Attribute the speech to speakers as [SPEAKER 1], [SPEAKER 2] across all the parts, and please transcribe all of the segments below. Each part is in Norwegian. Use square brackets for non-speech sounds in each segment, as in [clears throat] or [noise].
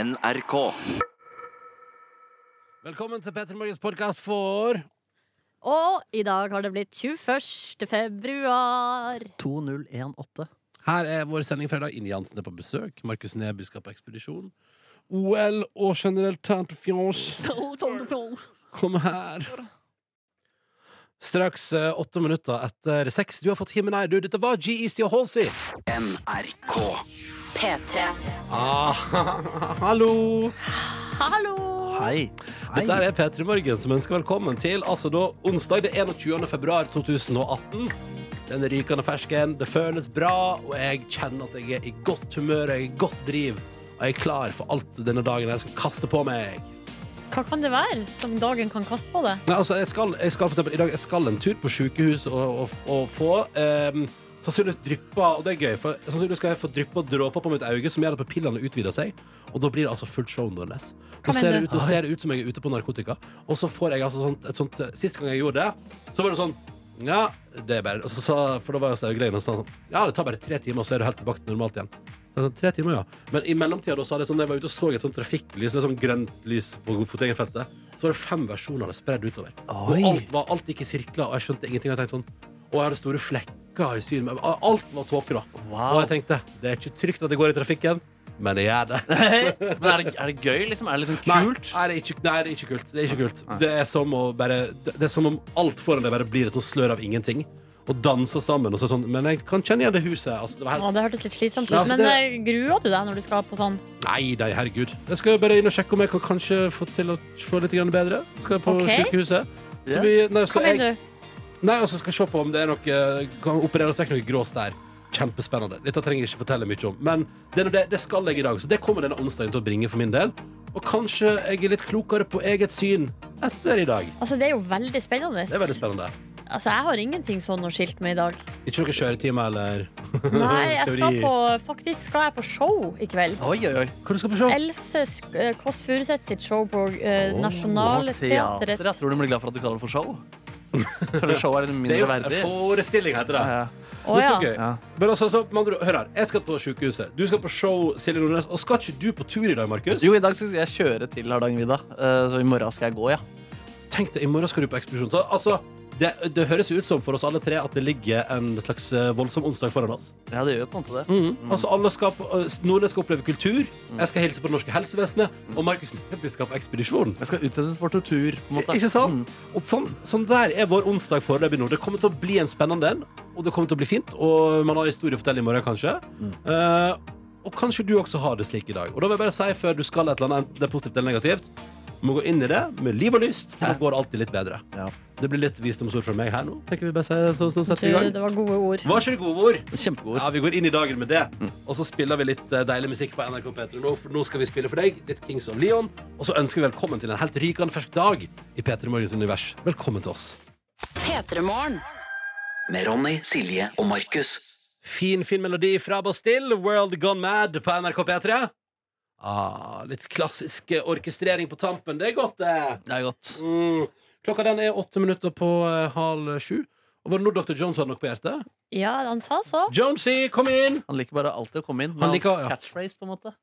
[SPEAKER 1] NRK.
[SPEAKER 2] Velkommen til Petter Morgens podkast for
[SPEAKER 3] Og i dag har det blitt 21. februar.
[SPEAKER 4] 2018.
[SPEAKER 2] Her er vår sending fra i dag. Ine Jansen er på besøk. Markus Neby skal på ekspedisjon. OL og generelt tant fjos. Kom her. Straks eh, åtte minutter etter seks. Du har fått himmel, nei, du. Dette var GEC og Halsey.
[SPEAKER 1] NRK.
[SPEAKER 2] Ah, hallo!
[SPEAKER 3] Hallo!
[SPEAKER 4] Hei. Hei.
[SPEAKER 2] Dette her er P3 Morgen som ønsker velkommen til altså da onsdag det 21. februar 2018. Den er rykende fersken, det føles bra, og jeg kjenner at jeg er i godt humør og jeg er i godt driv. Og jeg er klar for alt denne dagen jeg skal kaste på meg.
[SPEAKER 3] Hva kan det være som dagen kan kaste på deg?
[SPEAKER 2] Nei, altså, jeg skal, jeg skal for eksempel, I dag jeg skal en tur på sykehus og, og, og få ehm, sannsynligvis dryppa Og det er gøy, for sannsynligvis skal jeg få dryppa dråper på mitt øye som gjør at pupillene utvider seg. Og da blir det altså fullt show nordnes. Da
[SPEAKER 3] Hva
[SPEAKER 2] ser,
[SPEAKER 3] mener
[SPEAKER 2] det ut,
[SPEAKER 3] du?
[SPEAKER 2] da ser det ut som jeg er ute på narkotika. Og så får jeg altså sånt, et sånt Sist gang jeg gjorde det, så var det sånn ja, det er bare og så, sa- For da var jo Staugleien og sa sånn Ja, det tar bare tre timer, og så er du helt tilbake til normalt igjen. Så jeg sa, Tre timer, ja. Men i mellomtida da, så hadde jeg sånn, da jeg var ute og så et sånt trafikklys, det er sånn grønt lys på Fotengenfeltet, så var det fem versjoner av det spredd utover.
[SPEAKER 4] Oi.
[SPEAKER 2] Og alt, var, alt gikk i sirkler, og jeg skjønte ingenting. Og jeg tenkte sånn Og jeg hadde store flekker i synet. men Alt var tåke, da.
[SPEAKER 4] Wow.
[SPEAKER 2] Og jeg tenkte det er ikke trygt at jeg går i trafikken, men jeg gjør det.
[SPEAKER 4] Men er det, er det gøy, liksom? Er det liksom kult?
[SPEAKER 2] Nei, nei, det er ikke, nei, det er ikke kult. Det er, ikke kult. Det er, som, å bare, det det er som om alt foran deg bare blir et sånt slør av ingenting. Og danser sammen. Og så er det sånn, men jeg kan kjenne igjen det huset. Altså, det var
[SPEAKER 3] Å,
[SPEAKER 2] helt,
[SPEAKER 3] det hørtes litt slitsomt ut,
[SPEAKER 2] Ja, altså,
[SPEAKER 3] men eh, gruer du deg når du skal på sånn?
[SPEAKER 2] nei, nei, herregud. Jeg skal jo bare inn og sjekke om jeg kan kanskje få til å få litt grann bedre. Skal jeg på
[SPEAKER 3] Ok.
[SPEAKER 2] sykehuset. Så
[SPEAKER 4] Ja.
[SPEAKER 2] vi, nei, så
[SPEAKER 3] Hva
[SPEAKER 2] jeg,
[SPEAKER 3] mener du?
[SPEAKER 2] nei, altså skal jeg se på om det er noe Kan opereres vekk noe grås der. Kjempespennende. Dette trenger jeg ikke fortelle mye om. Men det, er nå det, det skal jeg i dag, så det kommer denne onsdagen til å bringe for min del. Og kanskje jeg er litt klokere på eget syn etter i dag.
[SPEAKER 3] Altså, det er jo veldig spennende.
[SPEAKER 2] Det er veldig spennende.
[SPEAKER 3] Altså, jeg har ingenting sånn å skilte med i dag.
[SPEAKER 2] Ikke noen kjøretimer eller
[SPEAKER 3] Nei, jeg skal
[SPEAKER 2] [laughs] Teori.
[SPEAKER 3] på, faktisk skal jeg på show i kveld.
[SPEAKER 4] Oi, oi, oi.
[SPEAKER 2] Hva du skal på show?
[SPEAKER 3] Else Sk- eh, Kåss Furuseth sitt show på eh,
[SPEAKER 2] Åh,
[SPEAKER 3] Nationaltheatret.
[SPEAKER 4] Jeg tror du blir glad for at du kaller det for show. For show er liksom
[SPEAKER 2] Det
[SPEAKER 4] mindre
[SPEAKER 2] er jo
[SPEAKER 4] verdig.
[SPEAKER 2] forestilling, heter det.
[SPEAKER 4] Ja,
[SPEAKER 3] Å
[SPEAKER 2] Men så
[SPEAKER 3] ja.
[SPEAKER 2] gøy.
[SPEAKER 4] ja.
[SPEAKER 2] Men altså, så, med andre ord, hør her. Jeg skal på sykehuset. Du skal på show, Silje Nordnes. Og skal ikke du på tur i dag, Markus?
[SPEAKER 4] Jo, i dag skal jeg kjøre til Hardangervidda, eh, så i morgen skal jeg gå, ja.
[SPEAKER 2] Tenk deg, i morgen skal du på ekspedisjon. Så, altså, det, det høres jo ut som for oss alle tre at det ligger en slags eh, voldsom onsdag foran oss.
[SPEAKER 4] Ja, det gjør jo på en måte det.
[SPEAKER 2] Altså, alle skal på, eh, Nordnes skal oppleve kultur, jeg skal hilse på det norske helsevesenet, og Markus Neby skal på ekspedisjon.
[SPEAKER 4] Jeg skal utsettes for tortur, på en måte.
[SPEAKER 2] Ikke sant?
[SPEAKER 4] Mm.
[SPEAKER 2] Og sånn, sånn der er vår onsdag foreløpig nå. Det kommer til å bli en spennende en, og det kommer til å bli fint. Og man har historie å fortelle i morgen, kanskje. Eh, og kanskje du også har det slik i dag. Og da vil jeg bare si før du skal et eller annet, enten det er positivt eller negativt, du må gå inn i det med liv og lyst, for da går det alltid litt bedre.
[SPEAKER 4] Ja.
[SPEAKER 2] Det blir litt visdomsord fra meg her nå, tenker vi bare si, så, så
[SPEAKER 3] Du,
[SPEAKER 2] setter vi i gang.
[SPEAKER 3] det var gode ord.
[SPEAKER 2] Var ikke det gode ord?
[SPEAKER 4] Kjempegod.
[SPEAKER 2] Ja, vi går inn i dagen med det. Og så spiller vi litt eh, deilig musikk på NRK P3 nå, for nå skal vi spille for deg litt Kings of Leon. Og så ønsker vi velkommen til en helt rykende fersk dag i P3 Morgens univers. Velkommen til oss.
[SPEAKER 1] Med Ronny, Silje og Markus.
[SPEAKER 2] Fin, fin melodi fra Bastille, World Gone Mad på NRK P3. Ah, litt klassisk eh, orkestrering på tampen. Det er godt, det.
[SPEAKER 4] Det er godt.
[SPEAKER 2] Mm. Klokka den er åtte minutter på eh, halv sju. Og var det nå Dr. Jones hadde noe på hjertet?
[SPEAKER 3] Ja, han sa så.
[SPEAKER 2] Jonesy, kom inn!
[SPEAKER 4] Han liker bare alltid å komme inn med
[SPEAKER 2] Han
[SPEAKER 4] hans
[SPEAKER 2] liker- ja.
[SPEAKER 4] catchphrase, på en måte.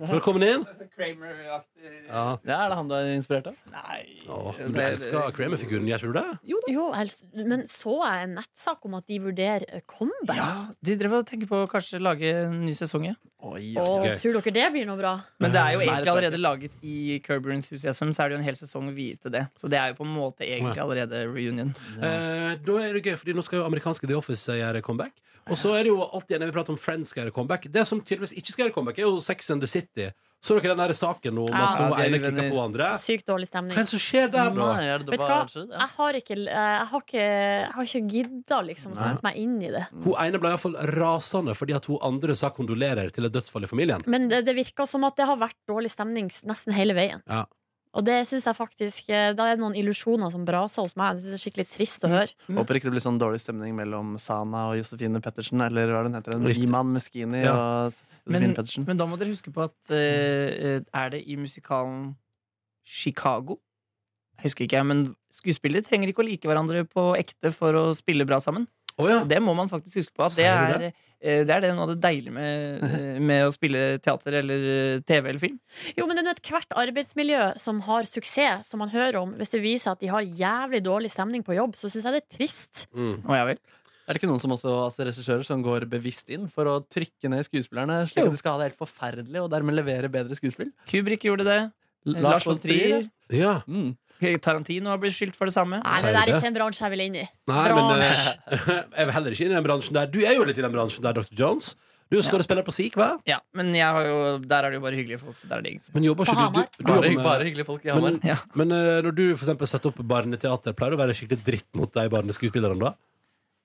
[SPEAKER 2] Velkommen inn.
[SPEAKER 5] Kramer-aktig
[SPEAKER 2] Ja.
[SPEAKER 4] Ja, er det han du er inspirert av?
[SPEAKER 5] Nei.
[SPEAKER 2] Å, men du elsker Kramer-figuren, gjør ikke du det?
[SPEAKER 3] Jo, jeg- men så jeg en nettsak om at de vurderer eh, comeback?
[SPEAKER 5] Ja, de drev og tenkte på å kanskje lage en ny sesong. Ja.
[SPEAKER 4] Oi, oi.
[SPEAKER 3] Og
[SPEAKER 2] Gøy.
[SPEAKER 3] tror dere det blir noe bra?
[SPEAKER 5] Men det er jo
[SPEAKER 4] Nei, det tror
[SPEAKER 5] egentlig
[SPEAKER 4] jeg
[SPEAKER 5] allerede laget i Curb Your Enthusiasm, så er det jo en hel sesong viet til det. Så det er jo på en måte egentlig allerede reunion.
[SPEAKER 2] Eh, da er det gøy, fordi nå skal jo amerikanske The Office gjøre comeback. Og så er det jo alltid når vi prater om Friends skal gjøre comeback. Det som tydeligvis ikke skal gjøre comeback, er jo Sex and the City. Så dere den der saken nå om
[SPEAKER 3] Ja.
[SPEAKER 2] at hun
[SPEAKER 5] Ja, det er
[SPEAKER 2] ene
[SPEAKER 5] uvenner.
[SPEAKER 2] klikka på andre?
[SPEAKER 3] Sykt dårlig stemning.
[SPEAKER 2] Hva er det som skjer der, da?
[SPEAKER 4] Nei, er det
[SPEAKER 3] Vet du
[SPEAKER 4] bare
[SPEAKER 3] hva?
[SPEAKER 4] skjedd? Ja.
[SPEAKER 3] Jeg har ikke, eh, jeg har ikke, jeg har ikke gidda liksom sette meg inn i det.
[SPEAKER 2] Hun ene ble iallfall rasende fordi at hun andre sa kondolerer til et dødsfall i familien.
[SPEAKER 3] Men det, det virker som at det har vært dårlig stemning s- nesten hele veien.
[SPEAKER 2] Ja.
[SPEAKER 3] Og det synes jeg faktisk eh, Da er det noen illusjoner som braser hos meg. Jeg synes Det er skikkelig trist å høre.
[SPEAKER 4] Håper ikke det blir sånn dårlig stemning mellom Sana og Josefine Pettersen. Eller hva er det hun heter?
[SPEAKER 2] Riktig.
[SPEAKER 4] Iman Meskini
[SPEAKER 2] Ja.
[SPEAKER 4] og Josefine
[SPEAKER 5] Men,
[SPEAKER 4] Pettersen.
[SPEAKER 5] men da må dere huske på at eh, eh, er det i musikalen Chicago? Jeg husker ikke, jeg, men skuespillere trenger ikke å like hverandre på ekte for å spille bra sammen.
[SPEAKER 2] Å ja.
[SPEAKER 5] Og det må man faktisk huske på. At det
[SPEAKER 2] Sier du
[SPEAKER 5] er, eh, det er det noe av det deilige med, eh, [laughs] med å spille teater eller eh, TV eller film.
[SPEAKER 3] Jo, men det er nå ethvert arbeidsmiljø som har suksess, som man hører om, hvis det viser at de har jævlig dårlig stemning på jobb, så syns jeg det er trist.
[SPEAKER 2] Mm.
[SPEAKER 5] Å, ja vel.
[SPEAKER 4] Er det ikke noen som også, altså regissører som går bevisst inn for å trykke ned skuespillerne, slik
[SPEAKER 5] Jo.
[SPEAKER 4] at de skal ha det helt forferdelig, og dermed levere bedre skuespill?
[SPEAKER 5] Kubrick gjorde det.
[SPEAKER 4] L-
[SPEAKER 5] Lars von Trier.
[SPEAKER 2] ja.
[SPEAKER 4] Mm.
[SPEAKER 5] Tarantino har blitt skyldt for det samme.
[SPEAKER 3] Nei,
[SPEAKER 2] Sier du
[SPEAKER 3] det der er
[SPEAKER 2] det?
[SPEAKER 3] ikke en bransje jeg vil inn i.
[SPEAKER 2] Nei,
[SPEAKER 3] Bra.
[SPEAKER 2] men eh, [laughs] jeg vil heller ikke inn i den bransjen der. Du er jo litt i den bransjen der, Dr. Jones. Du er jo skuespiller på SIK, hva?
[SPEAKER 5] Ja, men jeg har jo, der er det jo bare hyggelige folk. Så der er det ingenting.
[SPEAKER 2] Men jobber
[SPEAKER 3] På
[SPEAKER 2] ikke du-
[SPEAKER 3] Hamar.
[SPEAKER 2] du, du
[SPEAKER 4] Bare,
[SPEAKER 2] jobber med-
[SPEAKER 4] bare hyggelige folk i Hamar.
[SPEAKER 2] men,
[SPEAKER 5] Ja.
[SPEAKER 2] men eh, når du for eksempel setter opp barneteater, pleier du å være skikkelig dritt mot de barneskuespillerne da?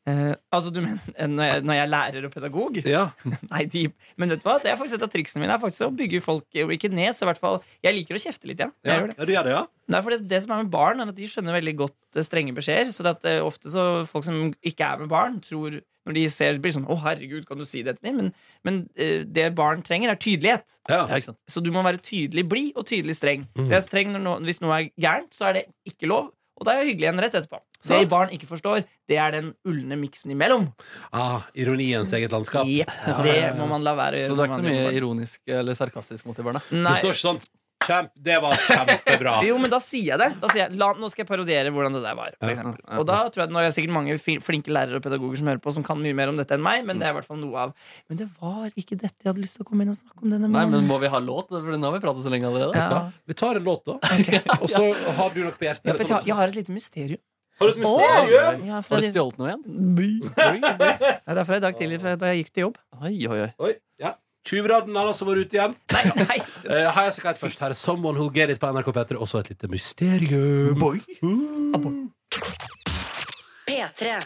[SPEAKER 5] Eh, altså, du mener eh, når jeg, når jeg er lærer og pedagog?
[SPEAKER 2] Ja.
[SPEAKER 5] [laughs] Nei, de, men vet du hva? Det er faktisk et av triksene mine. er faktisk å bygge folk, eh, ikke ned, så i hvert fall, Jeg liker å kjefte litt, ja. Jeg
[SPEAKER 2] Ja,
[SPEAKER 5] gjør det.
[SPEAKER 2] ja, du gjør det, ja?
[SPEAKER 5] Nei, for det, det som er med barn, er at de skjønner veldig godt eh, strenge beskjeder. Så det at eh, ofte så folk som ikke er med barn, tror når de ser blir sånn 'Å, herregud, kan du si dette til dem?' Men, men eh, det barn trenger, er tydelighet.
[SPEAKER 4] Ja,
[SPEAKER 2] Ja.
[SPEAKER 4] ikke sant?
[SPEAKER 5] Så du må være tydelig blid og tydelig streng. Så jeg er streng når noe, Hvis noe er gærent, så er det ikke lov. Og da er jeg hyggelig igjen rett etterpå. Så
[SPEAKER 2] Sant.
[SPEAKER 5] det barn ikke forstår, det er den ulne miksen imellom.
[SPEAKER 2] Ah, ironiens eget landskap.
[SPEAKER 5] Ja, Eh, det må man la være. å gjøre
[SPEAKER 4] Så du er ikke så
[SPEAKER 5] når
[SPEAKER 4] mye
[SPEAKER 5] man driver med barn.
[SPEAKER 4] ironisk eller sarkastisk mot de barna?
[SPEAKER 2] Det
[SPEAKER 5] Nei,
[SPEAKER 2] står ikke sånn Kjemp, Det var kjempebra.
[SPEAKER 5] [laughs] Jo, men da sier jeg det. Da sier jeg, la, nå skal jeg parodiere hvordan det der var. For
[SPEAKER 4] Ja,
[SPEAKER 5] eksempel.
[SPEAKER 4] ja, ja.
[SPEAKER 5] Og da tror jeg Nå er det sikkert mange fi- flinke lærere og pedagoger som hører på, som kan mye mer om dette enn meg, men det er i hvert fall noe av Men det var ikke dette jeg hadde lyst til å komme inn og snakke om denne
[SPEAKER 4] Nei, men
[SPEAKER 5] måneden.
[SPEAKER 4] må vi ha låt? For nå har vi pratet så lenge allerede.
[SPEAKER 5] Ja.
[SPEAKER 2] Vi tar en låt, da. Og så har du noe på hjertet.
[SPEAKER 5] Ja,
[SPEAKER 2] eller
[SPEAKER 5] for jeg, tar,
[SPEAKER 2] sånn.
[SPEAKER 5] jeg har et lite mysterium.
[SPEAKER 2] Har du et mysterium?
[SPEAKER 5] Ja, fra,
[SPEAKER 4] Har du
[SPEAKER 5] det
[SPEAKER 4] stjålet noe igjen?
[SPEAKER 5] [laughs] er fra i dag tidlig, fra da jeg gikk til jobb.
[SPEAKER 4] Oi, oi, oi.
[SPEAKER 2] Oi, ja. Tjuvraden har altså vært ute igjen.
[SPEAKER 5] Nei, nei.
[SPEAKER 2] Eh, her, skal jeg først. her er Someone Who'll Get It på NRK P3. Også et lite mysterium. Uh.
[SPEAKER 6] P3.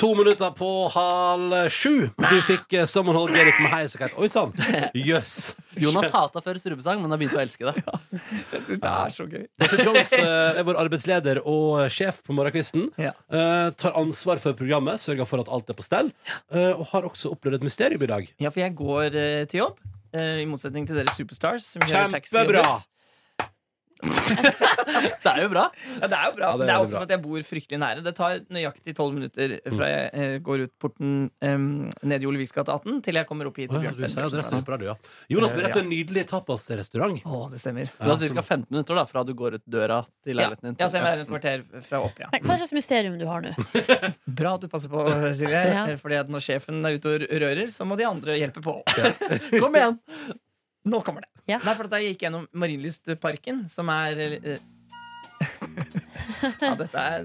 [SPEAKER 2] To minutter på halv sju. Du fikk eh, Someone Who'll Get It med heisekite. Oi sann! Jøss.
[SPEAKER 4] Jonas hata før strubesang, men har begynt å elske det.
[SPEAKER 5] Jeg syns det er så gøy.
[SPEAKER 2] Dr. Jones eh, er vår arbeidsleder og eh, sjef på morgenkvisten.
[SPEAKER 5] Ja.
[SPEAKER 2] Eh, tar ansvar for programmet, sørger for at alt er på stell. eh, og har også opplevd et mysterium i dag.
[SPEAKER 5] Ja, for jeg går eh, til jobb. eh, I motsetning til dere superstars. Som gjør taxi og
[SPEAKER 2] Kjempebra!
[SPEAKER 5] buss.
[SPEAKER 4] Det er jo bra.
[SPEAKER 5] Ja, det er jo
[SPEAKER 2] Ja, det er
[SPEAKER 5] bra. det, er
[SPEAKER 2] veldig
[SPEAKER 5] også
[SPEAKER 2] bra.
[SPEAKER 5] for at jeg bor fryktelig nære. Det tar nøyaktig tolv minutter fra jeg eh, går ut porten em, nede i Ole Viks gate 18, til jeg kommer opp hit.
[SPEAKER 2] Å ja,
[SPEAKER 5] til
[SPEAKER 2] du
[SPEAKER 5] Bjørnfjell
[SPEAKER 2] sier adressen
[SPEAKER 5] Bjørnsen.
[SPEAKER 2] på radio, ja. Jonas blir rett ved
[SPEAKER 5] Ja.
[SPEAKER 2] en nydelig tapasrestaurant.
[SPEAKER 5] Å, det stemmer.
[SPEAKER 4] Du har ca. 15 minutter da, fra du går ut døra til
[SPEAKER 5] Ja,
[SPEAKER 4] leiligheten din.
[SPEAKER 5] ja, så jeg er et kvarter fra opp, ja.
[SPEAKER 3] Men Hva slags mysterium du har nå?
[SPEAKER 5] Bra at du passer på, Silje.
[SPEAKER 3] Ja.
[SPEAKER 5] eh, Fordi at når sjefen er ute og rører, så må de andre hjelpe på. [laughs]
[SPEAKER 4] Kom igjen!
[SPEAKER 5] Nå kommer det.
[SPEAKER 3] Ja.
[SPEAKER 5] Nei, for at jeg gikk gjennom Marienlystparken, som er
[SPEAKER 3] [laughs]
[SPEAKER 5] eh, Ja, dette er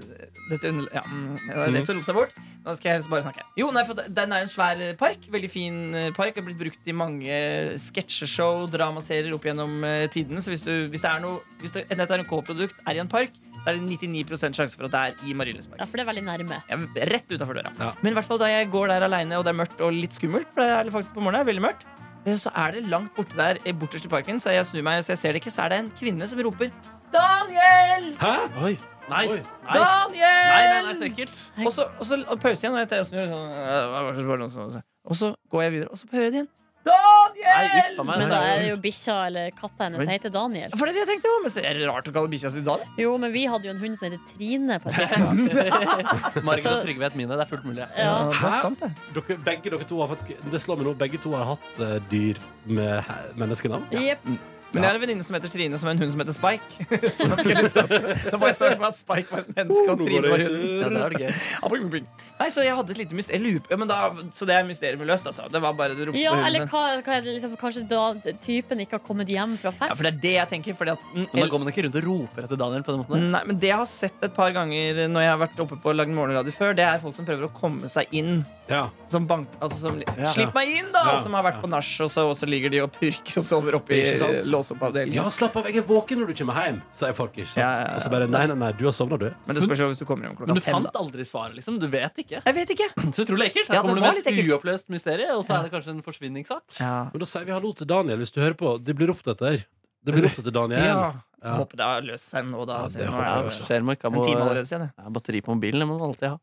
[SPEAKER 5] dette under, ja, mm, Det er lett å rote seg bort. Nå skal jeg helst bare snakke. Jo, nei, for Den er en svær eh, park. Veldig fin eh, park. Har blitt brukt i mange eh, sketsjeshow, dramaserier opp gjennom eh, tidene. Så hvis, du, hvis det er noe Hvis det, dette er en K-produkt, er i en park, så er det 99 sjanse for at det er i Marienlystparken.
[SPEAKER 3] Ja, for det er veldig nærme.
[SPEAKER 5] Ja, rett utenfor døra.
[SPEAKER 2] Ja.
[SPEAKER 5] Men i hvert fall da jeg går der alene, og det er mørkt og litt skummelt, for det er det faktisk på morgenen, veldig mørkt, eh, så er det langt borte der, eh, borterst i parken, så jeg snur meg, så jeg ser det ikke, så er det en kvinne som roper Daniel!
[SPEAKER 2] Hæ?
[SPEAKER 4] Oi. Nei.
[SPEAKER 2] Oi.
[SPEAKER 4] Nei. Nei,
[SPEAKER 5] Daniel!
[SPEAKER 4] nei, nei, så ekkelt.
[SPEAKER 5] Og så, og så og pause igjen, og jeg tar- og snur, sånn, eh, hva var det som var det som- så- og så går jeg videre, og så hører jeg det igjen.
[SPEAKER 4] Nei,
[SPEAKER 5] Daniel!
[SPEAKER 4] uff a meg.
[SPEAKER 3] Men da er det jo bikkja eller katta hennes heter Daniel.
[SPEAKER 5] For det er det jeg tenkte jo, men så er det rart å kalle bikkja si Daniel.
[SPEAKER 3] Jo, men vi hadde jo en hund som heter Trine. På et tidspunkt.
[SPEAKER 4] [laughs] Margit
[SPEAKER 3] Så-
[SPEAKER 4] og Trygve het mine. Det er fullt mulig.
[SPEAKER 3] ja.
[SPEAKER 5] det
[SPEAKER 2] Hæ?
[SPEAKER 5] er sant, det.
[SPEAKER 2] Dere, begge dere to har faktisk Det slår meg nå, begge to har hatt eh, dyr med he- menneskenavn.
[SPEAKER 3] Jepp.
[SPEAKER 5] Men jeg har en venninne som heter Trine, som har en hund som heter Spike. [laughs] Så da fikk jeg lyst til at- da må jeg snakke med at Spike var et menneske, og Trine var hunden.
[SPEAKER 4] Ja, det var det gøy.
[SPEAKER 5] Ah, boing, boing, boing. Nei, så jeg hadde et lite mysterium. Jeg lurer på- Ja, men da, så det er mysteriet med løst, altså. Det var bare det ropte
[SPEAKER 3] Ja,
[SPEAKER 5] på hunden
[SPEAKER 3] eller
[SPEAKER 5] sin.
[SPEAKER 3] hva, hva er det liksom, kanskje da typen ikke har kommet hjem fra fest?
[SPEAKER 5] Ja, for det er det jeg tenker. Fordi at, mm,
[SPEAKER 4] Men da går man ikke rundt og roper etter Daniel på den måten.
[SPEAKER 5] Nei, men det jeg har sett et par ganger når jeg har vært oppe på og lagd morgenradio før, det er folk som prøver å komme seg inn.
[SPEAKER 2] Ja.
[SPEAKER 5] Som bank, altså som,
[SPEAKER 4] Ja.
[SPEAKER 5] Slipp meg inn, da!
[SPEAKER 2] Ja.
[SPEAKER 5] Som har vært på nach, og så, og så ligger de og purker og sover oppi
[SPEAKER 2] Ikke sant?
[SPEAKER 5] låseoppavdelingen.
[SPEAKER 2] ja, slapp av, jeg er våken når du kommer hjem, sier folk. ikke sant?
[SPEAKER 5] Ja, ja, ja.
[SPEAKER 2] Og så bare nei, nei, nei, du har sovna, du.
[SPEAKER 5] Men det spørs jo hvis du kommer hjem klokka
[SPEAKER 4] Men du
[SPEAKER 5] fem. Da.
[SPEAKER 4] fant aldri svaret, liksom. Du vet ikke. [clears throat]
[SPEAKER 5] Jeg vet ikke.
[SPEAKER 4] Så utrolig ekkelt. Her
[SPEAKER 5] Ja, det
[SPEAKER 4] kommer du
[SPEAKER 5] var
[SPEAKER 4] med
[SPEAKER 5] litt
[SPEAKER 4] et
[SPEAKER 5] ekkelt.
[SPEAKER 4] uoppløst mysterium, og så er det kanskje en forsvinningssak.
[SPEAKER 5] Ja.
[SPEAKER 2] Men da sier vi hallo til Daniel, hvis du hører på. Det blir ropt etter. Det blir ropt etter Daniel.
[SPEAKER 5] Ja.
[SPEAKER 2] Ja.
[SPEAKER 5] Håper det har løst seg nå, da.
[SPEAKER 2] Ja,
[SPEAKER 5] siden
[SPEAKER 2] det
[SPEAKER 5] nå
[SPEAKER 2] håper
[SPEAKER 5] er
[SPEAKER 4] Ja,
[SPEAKER 2] jeg
[SPEAKER 5] det
[SPEAKER 2] også.
[SPEAKER 4] skjer meg,
[SPEAKER 5] En time allerede siden. jeg.
[SPEAKER 4] Ja, batteri på mobilen det må man alltid ha.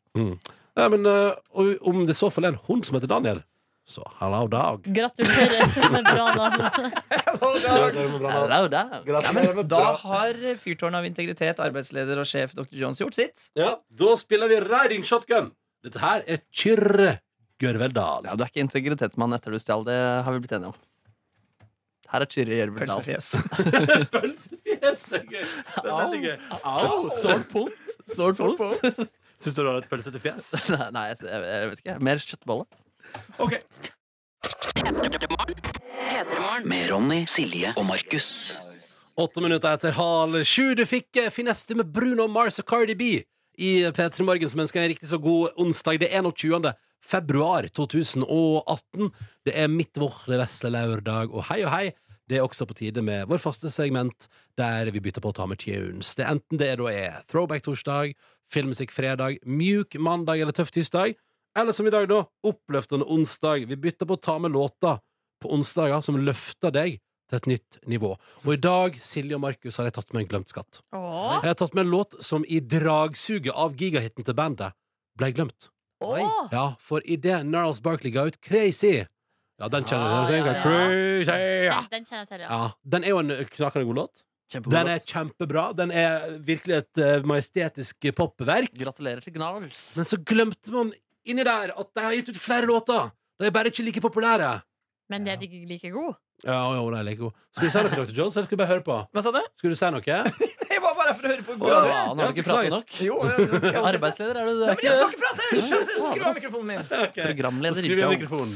[SPEAKER 2] Ja, men eh, og om det så fall er en hund som heter Daniel, så hallo, dag.
[SPEAKER 3] Gratulerer [laughs] med bra navn.
[SPEAKER 2] Gratulerer med bra
[SPEAKER 4] Ja,
[SPEAKER 2] navn.
[SPEAKER 4] det er jo det.
[SPEAKER 2] Gratulerer med
[SPEAKER 5] Da
[SPEAKER 2] bra-
[SPEAKER 5] har fyrtårnet av integritet, arbeidsleder og sjef dr. Jones gjort sitt.
[SPEAKER 2] Ja, da spiller vi Riding Shotgun Dette her er Kyrre Gørveldal.
[SPEAKER 4] Ja, du er ikke integritetsmann etter du stjal, det har vi blitt enige om. Her er Kyrre Jerveldal.
[SPEAKER 5] Pølsefjes. [laughs]
[SPEAKER 2] Pølsefjes er gøy. Det er veldig gøy. Au, sårt punkt.
[SPEAKER 4] Sårt punkt.
[SPEAKER 2] Syns du du har et pølsete fjes?
[SPEAKER 4] Nei, nei, jeg, jeg vet ikke. Mer kjøttbolle.
[SPEAKER 2] OK.
[SPEAKER 1] Med Ronny, Silje og Markus.
[SPEAKER 2] Åtte minutter etter halv sju. Du fikk eh, Fineste med Bruno Mars og Cardi B i P3 Morgen, som ønsker en riktig så god onsdag. Det er 21. februar 2018. Det er mitt våre vesle lørdag, og hei og hei. Det er også på tide med vår faste segment, der vi bytter på å ta med tunes. Det er enten det da er Throwback torsdag, Filmmusikk fredag, Mjuk mandag eller Tøff tirsdag. Eller som i dag, da, Oppløftende onsdag. Vi bytter på å ta med låter på onsdager som løfter deg til et nytt nivå. Og i dag, Silje og Markus, har jeg tatt med en glemt skatt.
[SPEAKER 3] Åh,
[SPEAKER 2] Jeg har tatt med en låt som i dragsuget av gigahiten til bandet ble glemt.
[SPEAKER 3] åh.
[SPEAKER 2] Ja, for idet Narls Barkley ga ut Crazy Ja, den kjenner
[SPEAKER 3] Ah,
[SPEAKER 2] du.
[SPEAKER 3] ja, ja.
[SPEAKER 2] Crazy! Ja.
[SPEAKER 3] Kjenn- Den kjenner jeg til, ja.
[SPEAKER 2] ja, Den er jo en knakende god låt. Den er kjempebra. Den er virkelig et eh, majestetisk popverk.
[SPEAKER 4] Gratulerer til Gnarls.
[SPEAKER 2] Men så glemte man inni der at de har gitt ut flere låter. De er bare ikke like populære.
[SPEAKER 3] Men det er ikke like god.
[SPEAKER 2] Ja, jo, de er like gode. Skulle du si noe, Dr. Jones? Eller skulle du bare høre på?
[SPEAKER 5] Hva sa du?
[SPEAKER 2] Skulle du si noe?
[SPEAKER 5] Jeg var bare for å høre på.
[SPEAKER 4] Ja,
[SPEAKER 5] Bra.
[SPEAKER 4] han har ikke pratet nok.
[SPEAKER 5] [laughs] Jo, jeg, jeg skal jeg skal-
[SPEAKER 4] Arbeidsleder er du. du
[SPEAKER 5] Ja,
[SPEAKER 4] er
[SPEAKER 5] men jeg skal
[SPEAKER 4] ikke
[SPEAKER 5] ikke prate! Skjønner du? Skru av mikrofonen min.
[SPEAKER 4] programleder.
[SPEAKER 2] Skriv i
[SPEAKER 4] Jones.
[SPEAKER 2] mikrofonen.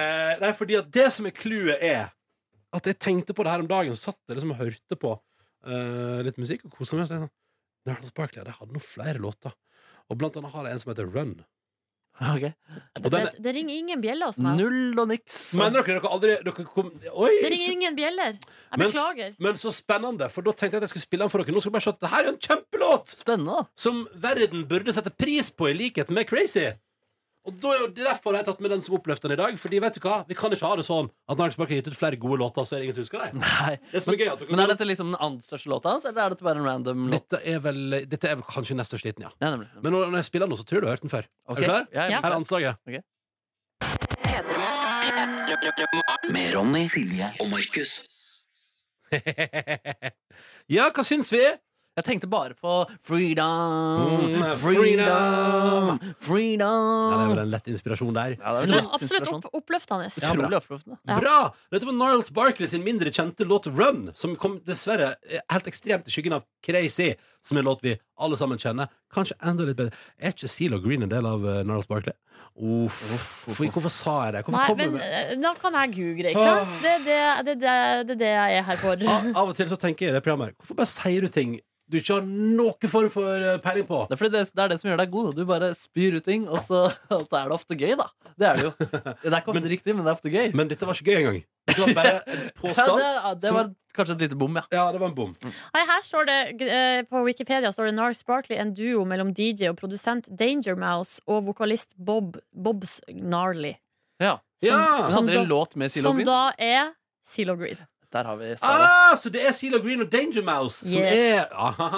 [SPEAKER 2] Eh, nei, fordi at det som er clouet, er at jeg tenkte på det her om dagen. Så satt jeg liksom og hørte på eh, litt musikk og kosa meg. og så tenkte jeg sånn, Narls Barkley de hadde noen flere låter. Og blant annet har jeg en som heter Run.
[SPEAKER 4] [laughs] Ok.
[SPEAKER 2] Og den,
[SPEAKER 3] Det, det ringer ingen bjeller hos meg.
[SPEAKER 4] Null og niks.
[SPEAKER 2] mener dere dere aldri dere kom, Oi!
[SPEAKER 3] Det
[SPEAKER 2] så-
[SPEAKER 3] ringer ingen bjeller. Jeg
[SPEAKER 2] Men-
[SPEAKER 3] beklager.
[SPEAKER 2] Men så spennende, for da tenkte jeg at jeg skulle spille den for dere. Nå skal jeg bare se at det her er jo en kjempelåt!
[SPEAKER 4] Spennende, da.
[SPEAKER 2] Som verden burde sette pris på, i likhet med Crazy. Og da, er jo- det er derfor har jeg tatt med den som oppløfteren i dag. Fordi vet du hva, Vi kan ikke ha det sånn at Narls Barkley har gitt ut flere gode låter, så er det ingen som husker dem.
[SPEAKER 4] Nei.
[SPEAKER 2] Det som er gøy er at dere
[SPEAKER 4] Men er dette liksom den andre største låta hans, eller er dette bare en random låt?
[SPEAKER 2] dette, er vel, dette er vel kanskje nest største hiten, ja.
[SPEAKER 4] Ja, nemlig.
[SPEAKER 2] Men når, når jeg spiller den nå, så tror jeg du har hørt den før.
[SPEAKER 4] Ok.
[SPEAKER 2] Er du klar?
[SPEAKER 4] Ja, jeg
[SPEAKER 3] Ja.
[SPEAKER 2] Her er anslaget.
[SPEAKER 1] Med Ronny, Silje og Markus.
[SPEAKER 2] ja, hva syns vi?
[SPEAKER 4] Jeg tenkte bare på freedom,
[SPEAKER 2] Mm,
[SPEAKER 4] freedom,
[SPEAKER 2] Ja, det er
[SPEAKER 4] freedom.
[SPEAKER 2] vel en lett inspirasjon der.
[SPEAKER 4] Ja,
[SPEAKER 3] Men
[SPEAKER 4] det er
[SPEAKER 3] det
[SPEAKER 4] en
[SPEAKER 3] var absolutt
[SPEAKER 4] inspirasjon.
[SPEAKER 3] opp, oppløftende.
[SPEAKER 2] Ja, bra.
[SPEAKER 4] Utrolig oppløftende.
[SPEAKER 3] Ja.
[SPEAKER 2] Bra! Dette var Niles Barkley sin mindre kjente låt Run, som kom dessverre eh, helt ekstremt i skyggen av Crazy, som er en låt vi alle sammen kjenner. Kanskje enda litt bedre. Er ikke CeeLo Green en del av eh, Niles Barkley? Uff, hvorfor- hvorfor sa jeg det? Hvorfor
[SPEAKER 3] Nei,
[SPEAKER 2] kom jeg
[SPEAKER 3] men
[SPEAKER 2] med
[SPEAKER 3] eh, da kan jeg google, ikke sant? Det er det, det, det, det, er det jeg er her for.
[SPEAKER 2] av, av og til så tenker jeg i det programmet her, hvorfor bare sier du ting du ikke har noen form for eh, peiling på?
[SPEAKER 4] Det er, fordi det, det er det som gjør deg god. Du bare spyr ut ting, og så, og så er det ofte gøy, da. Det er det jo. Det er ikke ofte riktig, men det er ofte gøy.
[SPEAKER 2] Men dette var ikke gøy engang. Dette var bare en
[SPEAKER 4] ja,
[SPEAKER 2] påstand.
[SPEAKER 4] det, det var kanskje et lite bom, ja.
[SPEAKER 2] Ja, det var en bom.
[SPEAKER 3] Nei, Her står det, eh, På Wikipedia står det Nars Barkley, en duo mellom DJ og produsent Danger Mouse og vokalist Bob, Bobs Gnarly.
[SPEAKER 4] ja.
[SPEAKER 3] Som,
[SPEAKER 2] Ja!
[SPEAKER 4] Hun
[SPEAKER 3] som,
[SPEAKER 4] hadde en
[SPEAKER 3] da,
[SPEAKER 4] låt med Silo
[SPEAKER 3] som
[SPEAKER 4] Green.
[SPEAKER 3] da er CeeLo Green.
[SPEAKER 4] Der har vi Sara.
[SPEAKER 2] Ah, så det er CeeLo Green og Danger Mouse som
[SPEAKER 3] Yes.
[SPEAKER 2] er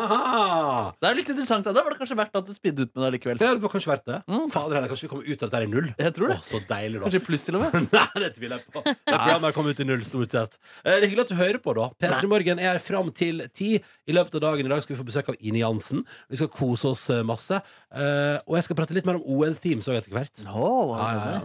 [SPEAKER 2] Ahaha.
[SPEAKER 4] Det er litt interessant. Da Da var det kanskje verdt at du spydde ut med det likevel.
[SPEAKER 2] Ja, det var kanskje verdt det.
[SPEAKER 4] Mm.
[SPEAKER 2] Fader heller, kanskje vi kommer ut av dette her i null?
[SPEAKER 4] Jeg tror det.
[SPEAKER 2] Å, så deilig, da.
[SPEAKER 4] Kanskje pluss, til og med.
[SPEAKER 2] [laughs] Nei, det tviler jeg på. Det er programmet her kommer ut i null, stort sett. Eh, Det er hyggelig at du hører på, da. P3 Morgen er fram til ti. I løpet av dagen i dag skal vi få besøk av Ine Jansen. Vi skal kose oss eh, masse. Eh, Og jeg skal prate litt mer om OL-themes òg etter hvert.
[SPEAKER 4] Oh,
[SPEAKER 2] Ja, ja, ja.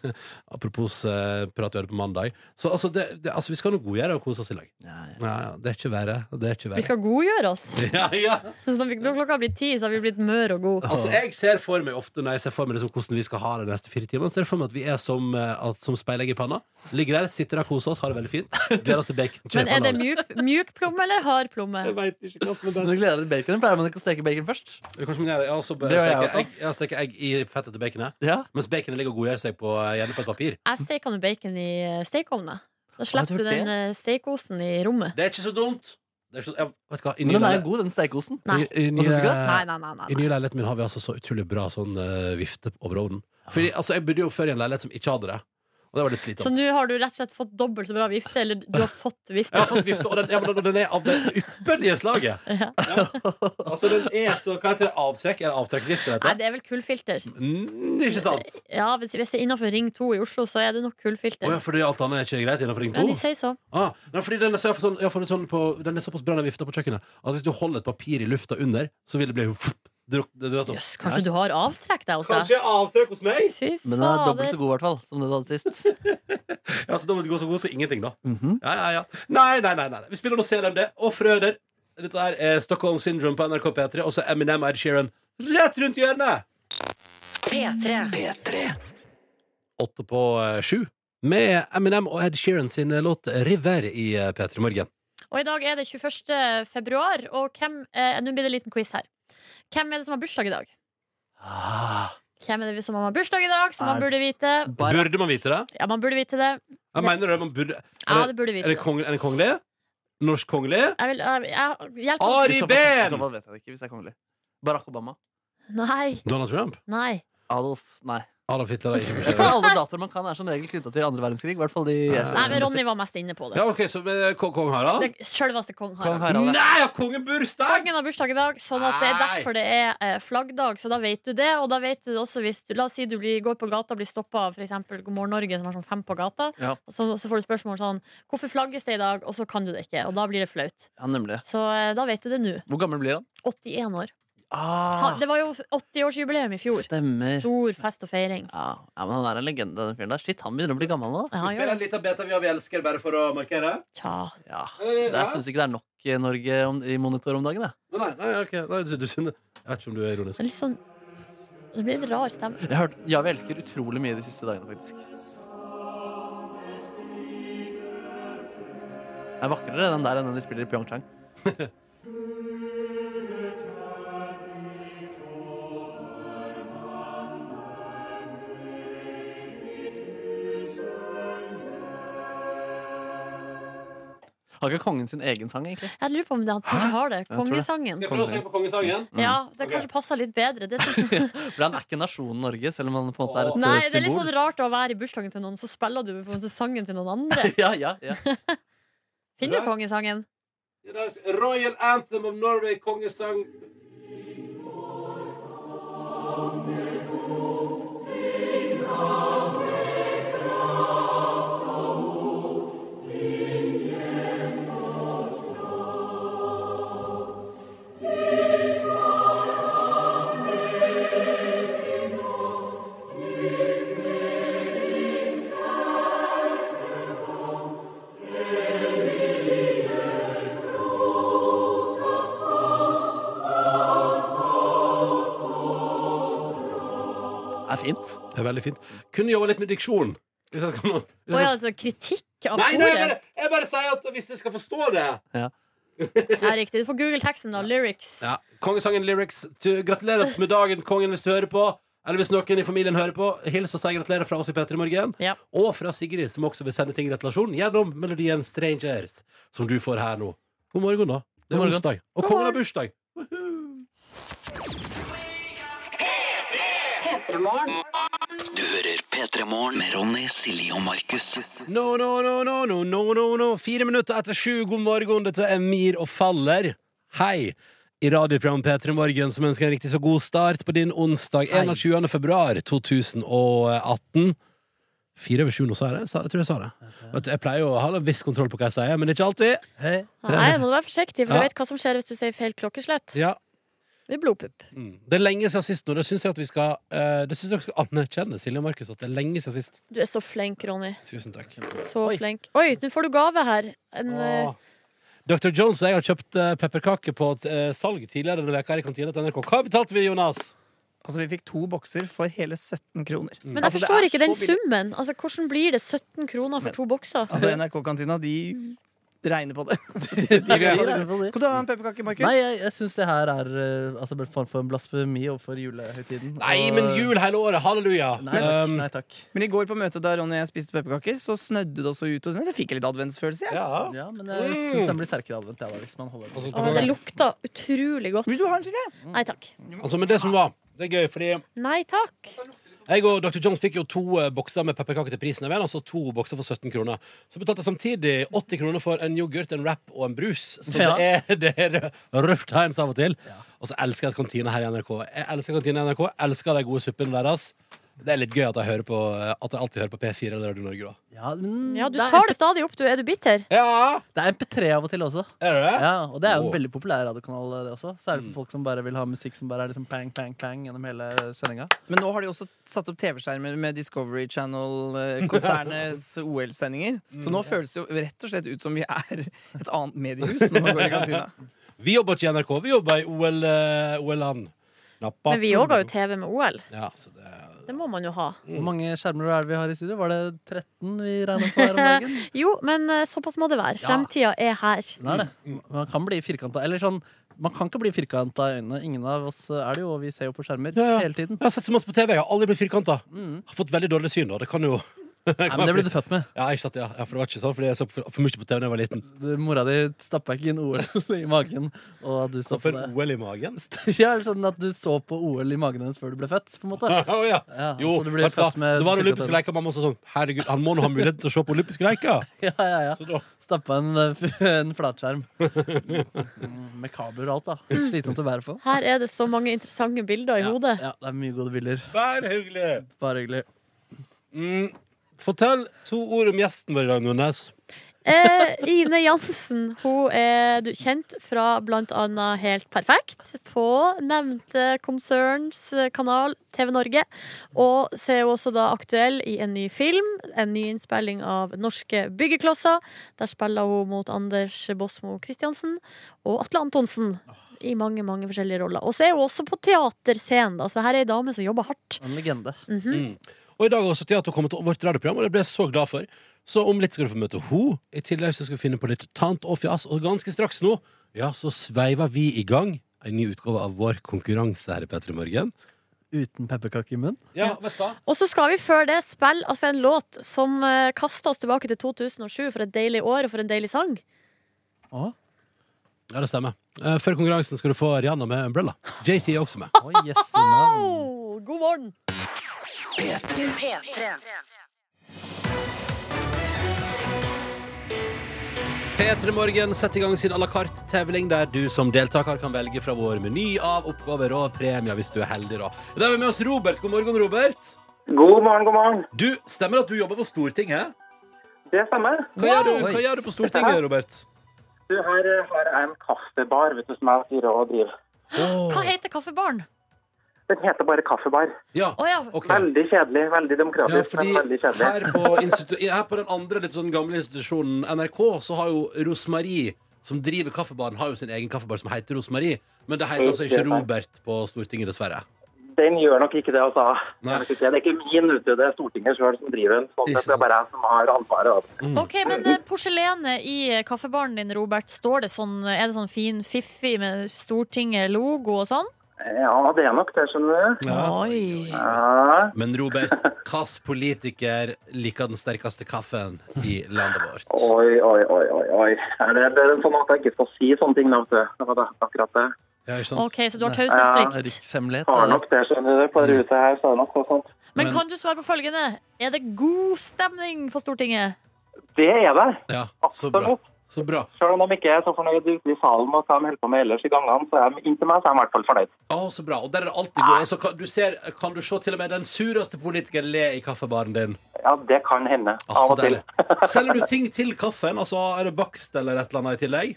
[SPEAKER 2] Det- [laughs] Apropos eh, prat vi hadde på mandag. Så altså, det, det, altså vi skal nå godgjøre og kose oss i lag. Ja, ja, det er ikke verre. Det er ikke
[SPEAKER 3] Vi
[SPEAKER 2] verre. [laughs]
[SPEAKER 3] skal godgjøre oss.
[SPEAKER 2] Ja, ja.
[SPEAKER 3] [laughs] Så når, vi, når klokka blir ti, så har vi blitt mør og god.
[SPEAKER 2] Altså, jeg ser for meg ofte når jeg ser for meg liksom, hvordan vi skal ha det de neste fire timene, så ser jeg for meg at vi er som, eh, at, som speilegg i panna. Ligger der, sitter der, koser oss, har det veldig fint. Gleder oss til bacon.
[SPEAKER 3] Men er det mjuk, mjuk plomme eller hard plomme?
[SPEAKER 2] Jeg vet ikke hva som er
[SPEAKER 4] Men du
[SPEAKER 2] best.
[SPEAKER 4] gleder deg til baconet. Pleier man ikke å steke bacon først?
[SPEAKER 2] Kanskje man gjør det. Ja, så
[SPEAKER 4] Det
[SPEAKER 2] bare
[SPEAKER 4] gjør jeg
[SPEAKER 2] steker
[SPEAKER 4] også.
[SPEAKER 2] egg, ja, steker egg i fettet til baconet.
[SPEAKER 4] Ja.
[SPEAKER 2] Mens baconet ligger og godgjør seg på, eh, gjerne på et papir.
[SPEAKER 3] Jeg steker nå bacon i eh, stekeovnen. Da
[SPEAKER 4] Har du
[SPEAKER 3] slipper du
[SPEAKER 4] gjort
[SPEAKER 3] den eh, stekeosen i rommet.
[SPEAKER 2] Det er ikke så dumt. Det er ikke så, jeg, vet du hva, i
[SPEAKER 4] Men den
[SPEAKER 2] nylig-
[SPEAKER 4] er god, den stekeosten.
[SPEAKER 3] Nei.
[SPEAKER 2] I, i,
[SPEAKER 4] Hva synes du
[SPEAKER 2] nye-
[SPEAKER 4] da?
[SPEAKER 3] Nei, nei, nei. nei,
[SPEAKER 2] I
[SPEAKER 3] nei.
[SPEAKER 2] nye leiligheten min har vi altså så utrolig bra sånn eh, vifte over ovnen. Fordi altså, Jeg bodde jo før i en leilighet som ikke hadde det. Og det var litt
[SPEAKER 3] Så
[SPEAKER 2] slitsomt.
[SPEAKER 3] nå har du rett og slett fått dobbelt så bra vifte? Eller du har fått
[SPEAKER 2] Jeg
[SPEAKER 3] vifte?
[SPEAKER 2] har fått vifte, og den, ja, men den- den er av det ypperlige slaget. Ja. Altså, den er så Hva heter det? Avtrekk? Er det avtrekksvifte? det
[SPEAKER 3] Nei,
[SPEAKER 2] heter?
[SPEAKER 3] det Eh, er vel kullfilter.
[SPEAKER 2] Mm, ikke sant?
[SPEAKER 3] Ja, hvis, hvis det er innenfor Ring 2 i Oslo, så er det nok
[SPEAKER 2] Å ja,
[SPEAKER 3] kullfilter.
[SPEAKER 2] fordi alt annet er ikke greit innenfor Ring
[SPEAKER 3] eh. Ja,
[SPEAKER 2] 2?
[SPEAKER 3] de sier så.
[SPEAKER 2] Ah, nei, fordi den er, så, jeg har fått sånn, jeg har fått sånn på, den er såpass bra, den vifta på kjøkkenet, at hvis du holder et papir i lufta under, så vil det bli Druk, dratt opp.
[SPEAKER 3] Jøss, kanskje du har avtrekk deg hos deg?
[SPEAKER 2] Kanskje avtrykk hos meg?
[SPEAKER 3] Fy
[SPEAKER 4] Men den er dobbelt så
[SPEAKER 3] fader.
[SPEAKER 4] god, i hvert fall, som det du hadde
[SPEAKER 2] [laughs]
[SPEAKER 4] sist.
[SPEAKER 2] Ja, så dobbelt god så god, så ingenting, da.
[SPEAKER 4] Mhm.
[SPEAKER 2] Ja, ja, ja. Nei, nei, nei, nei. nei. Vi spiller nå CLMD og Frøder. Dette her er Stockholm Syndrome på NRK P3, og så Eminem Ed Sheeran rett rundt hjørnet!
[SPEAKER 6] P3.
[SPEAKER 2] Åtte på eh, sju. Med Eminem og Ed Sheeran sin eh, låt 'River' i eh, P3 Morgen.
[SPEAKER 3] Og i dag er det 21. februar, og hvem eh, Nå blir det en liten quiz her. Hvem er det som har bursdag i dag?
[SPEAKER 4] Ah,
[SPEAKER 3] Hvem er det som har bursdag i dag, som man
[SPEAKER 4] Er-
[SPEAKER 3] burde vite?
[SPEAKER 4] bare
[SPEAKER 2] Burde man vite det?
[SPEAKER 3] Ja, man burde vite det.
[SPEAKER 2] Jeg mener det, man burde
[SPEAKER 3] Ja,
[SPEAKER 2] Er
[SPEAKER 3] det
[SPEAKER 2] det,
[SPEAKER 3] burde vite
[SPEAKER 2] er det,
[SPEAKER 3] det.
[SPEAKER 2] kong, er det kongelig? Norsk kongelig?
[SPEAKER 3] Jeg vil, jeg, jeg, hjelp meg.
[SPEAKER 2] Ari
[SPEAKER 4] I så fall, i så
[SPEAKER 2] Behn!
[SPEAKER 4] fall vet jeg det ikke, hvis det er kongelig. Barack Obama.
[SPEAKER 3] Nei,
[SPEAKER 2] Donald Trump?
[SPEAKER 3] nei.
[SPEAKER 4] Adolf Nei.
[SPEAKER 2] Adolf Hitler er ikke
[SPEAKER 4] For [laughs] alle datoer man kan, er som regel knytta til andre verdenskrig. I hvert fall de jeg
[SPEAKER 3] Nei, men
[SPEAKER 4] kjenner.
[SPEAKER 3] Ronny var mest inne på det.
[SPEAKER 2] sånn Ja, OK, så med kong, kong Harald?
[SPEAKER 3] Det Sjølveste kong
[SPEAKER 4] Kong
[SPEAKER 3] Harald.
[SPEAKER 4] Harald.
[SPEAKER 2] Nei, har kongen bursdag?!
[SPEAKER 3] Kongen har bursdag i dag, sånn at det er
[SPEAKER 2] Nei.
[SPEAKER 3] derfor det er eh, flaggdag. Så da vet du det. Og da vet du det også hvis du La oss si du blir, går på gata og blir stoppa av f.eks. God morgen Norge, som har sånn fem på gata.
[SPEAKER 4] Ja.
[SPEAKER 3] Og Så, så får du spørsmål sånn Hvorfor flagges det i dag? Og så kan du det ikke. Og da blir det flaut.
[SPEAKER 4] Ja, nemlig.
[SPEAKER 3] Så eh, da vet du det nå.
[SPEAKER 4] Hvor gammel blir han?
[SPEAKER 3] 81 år.
[SPEAKER 4] Ah,
[SPEAKER 3] Han, det var jo 80-årsjubileum i fjor.
[SPEAKER 4] stemmer.
[SPEAKER 3] Stor fest og feiring.
[SPEAKER 4] Ja, ja, men han er en legende, den fyren der. Shit, han begynner å bli gammel nå. da.
[SPEAKER 3] Ja, han gjør det.
[SPEAKER 2] litt av Beta vi elsker, bare for å markere?
[SPEAKER 3] Tja.
[SPEAKER 4] Ja.
[SPEAKER 3] Eh,
[SPEAKER 2] Nei,
[SPEAKER 4] Jeg syns ikke det er nok eh, Norge om, i monitor om dagen. Jeg.
[SPEAKER 2] nei, nei, ok nei, du, du, skjønner. Jeg vet ikke om du er
[SPEAKER 3] Det
[SPEAKER 2] ironisk.
[SPEAKER 3] er litt sånn Det blir en rar stemme.
[SPEAKER 4] Jeg har hørt Ja, vi elsker utrolig mye de siste dagene, faktisk. Det er vakrere den der enn den de spiller i Pyeongchang. Har ikke kongen sin egen sang,
[SPEAKER 3] [laughs]
[SPEAKER 4] egentlig?
[SPEAKER 3] Jeg lurer på om det, han kanskje har det.
[SPEAKER 4] tror det. Mm.
[SPEAKER 3] Kongesangen.
[SPEAKER 2] Skal jeg prøve å synge på kongesangen?
[SPEAKER 3] Ja, det kanskje
[SPEAKER 2] Ok.
[SPEAKER 3] passer litt bedre. Det er sånn,
[SPEAKER 4] For han er ikke nasjonen Norge, selv om han på en måte er et
[SPEAKER 3] nei,
[SPEAKER 4] eh,
[SPEAKER 3] det er litt
[SPEAKER 4] symbol.
[SPEAKER 3] sånn rart å være i bursdagen til noen, så spiller du på en måte sangen til noen andre.
[SPEAKER 4] [laughs] Ja, ja, ja.
[SPEAKER 3] Finner du kongesangen?
[SPEAKER 2] Det er altså Royal Anthem of Norway, kongesang
[SPEAKER 4] Det er fint.
[SPEAKER 2] Det er veldig fint. Kunne jobba litt med diksjon. Hvis jeg skal nå
[SPEAKER 3] Å ja, altså, kritikk av
[SPEAKER 2] Nei, nei, jeg bare,
[SPEAKER 3] ordet.
[SPEAKER 2] jeg bare sier at hvis du skal forstå det
[SPEAKER 3] Ja, riktig. Du får google teksten, da. Lyrics.
[SPEAKER 2] Ja, Kongesangen lyrics. Tu- Gratulerer med dagen, kongen, hvis du hører på. Eller hvis noen i familien hører på, hils og si gratulerer fra oss i P3 Morgen.
[SPEAKER 3] Ja.
[SPEAKER 2] Og fra Sigrid, som også vil sende ting i gratulasjon gjennom melodien Strangers, som du får her nå. God morgen, da. Det
[SPEAKER 4] God
[SPEAKER 2] er
[SPEAKER 4] morgen.
[SPEAKER 2] onsdag. Og kongen har bursdag.
[SPEAKER 1] Du hører P3 Morgen med Ronny, Silje og Markus.
[SPEAKER 2] No, no, no, no, no, no, no, no. Fire minutter etter sju. God morgen. Dette er Mir og Faller. Hei. I radioprogrammet P3 Morgen, som ønsker en riktig så god start på din onsdag
[SPEAKER 4] Hei.
[SPEAKER 2] 21. februar 2018. Fire over sju nå, sa jeg det? Sa- Jeg tror jeg sa det. Vet du, Jeg pleier jo å ha en viss kontroll på hva jeg sier, men ikke alltid.
[SPEAKER 3] Nei, nå må du være forsiktig, for
[SPEAKER 2] Ja.
[SPEAKER 3] du vet hva som skjer hvis du sier feil klokkeslett.
[SPEAKER 2] Ja.
[SPEAKER 3] Det blir blodpupp.
[SPEAKER 2] Mm. Det er lenge siden sist nå. Det syns jeg at vi skal, eh, det synes jeg dere skal anerkjenne, Silje og Markus, at det er lenge siden sist.
[SPEAKER 3] Du er så flink, Ronny.
[SPEAKER 2] Tusen takk.
[SPEAKER 3] Så flink. Oi, nå får du gave her. En, eh,
[SPEAKER 2] Åh. Dr. Ah. Jones og jeg har kjøpt eh, pepperkaker på et, eh, salg tidligere denne veka her i kantina til NRK. Hva betalte vi, Jonas?
[SPEAKER 5] Altså, vi fikk to bokser for hele 17 kroner.
[SPEAKER 3] men jeg
[SPEAKER 5] Altså, det
[SPEAKER 3] forstår
[SPEAKER 5] er
[SPEAKER 3] ikke
[SPEAKER 5] så
[SPEAKER 3] den
[SPEAKER 5] billig.
[SPEAKER 3] summen. Altså, Hvordan blir det 17 kroner for to bokser?
[SPEAKER 5] Altså, NRK-kantina, de regner på det. [laughs] Skal du ha en pepperkake, Markus?
[SPEAKER 4] Nei, jeg, jeg syns det her er eh, altså, en form for blasfemi overfor julehøytiden.
[SPEAKER 2] Nei,
[SPEAKER 4] Og-
[SPEAKER 2] men jul hele året! Halleluja!
[SPEAKER 4] Nei takk.
[SPEAKER 2] Um,
[SPEAKER 4] Nei, takk.
[SPEAKER 5] Men i går på møtet da Ronny og jeg spiste pepperkaker, så snødde det også ut. Og sånn. Jeg fikk litt adventsfølelse. jeg.
[SPEAKER 2] ja.
[SPEAKER 4] Ja, men jeg syns den blir sterkere advent jeg, da, hvis man holder den.
[SPEAKER 2] mm. Altså,
[SPEAKER 3] Å, det lukter utrolig godt.
[SPEAKER 5] Vil du ha en, Silje?
[SPEAKER 3] Nei takk.
[SPEAKER 2] altså, men det som var Det er gøy, fordi
[SPEAKER 3] Nei takk.
[SPEAKER 2] jeg og Dr. Jones fikk jo to eh, bokser med pepperkaker til prisen av en. Altså to bokser for 17 kroner. Så betalte jeg samtidig 80 kroner for en yoghurt, en wrap og en brus. Så
[SPEAKER 4] Ja.
[SPEAKER 2] det, er, det er rough times av og til. Og så elsker jeg kantina her i NRK. Jeg elsker kantina i NRK, elsker de gode suppene deres. Det er litt gøy at jeg, hører på, at jeg alltid hører på P4 eller Radio Norge, da.
[SPEAKER 4] Ja, men
[SPEAKER 3] Ja, du
[SPEAKER 4] det er-
[SPEAKER 3] tar det stadig opp, du. Er du bitter?
[SPEAKER 2] Ja,
[SPEAKER 4] Det er MP3 av og til også.
[SPEAKER 2] er det det?
[SPEAKER 4] Ja, og det er jo en
[SPEAKER 2] Wow.
[SPEAKER 4] veldig populær radiokanal, eh, det også. Særlig
[SPEAKER 2] Mm.
[SPEAKER 4] for folk som bare vil ha musikk som bare er liksom pang, pang, pang gjennom hele sendinga.
[SPEAKER 5] Men nå har de også satt opp TV-skjermer med Discovery
[SPEAKER 7] [laughs]
[SPEAKER 5] Channel-konsernets OL-sendinger.
[SPEAKER 7] Mm.
[SPEAKER 5] Så nå føles det jo rett og slett ut som vi er et annet mediehus. Når man går i
[SPEAKER 7] [laughs]
[SPEAKER 5] kantina
[SPEAKER 2] Vi jobber ikke i NRK, vi jobber i OL, eh, OL-land. Nappa.
[SPEAKER 3] Men vi òg har jo TV med OL.
[SPEAKER 2] Ja, så det er
[SPEAKER 3] Det må man jo ha.
[SPEAKER 2] Mm.
[SPEAKER 4] Hvor mange skjermer er det vi har i studio? Var det 13 vi regna på her om dagen?
[SPEAKER 3] [laughs] Jo, men eh, såpass må det være.
[SPEAKER 4] Ja.
[SPEAKER 3] Fremtida er her.
[SPEAKER 4] Den er det. Man kan bli firkanta. Eller sånn, man kan ikke bli firkanta i øynene. Ingen av oss eh, er det jo, og vi ser jo på skjermer
[SPEAKER 2] Ja, ja.
[SPEAKER 4] hele tiden.
[SPEAKER 2] Jeg har sett så masse på TV, jeg har aldri blitt firkanta. Har fått veldig dårlig syn, da. Det kan jo
[SPEAKER 4] Mm.
[SPEAKER 2] [laughs]
[SPEAKER 4] Nei, men det ble du født med.
[SPEAKER 2] Ja, ikke sant, ja. ja, for det var ikke sånn, fordi jeg så for, for mye på TV da jeg var liten.
[SPEAKER 4] Du, mora di stappa ikke inn OL [laughs] i magen, og du så på
[SPEAKER 2] For
[SPEAKER 4] det. [laughs]
[SPEAKER 2] OL i magen? [laughs]
[SPEAKER 4] Ja, sånn at du så på OL i magen hennes før du ble født, på en måte.
[SPEAKER 2] Å, ja.
[SPEAKER 4] Ja,
[SPEAKER 2] Jo,
[SPEAKER 4] så du ble
[SPEAKER 2] vet du hva?
[SPEAKER 4] født med
[SPEAKER 2] det var olympiske
[SPEAKER 4] firkantet.
[SPEAKER 2] leker. Mamma sa sånn Herregud, han må nå ha mulighet til å se på olympiske leker!
[SPEAKER 4] [laughs] Ja, ja, ja.
[SPEAKER 2] [laughs] Så da
[SPEAKER 4] Stappa en, eh, [laughs] en flatskjerm. Mm, Med kabler og alt, da. Slitsomt å bære på.
[SPEAKER 3] Her er det så mange interessante bilder i
[SPEAKER 4] Ja,
[SPEAKER 3] hodet.
[SPEAKER 4] ja, Mm. det er mye gode bilder.
[SPEAKER 2] Vær hyggelig!
[SPEAKER 4] Bare hyggelig.
[SPEAKER 2] Mm. Fortell to ord om gjesten vår i dag, Nordnes.
[SPEAKER 3] Eh, Ine Jansen hun er du, kjent fra bl.a. Helt perfekt på nevnte konserns kanal TV Norge. Og så er hun også da aktuell i en ny film, en ny innspilling av Norske byggeklosser. Der spiller hun mot Anders Båsmo Christiansen og Atle Antonsen. I mange mange forskjellige roller. Og så er hun også på teaterscenen. da, Så her er ei dame som jobber hardt.
[SPEAKER 4] En legende.
[SPEAKER 2] Og i dag har også Thea kommet til vårt radioprogram, og det ble jeg så glad for. Så om litt skal du få møte ho. I tillegg så skal vi finne på litt tant og fjas, og ganske straks nå, ja, så sveiver vi i gang en ny utgave av vår konkurranse her i P3 Morgen.
[SPEAKER 4] Uten pepperkake i munnen.
[SPEAKER 2] Ja, vet du hva?
[SPEAKER 3] Og så skal vi før det spille altså en låt som eh, kaster oss tilbake til 2007 for et deilig år og for en deilig sang.
[SPEAKER 4] Å,
[SPEAKER 2] Ja, det stemmer. Eh, Før konkurransen skal du få Rihanna med Umbrella. JC er også med.
[SPEAKER 4] å, jøsse navn.
[SPEAKER 3] Oh, god morgen!
[SPEAKER 6] P3.
[SPEAKER 2] P3 Morgen setter i gang sin à la carte-tevling, der du som deltaker kan velge fra vår meny av oppgaver og premier, hvis du er heldig, da. I dag har vi med oss Robert. God morgen, Robert.
[SPEAKER 8] God morgen, god morgen.
[SPEAKER 2] Du, Stemmer det at du jobber på Stortinget?
[SPEAKER 8] Det stemmer.
[SPEAKER 2] Hva, gjør, du, hva gjør du på Stortinget, Robert?
[SPEAKER 8] Du, her eh, har jeg en kaffebar vet du, som jeg styrer og driver.
[SPEAKER 3] Hva heter kaffebaren?
[SPEAKER 8] Den heter bare kaffebar.
[SPEAKER 2] Ja,
[SPEAKER 3] Å ja.
[SPEAKER 2] ok.
[SPEAKER 8] Veldig kjedelig, veldig
[SPEAKER 2] Ja,
[SPEAKER 8] demokratisk,
[SPEAKER 2] fordi
[SPEAKER 8] men veldig kjedelig.
[SPEAKER 2] her på, institu- her på den andre litt sånn gamle institusjonen NRK, så har jo Rosmarie, som driver kaffebaren, har jo sin egen kaffebar som heter Rosmarie. Men det heter altså ikke Robert på Stortinget, dessverre.
[SPEAKER 8] Den gjør nok ikke det, altså.
[SPEAKER 2] Nei.
[SPEAKER 8] Det er ikke min, vet du. Det er Stortinget sjøl som driver den. Sånn
[SPEAKER 2] Ikke
[SPEAKER 8] sett det er bare jeg som har ansvaret. altså. da.
[SPEAKER 3] Ok, Men eh, porselenet i eh, kaffebaren din, Robert, står det sånn, er det sånn fin fiffig med Stortinget-logo og sånn?
[SPEAKER 8] Ja, det er nok det, skjønner du.
[SPEAKER 3] Oi.
[SPEAKER 8] Ja.
[SPEAKER 2] Men Robert, hvilken politiker liker den sterkeste kaffen i landet vårt?
[SPEAKER 8] Oi, oi, oi, oi. oi. Er det, det er sånn at jeg ikke skal si sånne ting, da, vet du. Det var da- akkurat det.
[SPEAKER 2] Ja, ikke sant?
[SPEAKER 3] Ok, Så du har
[SPEAKER 8] Ja.
[SPEAKER 3] taushetsplikt.
[SPEAKER 4] Rikshemmelighet.
[SPEAKER 8] Har
[SPEAKER 4] er
[SPEAKER 8] nok
[SPEAKER 4] det.
[SPEAKER 8] det, skjønner du. På det huset her så er det nok noe sånt.
[SPEAKER 3] Men kan du svare på følgende? Er det god stemning på Stortinget?
[SPEAKER 8] Det er det.
[SPEAKER 2] Ja, så bra.
[SPEAKER 8] Absolutt.
[SPEAKER 2] Så bra.
[SPEAKER 8] Selv om de ikke er så fornøyd ute i salen med hva de holder på med ellers i gangene, så er de inntil meg så er de i hvert fall fornøyd.
[SPEAKER 2] Å, så bra. Og der er det alltid god. Altså, kan, du ser, kan du se til og med den sureste politikeren le i kaffebaren din?
[SPEAKER 8] Ja, det kan hende.
[SPEAKER 2] Å, så
[SPEAKER 8] Av og til. [laughs]
[SPEAKER 2] deilig. Selger du ting til kaffen? Altså, er det bakst eller et eller annet i tillegg?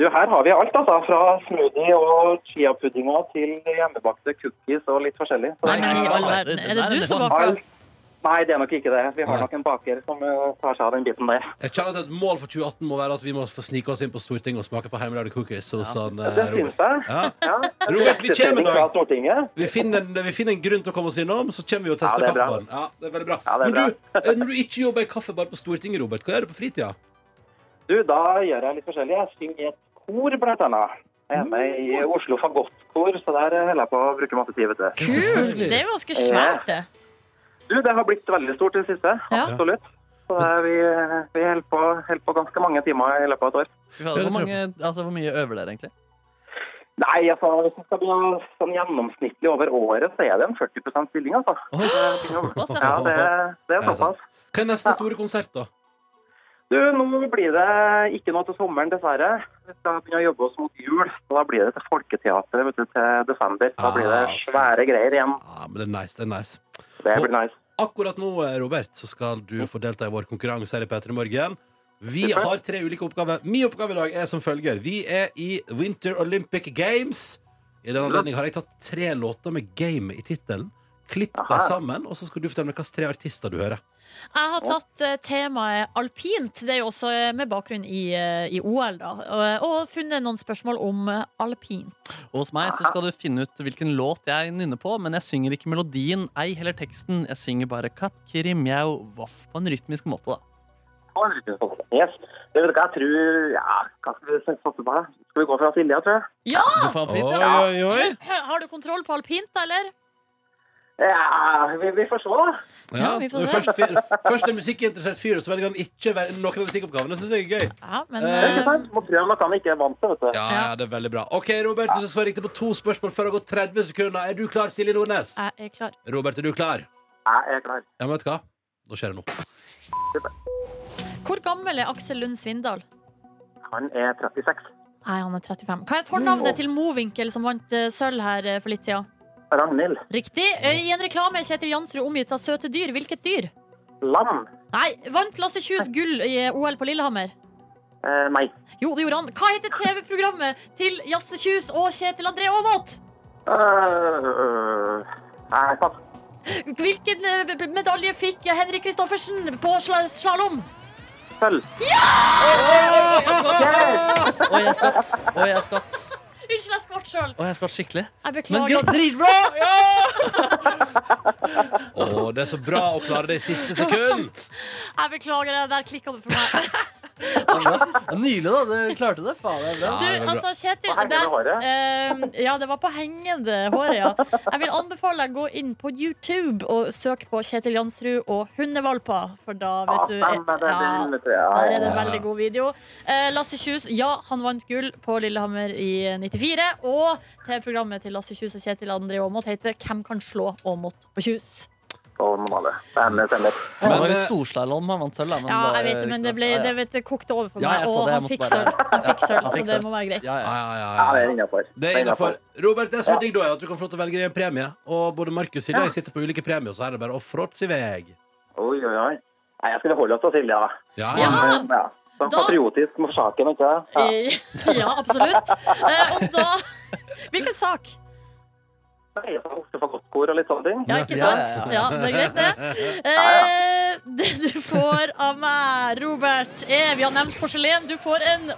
[SPEAKER 8] Du, her har vi alt, altså. Fra smoothie og chiapuddinger til hjemmebakte cookies og litt forskjellig. Så
[SPEAKER 3] Nei,
[SPEAKER 8] det
[SPEAKER 3] men i
[SPEAKER 8] er-
[SPEAKER 3] all verden, Er det sånn du som baker?
[SPEAKER 8] alt. Nei, det er nok ikke det. Vi har
[SPEAKER 2] Nei.
[SPEAKER 8] nok en baker som eh, tar seg av den biten der.
[SPEAKER 2] Jeg kjenner at Et mål for 2018 må være at vi må få snike oss inn på Stortinget og smake på hjemmelagde cookies. hos han, eh,
[SPEAKER 8] Det syns
[SPEAKER 2] Robert.
[SPEAKER 8] jeg.
[SPEAKER 2] Ja.
[SPEAKER 8] Ja.
[SPEAKER 2] Robert, vi kommer da.
[SPEAKER 8] Fra Stortinget.
[SPEAKER 2] Vi finner, en, vi finner en grunn til å komme oss innom, så kommer vi og tester
[SPEAKER 8] Ja, det er bra.
[SPEAKER 2] kaffebaren. Ja, det er veldig bra.
[SPEAKER 8] Ja, det er
[SPEAKER 2] Men du, eh, når du ikke jobber i kaffebar på Stortinget, Robert, hva gjør du på fritida?
[SPEAKER 8] Du, da gjør jeg litt forskjellig. Jeg synger i et kor, blant annet. Jeg er med i
[SPEAKER 2] Mm.
[SPEAKER 8] Oslo Fagottkor, så der eh, holder jeg på å bruke masse tid, vet du.
[SPEAKER 3] Kult! Det er jo ganske svært, det.
[SPEAKER 8] Du, det har blitt veldig stort i det siste.
[SPEAKER 3] Ja.
[SPEAKER 8] Absolutt. Så det er, vi vi holder på, holder på ganske mange timer i løpet av et år.
[SPEAKER 4] Fy faen, Hvor, mange, altså, hvor mye øver dere egentlig?
[SPEAKER 8] Nei, altså, hvis man skal begynne sånn gjennomsnittlig over året, så er det en 40 stilling, altså.
[SPEAKER 4] Oi, såpass, ja.
[SPEAKER 8] Ja, det, det er
[SPEAKER 2] Ja, sant.
[SPEAKER 8] såpass.
[SPEAKER 2] Hva er neste store konsert, da?
[SPEAKER 8] Du, nå blir det ikke noe til sommeren, dessverre. Vi skal begynne å jobbe oss mot jul, og da blir det til Folketeatret vet du, til desember. Da blir det
[SPEAKER 2] Ah,
[SPEAKER 8] svære greier igjen.
[SPEAKER 2] Ja, men det er nice. det er nice
[SPEAKER 8] Det blir nice.
[SPEAKER 2] Akkurat nå, eh, Robert, så skal du få delta i vår konkurranse her i P3 Morgen. Vi
[SPEAKER 8] Supert.
[SPEAKER 2] har tre ulike oppgaver. Min oppgave i dag er som følger. Vi er i Winter Olympic Games. I den anledning har jeg tatt tre låter med game i tittelen. Klipp dem
[SPEAKER 8] Aha.
[SPEAKER 2] sammen, og så skal du fortelle meg hvilke tre artister du hører.
[SPEAKER 3] Jeg har tatt eh, temaet alpint. Det er jo også eh, med bakgrunn i, eh, i OL, da. Og, og funnet noen spørsmål om eh, alpint.
[SPEAKER 4] Og hos meg så skal du finne ut hvilken låt jeg nynner på, men jeg synger ikke melodien, ei heller teksten. Jeg synger bare katt, kiri, mjau, voff, på en rytmisk måte, da.
[SPEAKER 8] Yes. Det vet du hva, jeg tror ja, Hva skal vi satse på? da? Skal vi gå for Silja, tror jeg?
[SPEAKER 4] Du får en
[SPEAKER 2] Oi,
[SPEAKER 4] fint, ja.
[SPEAKER 2] oi, oi!
[SPEAKER 3] Har du kontroll på alpint, da, eller?
[SPEAKER 8] Ja, vi, vi får se, da.
[SPEAKER 2] Ja,
[SPEAKER 3] Ja, vi får
[SPEAKER 2] når
[SPEAKER 3] se.
[SPEAKER 2] først, fyr, først en musikkinteressert fyr, og så velger han ikke vel- noen av musikkoppgavene. Det synes jeg er gøy.
[SPEAKER 3] Ja, men
[SPEAKER 8] Det er
[SPEAKER 3] eh,
[SPEAKER 8] ikke sant? Må prøve om man kan ikke er vant til, vet du.
[SPEAKER 2] Ja, ja, det er veldig bra. Ok, Robert, du skal svare riktig på to spørsmål før det har gått 30 sekunder. Er du klar, Silje Nordnes?
[SPEAKER 3] jeg er klar.
[SPEAKER 2] Robert, er du klar?
[SPEAKER 8] Jeg er klar.
[SPEAKER 2] Ja, men vet du hva? Nå skjer det noe.
[SPEAKER 3] Hvor gammel er Aksel Lund Svindal?
[SPEAKER 8] Han er 36.
[SPEAKER 3] Nei, han er 35. Hva er fornavnet til Mowinckel, som vant eh, sølv her eh, for litt siden?
[SPEAKER 8] Ragnhild.
[SPEAKER 3] Riktig. Eh, I en reklame er Kjetil Jansrud omgitt av søte dyr. Hvilket dyr?
[SPEAKER 8] Lam.
[SPEAKER 3] Nei, vant Lasse Kjus gull i eh, OL på Lillehammer?
[SPEAKER 8] Eh, nei.
[SPEAKER 3] Jo, det gjorde han. Hva heter TV-programmet til Jasse Kjus og Kjetil André Aamodt?
[SPEAKER 8] Eh, eh, nei, pass.
[SPEAKER 3] Hvilken eh, b- b- medalje fikk Henrik Kristoffersen på sla- slalom?
[SPEAKER 8] Sølv.
[SPEAKER 4] Oi, jeg skvatt. Oi, jeg skvatt.
[SPEAKER 3] Unnskyld, jeg skvatt sjøl.
[SPEAKER 4] Oi, jeg skvatt skikkelig.
[SPEAKER 3] Jeg
[SPEAKER 4] Men gra-
[SPEAKER 3] beklager.
[SPEAKER 4] dritbra! Ja!
[SPEAKER 2] Å, det er så bra å klare [laughs] det i siste sekund!
[SPEAKER 3] Jeg beklager, det der klikka det for meg.
[SPEAKER 4] Det er bra. Det er Nydelig, da. Du klarte det. Faen, det er bra.
[SPEAKER 2] [laughs] Ja,
[SPEAKER 3] Du,
[SPEAKER 2] det er bra.
[SPEAKER 3] altså, Kjetil
[SPEAKER 8] På hengende
[SPEAKER 3] det-
[SPEAKER 8] håret?
[SPEAKER 3] eh, ja, det var på hengende håret, ja. Jeg vil anbefale deg å gå inn på YouTube og søke på Kjetil Jansrud og hundevalper, for da
[SPEAKER 8] Ja,
[SPEAKER 3] vet du
[SPEAKER 8] stemmer det.
[SPEAKER 3] ja,
[SPEAKER 8] det vet du. Ja,
[SPEAKER 3] Der
[SPEAKER 8] ja,
[SPEAKER 3] er det en
[SPEAKER 2] Ja.
[SPEAKER 3] veldig god video. Eh, Lasse Kjus, ja, han vant gull på Lillehammer i 94. Og TV-programmet til Lasse Kjus og Kjetil André Aamodt heter Hvem kan slå Aamodt på Kjus?
[SPEAKER 8] Sånn var det. Stemmer,
[SPEAKER 4] Men,
[SPEAKER 8] stemmer.
[SPEAKER 4] det
[SPEAKER 2] Men,
[SPEAKER 4] var i
[SPEAKER 2] eh,
[SPEAKER 4] storslalåm han vant sølv. da, men
[SPEAKER 3] Ja,
[SPEAKER 4] det var
[SPEAKER 3] jeg vet det,
[SPEAKER 4] riktig
[SPEAKER 3] men det,
[SPEAKER 4] nok.
[SPEAKER 3] ble,
[SPEAKER 4] Ja, ja.
[SPEAKER 3] det, vet, det kokte over for
[SPEAKER 4] Ja,
[SPEAKER 3] meg.
[SPEAKER 4] jeg så
[SPEAKER 3] Og
[SPEAKER 4] det, jeg
[SPEAKER 3] han
[SPEAKER 4] måtte
[SPEAKER 3] fikk
[SPEAKER 4] bare-
[SPEAKER 3] sølv, Han fikk sølv,
[SPEAKER 4] han
[SPEAKER 3] så
[SPEAKER 4] fikk
[SPEAKER 3] det
[SPEAKER 4] sølv.
[SPEAKER 3] må være greit.
[SPEAKER 4] Ja,
[SPEAKER 2] Ja,
[SPEAKER 4] ja.
[SPEAKER 2] ja,
[SPEAKER 8] Ja,
[SPEAKER 2] ja,
[SPEAKER 8] det er
[SPEAKER 2] ja.
[SPEAKER 8] innafor.
[SPEAKER 2] Det er innafor. Robert, det som er digg da, er at du kan få lov til å velge en premie. Og både Markus og jeg sitter på ulike premier, så her er det bare å fråtse i vei.
[SPEAKER 8] Oi, oi, oi. Nei, jeg skulle holde oss til Silja, da.
[SPEAKER 2] Ja, ja.
[SPEAKER 3] Ja.
[SPEAKER 8] Men, ja. Sånn
[SPEAKER 3] Da-
[SPEAKER 8] patriotisk mot saken, ikke sant? Ja.
[SPEAKER 3] Eh, [laughs] Ja, absolutt. Eh, Og da [laughs] Hvilken sak?
[SPEAKER 8] Nei, jeg har også fått godt kor og litt sånne ting.
[SPEAKER 3] Ja, ikke
[SPEAKER 4] Ja, ja,
[SPEAKER 3] sant? Ja, det er greit, det.
[SPEAKER 4] [laughs]
[SPEAKER 3] Eh, Det du får av meg, Robert, er Vi har nevnt porselen. Du får en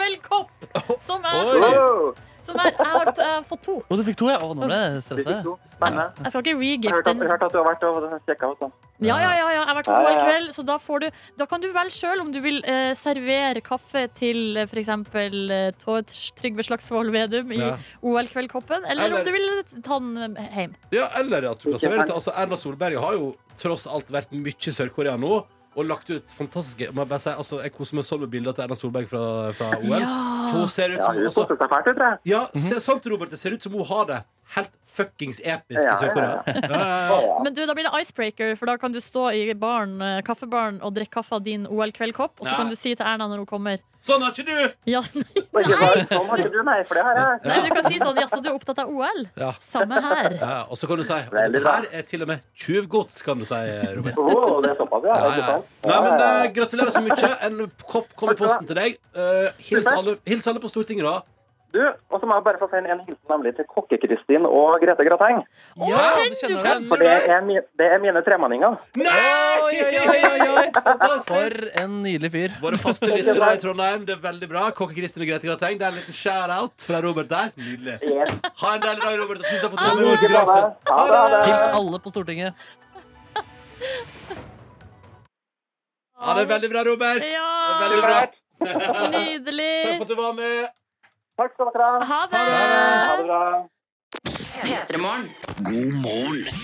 [SPEAKER 3] OL-kveldkopp! Som er
[SPEAKER 2] Oi.
[SPEAKER 8] Wow!
[SPEAKER 3] Som er, jeg, har, jeg har fått to.
[SPEAKER 4] Å, du fikk to, ja? Å, nå ble jeg
[SPEAKER 8] Det
[SPEAKER 4] stressa.
[SPEAKER 8] fikk to. Spennende.
[SPEAKER 3] Jeg skal ikke
[SPEAKER 8] Jeg
[SPEAKER 3] regifte
[SPEAKER 8] hørte
[SPEAKER 3] den.
[SPEAKER 8] jeg hørte at du har vært og sjekka ut. da.
[SPEAKER 3] Ja, ja, ja, ja. Jeg har vært på
[SPEAKER 8] Ja, ja,
[SPEAKER 3] OL
[SPEAKER 8] ja.
[SPEAKER 3] kveld, så da, får du, da kan du velge sjøl om du vil eh, servere kaffe til eh, for eksempel eh, Tor- Trygve Slagsvold Vedum i
[SPEAKER 2] Ja.
[SPEAKER 3] OL-kveldkoppen, eller,
[SPEAKER 2] Eller-
[SPEAKER 3] om du vil ta den eh, hjem.
[SPEAKER 2] Ja, eller at du kan servere til altså, Erna Solberg har jo tross alt vært mye i Sør-Korea nå. Og lagt ut fantastiske må jeg bare si, altså, Jeg koser meg sånn med bilder til Erna Solberg fra, fra OL. For hun ser ut
[SPEAKER 8] Ja,
[SPEAKER 2] som
[SPEAKER 8] hun
[SPEAKER 2] altså,
[SPEAKER 8] koste seg fælt, tror jeg.
[SPEAKER 2] Ja, se, sant, Robert. Det ser ut som hun har det helt fuckings episk
[SPEAKER 8] Ja,
[SPEAKER 2] i
[SPEAKER 8] [laughs]
[SPEAKER 2] Sør-Korea. Ja, ja, ja.
[SPEAKER 3] Men du, da blir det icebreaker, for da kan du stå i baren, eh, kaffebaren og drikke kaffe av din OL-kveldkopp, og så
[SPEAKER 2] Ja.
[SPEAKER 3] kan du si til Erna når hun kommer
[SPEAKER 2] Sånn har ikke du!
[SPEAKER 3] Ja, [laughs] nei,
[SPEAKER 8] Og ikke bare, Sånn har ikke du, nei, for det her er
[SPEAKER 3] du kan si sånn Jaså, du er opptatt av OL?
[SPEAKER 2] Ja.
[SPEAKER 3] Samme her.
[SPEAKER 2] Ja, og så kan du si og
[SPEAKER 8] Veldig
[SPEAKER 2] dette
[SPEAKER 8] bra.
[SPEAKER 2] her er til og med tjuvgods, kan du si,
[SPEAKER 8] [laughs]
[SPEAKER 2] Robert.
[SPEAKER 8] Åh, det er såpass, ja.
[SPEAKER 2] Ja,
[SPEAKER 8] ikke
[SPEAKER 2] ja.
[SPEAKER 8] sant?
[SPEAKER 2] Nei, men
[SPEAKER 8] Ja, ja,
[SPEAKER 2] eh, Gratulerer så mye. En kopp kom i posten til deg. Eh, hils,
[SPEAKER 8] Supert.
[SPEAKER 2] alle, hils alle på Stortinget, da.
[SPEAKER 8] Du, og så må jeg bare få sende en hilsen nemlig til Kokke-Kristin og Grete Grateng.
[SPEAKER 3] Å,
[SPEAKER 4] Ja, du
[SPEAKER 3] skjønner
[SPEAKER 4] kjenner
[SPEAKER 3] du hvem?
[SPEAKER 4] den.
[SPEAKER 2] Kjenner
[SPEAKER 8] For
[SPEAKER 2] du
[SPEAKER 8] det
[SPEAKER 2] det?
[SPEAKER 8] er, mi, det er mine tremenninger.
[SPEAKER 4] Oi, oi, oi,
[SPEAKER 2] Nei!
[SPEAKER 4] oi, oi.
[SPEAKER 2] Fantastisk!
[SPEAKER 4] For en nydelig fyr.
[SPEAKER 2] Våre faste lyttere i Trondheim, det er veldig bra. Kokke Kristin og Grete Grateng. Det er en liten shout-out fra Robert der. Nydelig.
[SPEAKER 8] Yes.
[SPEAKER 2] Ha en deilig dag, Robert. Og tusen takk for at du var med i vår
[SPEAKER 8] Like bra,
[SPEAKER 2] konkurranse.
[SPEAKER 8] da. Ha det, ha det.
[SPEAKER 4] Hils alle på Stortinget.
[SPEAKER 2] Ha det veldig bra, Robert.
[SPEAKER 3] Ja,
[SPEAKER 2] Veldig bra. Takk
[SPEAKER 3] nydelig.
[SPEAKER 2] for at du var med.
[SPEAKER 8] Takk skal dere ha.
[SPEAKER 3] Ha det.
[SPEAKER 8] Ha det bra.
[SPEAKER 6] P3morgen.
[SPEAKER 1] God morgen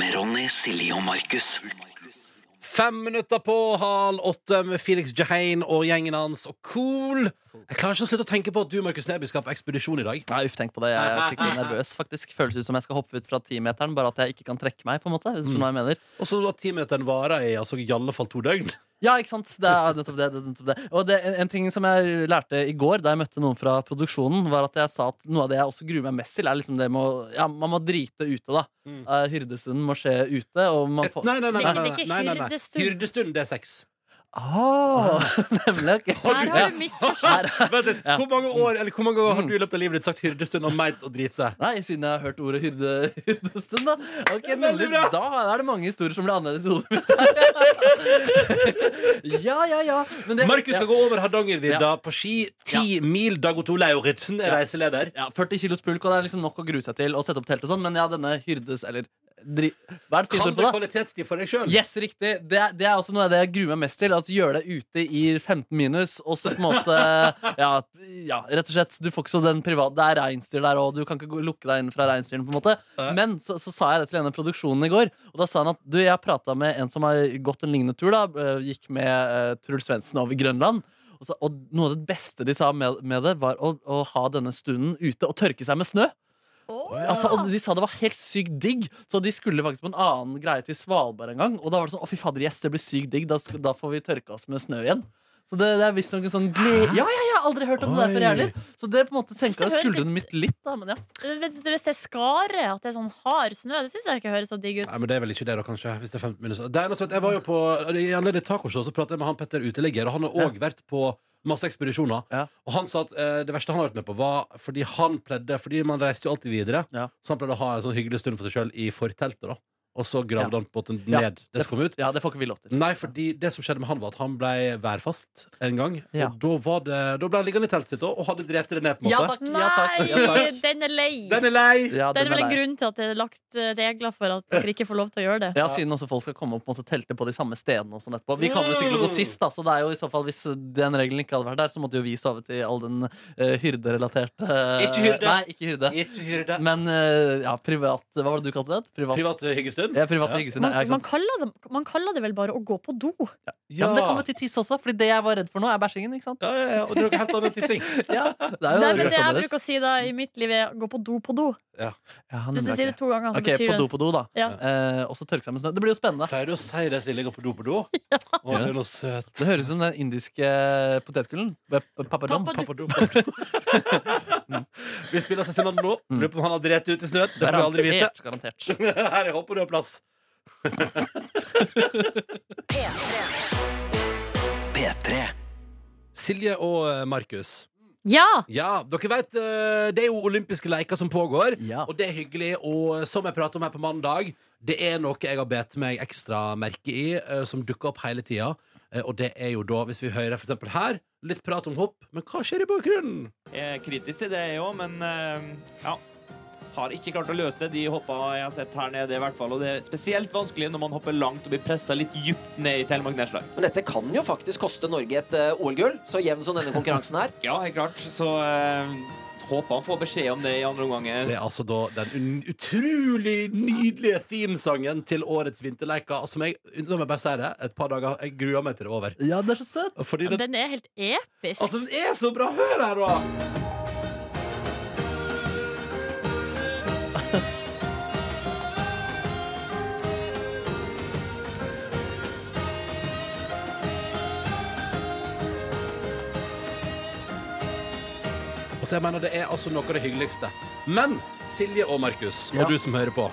[SPEAKER 1] med Ronny, Silje og Markus.
[SPEAKER 2] Fem minutter på halv åtte med Felix Jahain og gjengen hans og Cool. Jeg klarer ikke å slutte å tenke på at du Markus Neby skal på ekspedisjon i dag.
[SPEAKER 4] Nei, uff, tenk på det. Jeg er skikkelig nervøs, faktisk. Føles ut som jeg skal hoppe ut fra timeteren, bare at jeg ikke kan trekke meg, på en måte. Hvis du skjønner hva jeg mener.
[SPEAKER 2] Og så at timeteren varer i altså, i alle fall to døgn.
[SPEAKER 4] Ja, ikke sant? Det er nettopp det. det, er nettopp det. Og det, en, en ting som jeg lærte i går, da jeg møtte noen fra produksjonen, var at jeg sa at noe av det jeg også gruer meg mest til, er liksom det med å Ja, man må drite ute, da.
[SPEAKER 2] Mm.
[SPEAKER 4] Eh, hyrdestunden må skje ute, og man får
[SPEAKER 2] Nei, nei, nei. nei, nei,
[SPEAKER 3] Ikke
[SPEAKER 2] nei, nei, nei.
[SPEAKER 3] hyrdestund.
[SPEAKER 2] Hyrdestund, det er sex.
[SPEAKER 4] Ah, [laughs] nemlig. ok.
[SPEAKER 3] Her
[SPEAKER 4] Ja.
[SPEAKER 3] har du misforstått.
[SPEAKER 2] [laughs] Vent litt, Hvor mange år eller hvor mange ganger
[SPEAKER 4] Mm.
[SPEAKER 2] har du i løpet av livet ditt sagt hyrdestund og meint å drite?
[SPEAKER 4] Nei, siden jeg har hørt ordet hyrde, hyrdestund, da. Ok,
[SPEAKER 2] er veldig
[SPEAKER 4] nemlig,
[SPEAKER 2] bra.
[SPEAKER 4] Da er det mange historier som blir annerledes i hodet mitt. [laughs] ja, ja, ja. Men det-
[SPEAKER 2] Markus
[SPEAKER 4] ja.
[SPEAKER 2] skal gå over Hardangervidda på ski. Ti mil. Dag Otto Lauritzen er
[SPEAKER 4] Ja.
[SPEAKER 2] reiseleder.
[SPEAKER 4] ja, 40 kilos pulk, og det er liksom nok å grue seg til. Og sette opp telt og sånn Men ja, denne hyrdes Eller dri... Hva er det fint
[SPEAKER 2] Kan
[SPEAKER 4] ord
[SPEAKER 2] du
[SPEAKER 4] på det?
[SPEAKER 2] kvalitetstid for deg sjøl?
[SPEAKER 4] Yes, riktig. Det, er- det er også noe av det jeg gruer meg mest til. Altså Gjøre deg ute i 15 minus, og så på en måte Ja, ja rett og slett. Du får ikke så den private Det er reinsdyr der, og du kan ikke gå- lukke deg inn fra reinsdyren, på en måte.
[SPEAKER 2] Nei.
[SPEAKER 4] Men så, så sa jeg det til en av produksjonen i går, og da sa han at du, jeg prata med en som har gått en lignende tur, da. eh, Gikk med eh, Truls Svendsen over Grønland. Og, så, og noe av det beste de sa med, med det, var å, å ha denne stunden ute og tørke seg med snø. Altså, og De sa det var helt sykt digg, så de skulle faktisk på en annen greie til Svalbard en gang. Og da var det sånn å fy fader, yes, det blir sykt digg, da, sk- da får vi tørka oss med snø igjen. Så det, det er visstnok en sånn glede Ja, ja, jeg har aldri hørt om det der før, jeg heller. Så det på en måte senka
[SPEAKER 3] Synes det høres litt-
[SPEAKER 4] skuldrene mitt litt, da. Men ja.
[SPEAKER 3] Hvis hvis det er skare, at det er sånn hard snø, det syns jeg ikke høres så digg ut.
[SPEAKER 2] Nei, men Det er vel ikke det, da, kanskje. Hvis det er 15 minutter. Det eneste, er at jeg var jo på, I anledning til tacoshow så pratet jeg med han Petter Uteligger, og han har òg vært på masse ekspedisjoner.
[SPEAKER 4] Ja.
[SPEAKER 2] Og han sa at eh, det verste han har vært med på, var fordi han pleide Fordi man reiste jo alltid videre,
[SPEAKER 4] Ja.
[SPEAKER 2] så han pleide å ha en sånn hyggelig stund for seg sjøl i forteltet, da. Og så gravde
[SPEAKER 4] Ja.
[SPEAKER 2] han på en måte
[SPEAKER 4] Ja.
[SPEAKER 2] ned det som kom ut.
[SPEAKER 4] ja, det får ikke vi lov til.
[SPEAKER 2] Nei, fordi det som skjedde med han var at han ble værfast en gang.
[SPEAKER 4] Ja.
[SPEAKER 2] Og da, var det, da ble han liggende i teltet sitt og og hadde drept det ned. på en
[SPEAKER 4] Ja
[SPEAKER 2] måte
[SPEAKER 4] takk, ja takk. Ja,
[SPEAKER 3] Nei,
[SPEAKER 4] takk.
[SPEAKER 3] den er lei!
[SPEAKER 2] Den er lei!
[SPEAKER 4] Ja,
[SPEAKER 3] Det er
[SPEAKER 4] den
[SPEAKER 3] vel en
[SPEAKER 4] lei.
[SPEAKER 3] grunn til at det er lagt eh, regler for at dere ikke får lov til å gjøre det.
[SPEAKER 4] Ja, siden også folk skal komme opp og måtte telte på de samme stedene. og sånn etterpå Vi kan jo sikkert gå sist, da, så det er jo i så fall hvis den regelen ikke hadde vært der, så måtte jo vi sovet i all den eh, hyrderelaterte eh,
[SPEAKER 2] Ikke hyrde.
[SPEAKER 4] Nei, ikke hyrde.
[SPEAKER 2] Ikke hyrde.
[SPEAKER 4] Men eh, ja, privat Hva var det du kalte det? Privat,
[SPEAKER 2] Privat hyggestund?
[SPEAKER 4] ja, privat
[SPEAKER 2] Ja.
[SPEAKER 4] hyggesund.
[SPEAKER 3] Man,
[SPEAKER 4] Ja, ikke
[SPEAKER 3] man,
[SPEAKER 4] sant?
[SPEAKER 3] kaller det, man kaller det vel bare å gå på do.
[SPEAKER 4] ja, men det kommer til tiss også, Fordi det jeg var redd for nå, er bæsjingen. ikke sant?
[SPEAKER 2] Ja, ja, ja, og det er noe helt annet tissing.
[SPEAKER 4] Ja, det er
[SPEAKER 3] Nei,
[SPEAKER 4] jo
[SPEAKER 3] men Det jeg
[SPEAKER 4] annerledes.
[SPEAKER 3] bruker å si da i mitt liv, er å gå på do på do.
[SPEAKER 4] Ja, han
[SPEAKER 3] Hvis du
[SPEAKER 4] nevner
[SPEAKER 3] sier det
[SPEAKER 4] ikke.
[SPEAKER 3] to ganger, så
[SPEAKER 4] Mm, Ok, på
[SPEAKER 3] betyr
[SPEAKER 4] do,
[SPEAKER 3] det
[SPEAKER 4] på do, da.
[SPEAKER 3] Ja.
[SPEAKER 4] Eh, og så tørke seg med snø. Det blir jo spennende.
[SPEAKER 2] Pleier du å si det siden jeg ligger på do på do? Å, du er noe søt.
[SPEAKER 4] Det høres ut som den indiske potetgullen. Papadom.
[SPEAKER 3] Papa-
[SPEAKER 2] Pappa do, pappa do. Vi spiller Cezinando nå. Lurer på om han har drept ut i snøen. Det får vi aldri vite. [laughs]
[SPEAKER 4] Garantert. garantert.
[SPEAKER 2] Her, jeg håper du har plass.
[SPEAKER 1] P3.
[SPEAKER 2] Silje og eh, Markus.
[SPEAKER 3] Ja!
[SPEAKER 2] Ja, dere vet, eh, det er jo olympiske leker som pågår,
[SPEAKER 4] Ja.
[SPEAKER 2] og det er hyggelig. Og eh, som jeg pratet om her på mandag, det er noe jeg har bet meg ekstra merke i, eh, som dukker opp hele tida. Eh, Og det er jo da, hvis vi hører for eksempel her, litt prat om hopp, men hva skjer i bakgrunnen?
[SPEAKER 7] Jeg er kritisk til det, jeg òg, men eh, ja. Har ikke klart å løse det, de hoppa jeg har sett her nede. i hvert fall, og Det er spesielt vanskelig når man hopper langt og blir pressa litt dypt ned i Telemark Nesslag.
[SPEAKER 9] Men dette kan jo faktisk koste Norge et eh, OL-gull, så jevn som denne konkurransen er.
[SPEAKER 7] Ja, helt klart. Så eh, håper han får beskjed om det i andre omgang.
[SPEAKER 2] Det er altså da den un utrolig nydelige themesangen til årets vinterleker, som jeg, nå må jeg bare si det, et par dager, jeg gruer meg til det er over.
[SPEAKER 4] Ja, det er så søtt.
[SPEAKER 2] Fordi den,
[SPEAKER 3] Den er helt episk.
[SPEAKER 2] altså, den er så bra! Hør her, da! Og så jeg mener Det er altså noe av det hyggeligste. Men Silje og Markus, og
[SPEAKER 4] Ja.
[SPEAKER 2] du som hører på.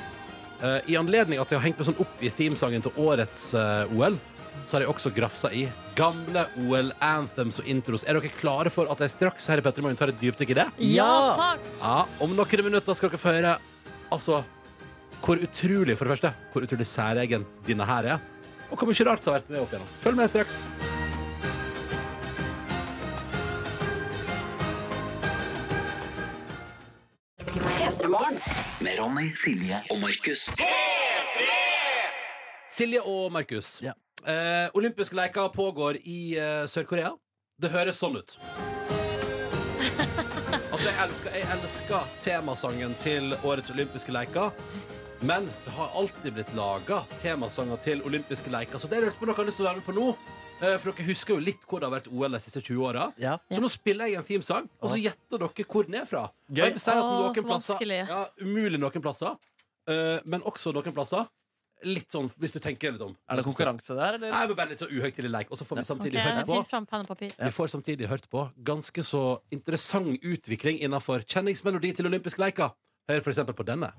[SPEAKER 2] eh, I anledning at jeg har hengt meg sånn opp i themesangen til årets eh, OL, så har jeg også grafsa i gamle OL-anthems og intros. Er dere klare for at jeg straks her i Petter Morgen tar et dypdykk i det?
[SPEAKER 3] Ja,
[SPEAKER 4] Ja.
[SPEAKER 3] takk!
[SPEAKER 2] Ja, Om noen minutter skal dere få høre altså, hvor utrolig for det første, hvor utrolig særegen denne her er. Og hvor mye rart som har vært med opp igjennom. Følg med straks.
[SPEAKER 1] Med Ronny, Silje og Markus.
[SPEAKER 2] Silje og Markus.
[SPEAKER 4] Ja.
[SPEAKER 2] Eh, olympiske leker pågår i eh, Sør-Korea. Det høres sånn ut. Altså, jeg elsker, jeg elsker temasangen til årets olympiske leker. Men det har alltid blitt laga temasanger til olympiske leker. Så det jeg lurte på om dere har lyst til å være med på nå, Eh, For dere husker jo litt hvor det har vært OL de siste 20 åra.
[SPEAKER 4] Ja.
[SPEAKER 2] Så nå spiller jeg en teamsang, og så gjetter dere hvor den er fra. Og
[SPEAKER 4] Gøy.
[SPEAKER 2] jeg vil si at
[SPEAKER 3] Åh,
[SPEAKER 2] noen plasser,
[SPEAKER 3] vanskelig.
[SPEAKER 2] ja, Umulig noen plasser, eh, men også noen plasser. Litt sånn, hvis du tenker litt om.
[SPEAKER 4] Er det konkurranse der, eller?
[SPEAKER 2] Nei, men bare litt så uhøytidelig leik, og så får vi
[SPEAKER 3] Ok,
[SPEAKER 2] samtidig hørt på.
[SPEAKER 3] Finn fram penn og papir.
[SPEAKER 2] Vi får samtidig hørt på ganske så interessant utvikling innenfor kjenningsmelodi til olympiske leker. Hør for eksempel på
[SPEAKER 4] [laughs]
[SPEAKER 2] denne.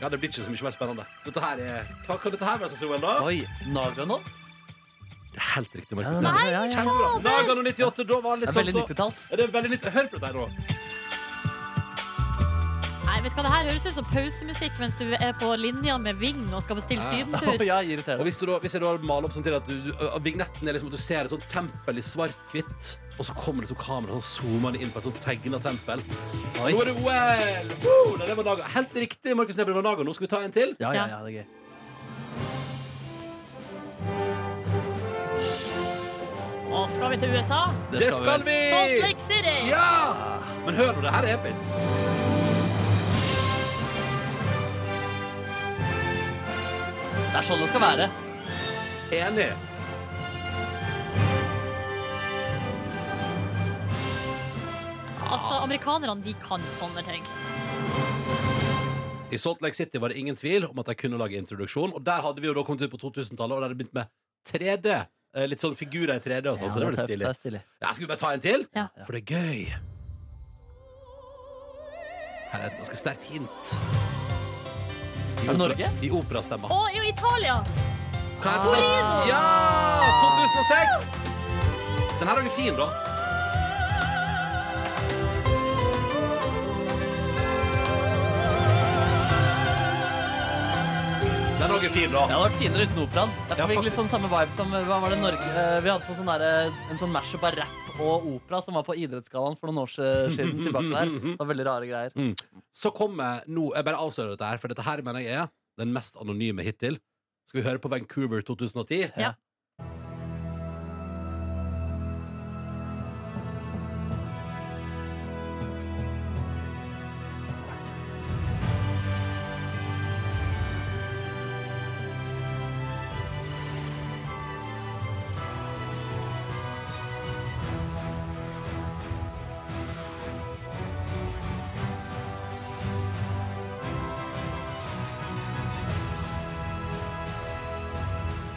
[SPEAKER 2] Ja, det blir ikke så mye mer spennende. Dette her er Hva kan dette her være, Sassoen, da?
[SPEAKER 4] Oi, Nagano?
[SPEAKER 2] Det er helt riktig, Markus.
[SPEAKER 4] Nei,
[SPEAKER 2] Neby.
[SPEAKER 4] ja, ja.
[SPEAKER 2] Kjenner du det? Nagano 98, da var det
[SPEAKER 4] Det
[SPEAKER 2] litt
[SPEAKER 4] er veldig
[SPEAKER 2] sånn da-
[SPEAKER 4] 90-talls.
[SPEAKER 2] Ja, det er veldig nytt. Hør på dette her, da.
[SPEAKER 3] Nei, vet du hva, Det her høres ut som pausemusikk mens du er på linja med Ving og skal bestille sydentur.
[SPEAKER 4] [laughs] Ja,
[SPEAKER 2] Og
[SPEAKER 4] irriterende.
[SPEAKER 2] hvis, du da, hvis jeg da maler opp sånn til at du, du, at vignetten er liksom at du ser et sånt tempel i svart-hvitt, og så kommer det sånn kamera sånn zoomende inn på et sånt tegnet tempel.
[SPEAKER 4] Oi.
[SPEAKER 2] Nå er det OL! Woo! Nei, det var Naga. Helt riktig, Markus Neby var Naga. Nå skal vi ta en til.
[SPEAKER 4] Ja, ja, ja, det er gøy.
[SPEAKER 3] Og skal vi til USA?
[SPEAKER 2] Det skal vi! Sånn
[SPEAKER 3] Salt Lake City!
[SPEAKER 2] Ja! Men hør nå, det her er episk.
[SPEAKER 4] Det er sånn det skal være.
[SPEAKER 2] Enig.
[SPEAKER 3] Altså, Amerikanerne de kan sånne ting.
[SPEAKER 2] I Salt Lake City var det ingen tvil om at de kunne lage introduksjon, og der hadde vi jo da kommet ut på 2000-tallet, og der hadde det begynt med 3D. Eh, Litt sånn figurer i 3D og sånn, så det var litt
[SPEAKER 4] tøft,
[SPEAKER 2] stilig.
[SPEAKER 4] det er stilig.
[SPEAKER 2] Ja, skal vi bare ta en til?
[SPEAKER 3] Ja.
[SPEAKER 2] For det er gøy. Her er et ganske sterkt hint. I
[SPEAKER 4] Er det
[SPEAKER 2] opera-
[SPEAKER 4] Norge?
[SPEAKER 2] I operastemma.
[SPEAKER 3] Og i Italia!
[SPEAKER 2] Hva er det? Ja! 2006! Den her er jo fin, da. Den er også fin,
[SPEAKER 4] Det
[SPEAKER 2] da.
[SPEAKER 4] hadde vært finere uten operaen.
[SPEAKER 2] Ja,
[SPEAKER 4] Jeg fikk litt
[SPEAKER 2] faktisk.
[SPEAKER 4] sånn samme vibe som hva var det Norge eh, Vi hadde på sånn der, eh, en sånn mash-up av rap og opera som var på Idrettsgallaen for noen år si- siden. tilbake der Det var veldig rare greier.
[SPEAKER 2] Så kommer nå Jeg bare avslører dette her, for dette her mener jeg er den mest anonyme hittil. Skal vi høre på Vancouver 2010?
[SPEAKER 3] Ja.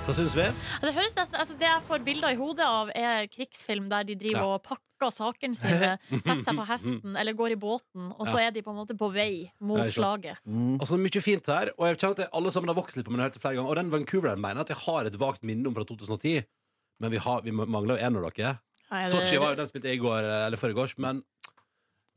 [SPEAKER 2] Hva syns vi?
[SPEAKER 3] Det, høres nesten, altså det jeg får bilder i hodet av, er krigsfilm der de driver
[SPEAKER 2] Ja.
[SPEAKER 3] og pakker sakene sine,
[SPEAKER 2] [laughs]
[SPEAKER 3] setter seg på hesten eller går i båten, og så er de på en måte på vei mot
[SPEAKER 2] Nei, sant.
[SPEAKER 3] slaget.
[SPEAKER 2] Altså, mye fint her, og jeg kjenner at jeg, alle sammen har vokst litt på meg når jeg har hørt det flere ganger. Og den Vancouveren mener jeg at jeg har et vagt minne om fra 2010. Men vi, har, vi mangler jo én av dere.
[SPEAKER 3] Nei, det-
[SPEAKER 2] Sotsji var jo den som spilte i går, eh, eller foregårs, men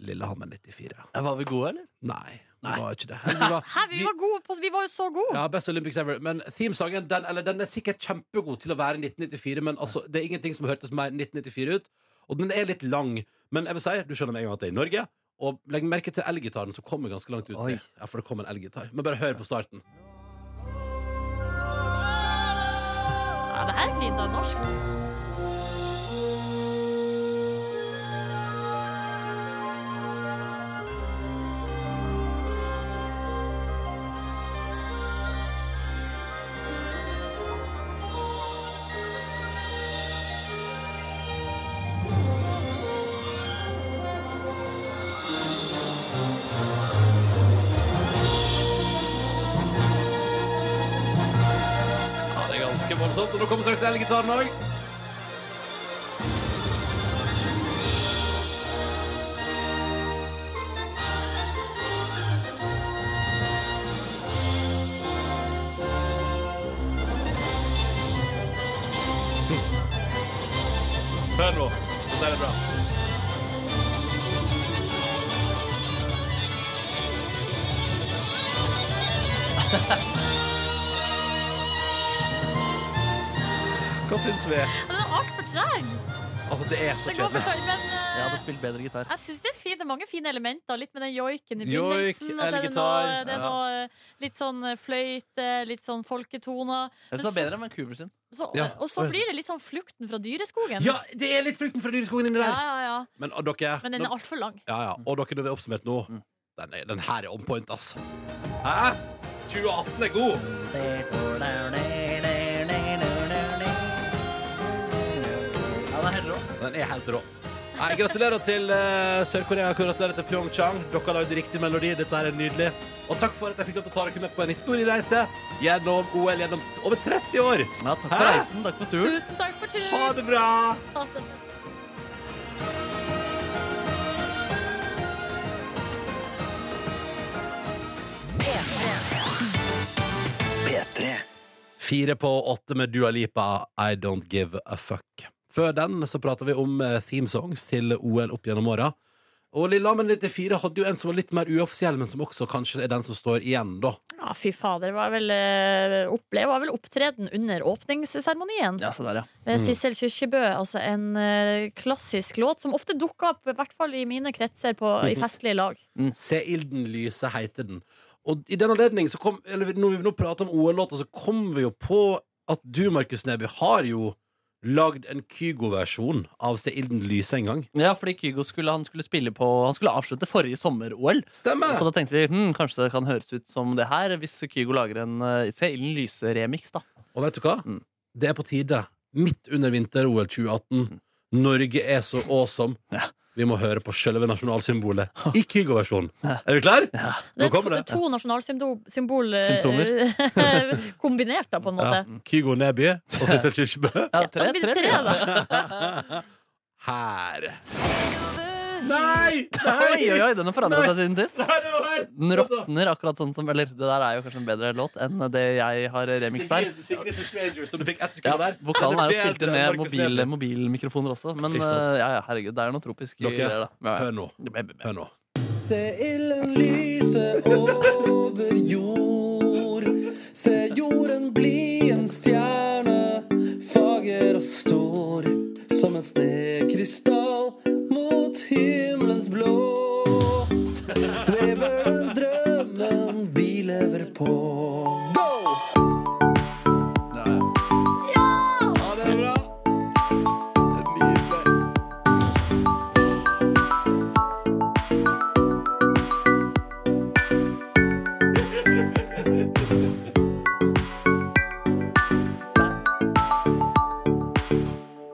[SPEAKER 2] Lillehammer 94.
[SPEAKER 4] Eh, Var vi gode, eller?
[SPEAKER 2] Nei, det var ikke det. Eller, vi var,
[SPEAKER 3] [laughs] Hæ, vi var gode på Vi var jo så gode!
[SPEAKER 2] ja, Best Olympics ever. Men themesangen den, eller, den er sikkert kjempegod til å være 1994, men altså, det er ingenting som hørtes mer 1994 ut. Og den er litt lang, men jeg vil si, du skjønner med en gang at det er i Norge. Og legg merke til elgitaren som kommer ganske langt ut.
[SPEAKER 4] Oi.
[SPEAKER 2] med. Ja, for det kom en elgitar. Men bare hør på starten.
[SPEAKER 3] Ja, det her er fint av norsk.
[SPEAKER 2] Ja, det er ganske voldsomt. Og nå kommer straks elgitaren òg. Hør nå. Dette er bra. Hva syns vi?
[SPEAKER 3] Men den er altfor treg!
[SPEAKER 2] Altså, det er så
[SPEAKER 3] Den går for
[SPEAKER 2] kjedelig.
[SPEAKER 3] seg, men eh,
[SPEAKER 4] Jeg hadde spilt bedre gitar.
[SPEAKER 3] jeg syns det er fint. Det er mange fine elementer. Litt med den joiken i
[SPEAKER 2] Joik,
[SPEAKER 3] begynnelsen. og så er det
[SPEAKER 2] elgitar,
[SPEAKER 3] noe, det er
[SPEAKER 2] ja.
[SPEAKER 3] noe eh, litt sånn eh, fløyte, litt sånn folketoner.
[SPEAKER 4] Jeg synes det var bedre enn Vancouver sin.
[SPEAKER 3] Så,
[SPEAKER 2] Ja.
[SPEAKER 3] Og så blir det litt sånn flukten fra dyreskogen.
[SPEAKER 2] Ja, det er litt frukten fra dyreskogen inni
[SPEAKER 3] ja,
[SPEAKER 2] der.
[SPEAKER 3] ja, ja.
[SPEAKER 2] Men og dere
[SPEAKER 3] Men den
[SPEAKER 2] nå-
[SPEAKER 3] er altfor lang.
[SPEAKER 2] Ja, ja. Og dere, når vi har oppsummert nå den, er- den her er on point, ass. Hæ? 2018 er god!
[SPEAKER 4] Det
[SPEAKER 2] rå. Den er helt rå. Nei, gratulerer til eh, Sør-Korea, gratulerer til Pyeongchang. Dere har lagd riktig melodi. Dette her er nydelig. Og takk for at jeg fikk lov til å ta dere med på en historiereise gjennom OL gjennom t- over 30 år.
[SPEAKER 4] Ja, takk for
[SPEAKER 2] Hæ?
[SPEAKER 4] reisen. Takk for turen.
[SPEAKER 3] Tusen takk for turen.
[SPEAKER 2] Ha det bra!
[SPEAKER 3] Ha det.
[SPEAKER 1] P3.
[SPEAKER 2] Fire på åtte med Dua Lipa, I Don't Give a Fuck. Før den så prata vi om eh, theme songs til OL opp gjennom åra. Og Lillehammer 94 hadde jo en som var litt mer uoffisiell, men som også kanskje er den som står igjen, da.
[SPEAKER 10] Ja, fy fader. Det var vel, eh, opple- var vel opptreden under åpningsseremonien.
[SPEAKER 4] Ja, se der, ja.
[SPEAKER 2] Mm.
[SPEAKER 3] Eh,
[SPEAKER 10] Ved Sissel Kyrkjebø, altså en eh, klassisk låt som ofte dukker opp, i hvert fall i mine kretser, på,
[SPEAKER 2] [laughs]
[SPEAKER 10] i festlige lag.
[SPEAKER 2] Se ilden lyse, heter den. Og i den anledning, så kom, eller når vi nå prater om OL-låter, så kom vi jo på at du, Markus Neby, har jo lagd en Kygo-versjon av Se ilden lyse en gang.
[SPEAKER 4] ja, fordi Kygo skulle, han skulle spille på Han skulle avslutte forrige sommer-OL.
[SPEAKER 2] Stemmer!
[SPEAKER 4] Så da tenkte vi hm, kanskje det kan høres ut som det her, hvis Kygo lager en eh, Se ilden lyse-remix, da.
[SPEAKER 2] Og vet du hva?
[SPEAKER 4] Mm.
[SPEAKER 2] Det er på tide. Midt under vinter-OL 2018. Norge er så awesome.
[SPEAKER 4] Mm. Ja.
[SPEAKER 2] Vi må høre på selve
[SPEAKER 4] [laughs]
[SPEAKER 2] nasjonalsymbolet i Kygo-versjonen. Er du klar?
[SPEAKER 10] Det
[SPEAKER 2] Nå
[SPEAKER 10] er to,
[SPEAKER 2] kommer det.
[SPEAKER 10] to nasjonalsymbol eh,
[SPEAKER 4] Symptomer.
[SPEAKER 10] [laughs] kombinert, da, på en
[SPEAKER 2] Ja.
[SPEAKER 10] måte.
[SPEAKER 2] Kygo Neby og Sissel Kyrkjebø.
[SPEAKER 4] Ja,
[SPEAKER 10] Da blir det tre, da.
[SPEAKER 2] Her. Nei!
[SPEAKER 4] Oi, oi, oi, den har forandra seg siden
[SPEAKER 2] [laughs]
[SPEAKER 4] sist.
[SPEAKER 2] Nei!
[SPEAKER 4] Den råtner akkurat sånn som Eller det der er jo kanskje en bedre låt enn det jeg har remix der.
[SPEAKER 2] Sigrid Stranger, som du fikk ett
[SPEAKER 4] Ja,
[SPEAKER 2] sekund der.
[SPEAKER 4] [laughs] vokalen er jo spilt inn med
[SPEAKER 2] Markus
[SPEAKER 4] mobil,
[SPEAKER 2] Neby.
[SPEAKER 4] mobilmikrofoner også, men
[SPEAKER 2] Ikke sant.
[SPEAKER 4] eh, ja, ja, herregud, det er noe tropisk i
[SPEAKER 2] Dere,
[SPEAKER 4] det, da. Ja, ja.
[SPEAKER 2] Hør nå.
[SPEAKER 4] Be- be- be-
[SPEAKER 2] Hør nå.
[SPEAKER 1] Se ilden lyse over jord. Se jorden bli en stjerne, fager og stor. Som en snekrystall mot himmelens blå. Svever den drømmen vi lever på. Go!
[SPEAKER 4] Ja, ja.
[SPEAKER 2] Ja, det er bra. Det er nydelig.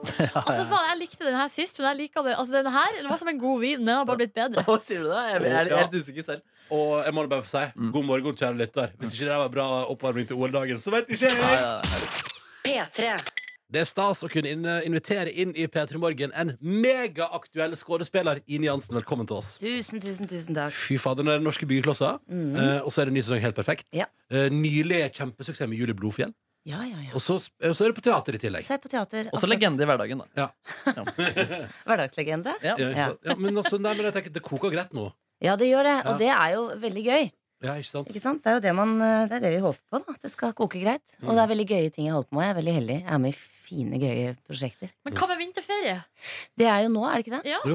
[SPEAKER 10] Altså, faen, jeg likte den her sist, men jeg liker det. Altså, den her den var som en god vin. Den har bare blitt bedre.
[SPEAKER 4] Å, sier du det? Jeg jeg er
[SPEAKER 2] Ja.
[SPEAKER 4] helt usikker selv.
[SPEAKER 2] Og jeg må bare få si
[SPEAKER 4] Mm.
[SPEAKER 2] god morgen, kjære lytter. Hvis ikke det var bra oppvarming til OL-dagen, så vet ikke
[SPEAKER 4] Ja,
[SPEAKER 2] jeg.
[SPEAKER 4] ja, ja.
[SPEAKER 6] P3.
[SPEAKER 2] Det er stas å kunne inn- invitere inn i P3 Morgen en megaaktuell skuespiller. Ine Jansen, velkommen til oss.
[SPEAKER 6] Tusen, tusen, tusen takk.
[SPEAKER 2] Fy fader, det er norske byggeklosser. Eh, og så er det ny sesong helt perfekt.
[SPEAKER 6] Mhm. Ja.
[SPEAKER 2] Eh, nylig kjempesuksess med Julie Blodfjell.
[SPEAKER 6] Ja, ja, ja.
[SPEAKER 2] Og så, og så er det på teater i tillegg.
[SPEAKER 6] Så er jeg på teater.
[SPEAKER 4] Også
[SPEAKER 6] akkurat.
[SPEAKER 4] legende i hverdagen, da.
[SPEAKER 6] Hverdagslegende.
[SPEAKER 2] Ja,
[SPEAKER 4] Ja.
[SPEAKER 2] ikke sant? ja, men altså, nei, men jeg tenker, det koker greit nå.
[SPEAKER 6] Ja, det gjør det.
[SPEAKER 2] Ja.
[SPEAKER 6] Og det er jo veldig gøy.
[SPEAKER 2] Ja, ikke sant?
[SPEAKER 6] Ikke sant? Det er jo det, man, eh, det, er det vi håper på. da At det skal koke greit. Og det er veldig gøye ting jeg holder på med. Jeg er veldig heldig. Jeg er med i fine, gøye prosjekter.
[SPEAKER 10] Men hva med vinterferie?
[SPEAKER 6] Det er jo nå, er det ikke det?
[SPEAKER 2] Jo,
[SPEAKER 6] Nei,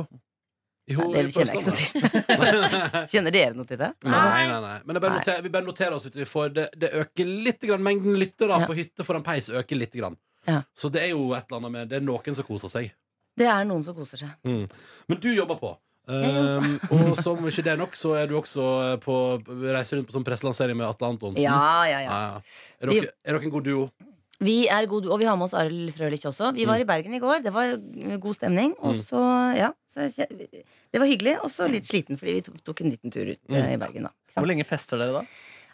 [SPEAKER 6] det
[SPEAKER 2] på
[SPEAKER 6] kjenner jeg ikke
[SPEAKER 2] Østlandet.
[SPEAKER 6] noe til. Kjenner dere noe til det?
[SPEAKER 2] [laughs] Nei, nei, nei. Men jeg bare
[SPEAKER 6] Nei.
[SPEAKER 2] noterer, vi bare noterer oss at vi får det, det øker litt grann, Mengden lyttere
[SPEAKER 6] Ja.
[SPEAKER 2] på hytte foran peis øker litt grann.
[SPEAKER 6] Ja.
[SPEAKER 2] Så det er jo et eller annet med Det er noen som koser seg.
[SPEAKER 6] Det er noen som koser seg.
[SPEAKER 2] Men du jobber på.
[SPEAKER 6] Jeg jobber.
[SPEAKER 2] Ehm, og som ikke det er nok, så er du også eh, på reiser rundt på sånn presselansering med Atle Antonsen.
[SPEAKER 6] Ja, ja, ja.
[SPEAKER 2] Ja, ja. Er, dere, er dere en god duo?
[SPEAKER 6] Vi er god, og vi har med oss Arild Frølich også. Vi var i Bergen i går. Det var god stemning. Og
[SPEAKER 2] Mm.
[SPEAKER 6] så, ja så, kje- Det var hyggelig, og så litt sliten fordi vi to- tok en liten tur ut eh, i Bergen, da. Ikke sant?
[SPEAKER 4] Hvor lenge fester dere, da?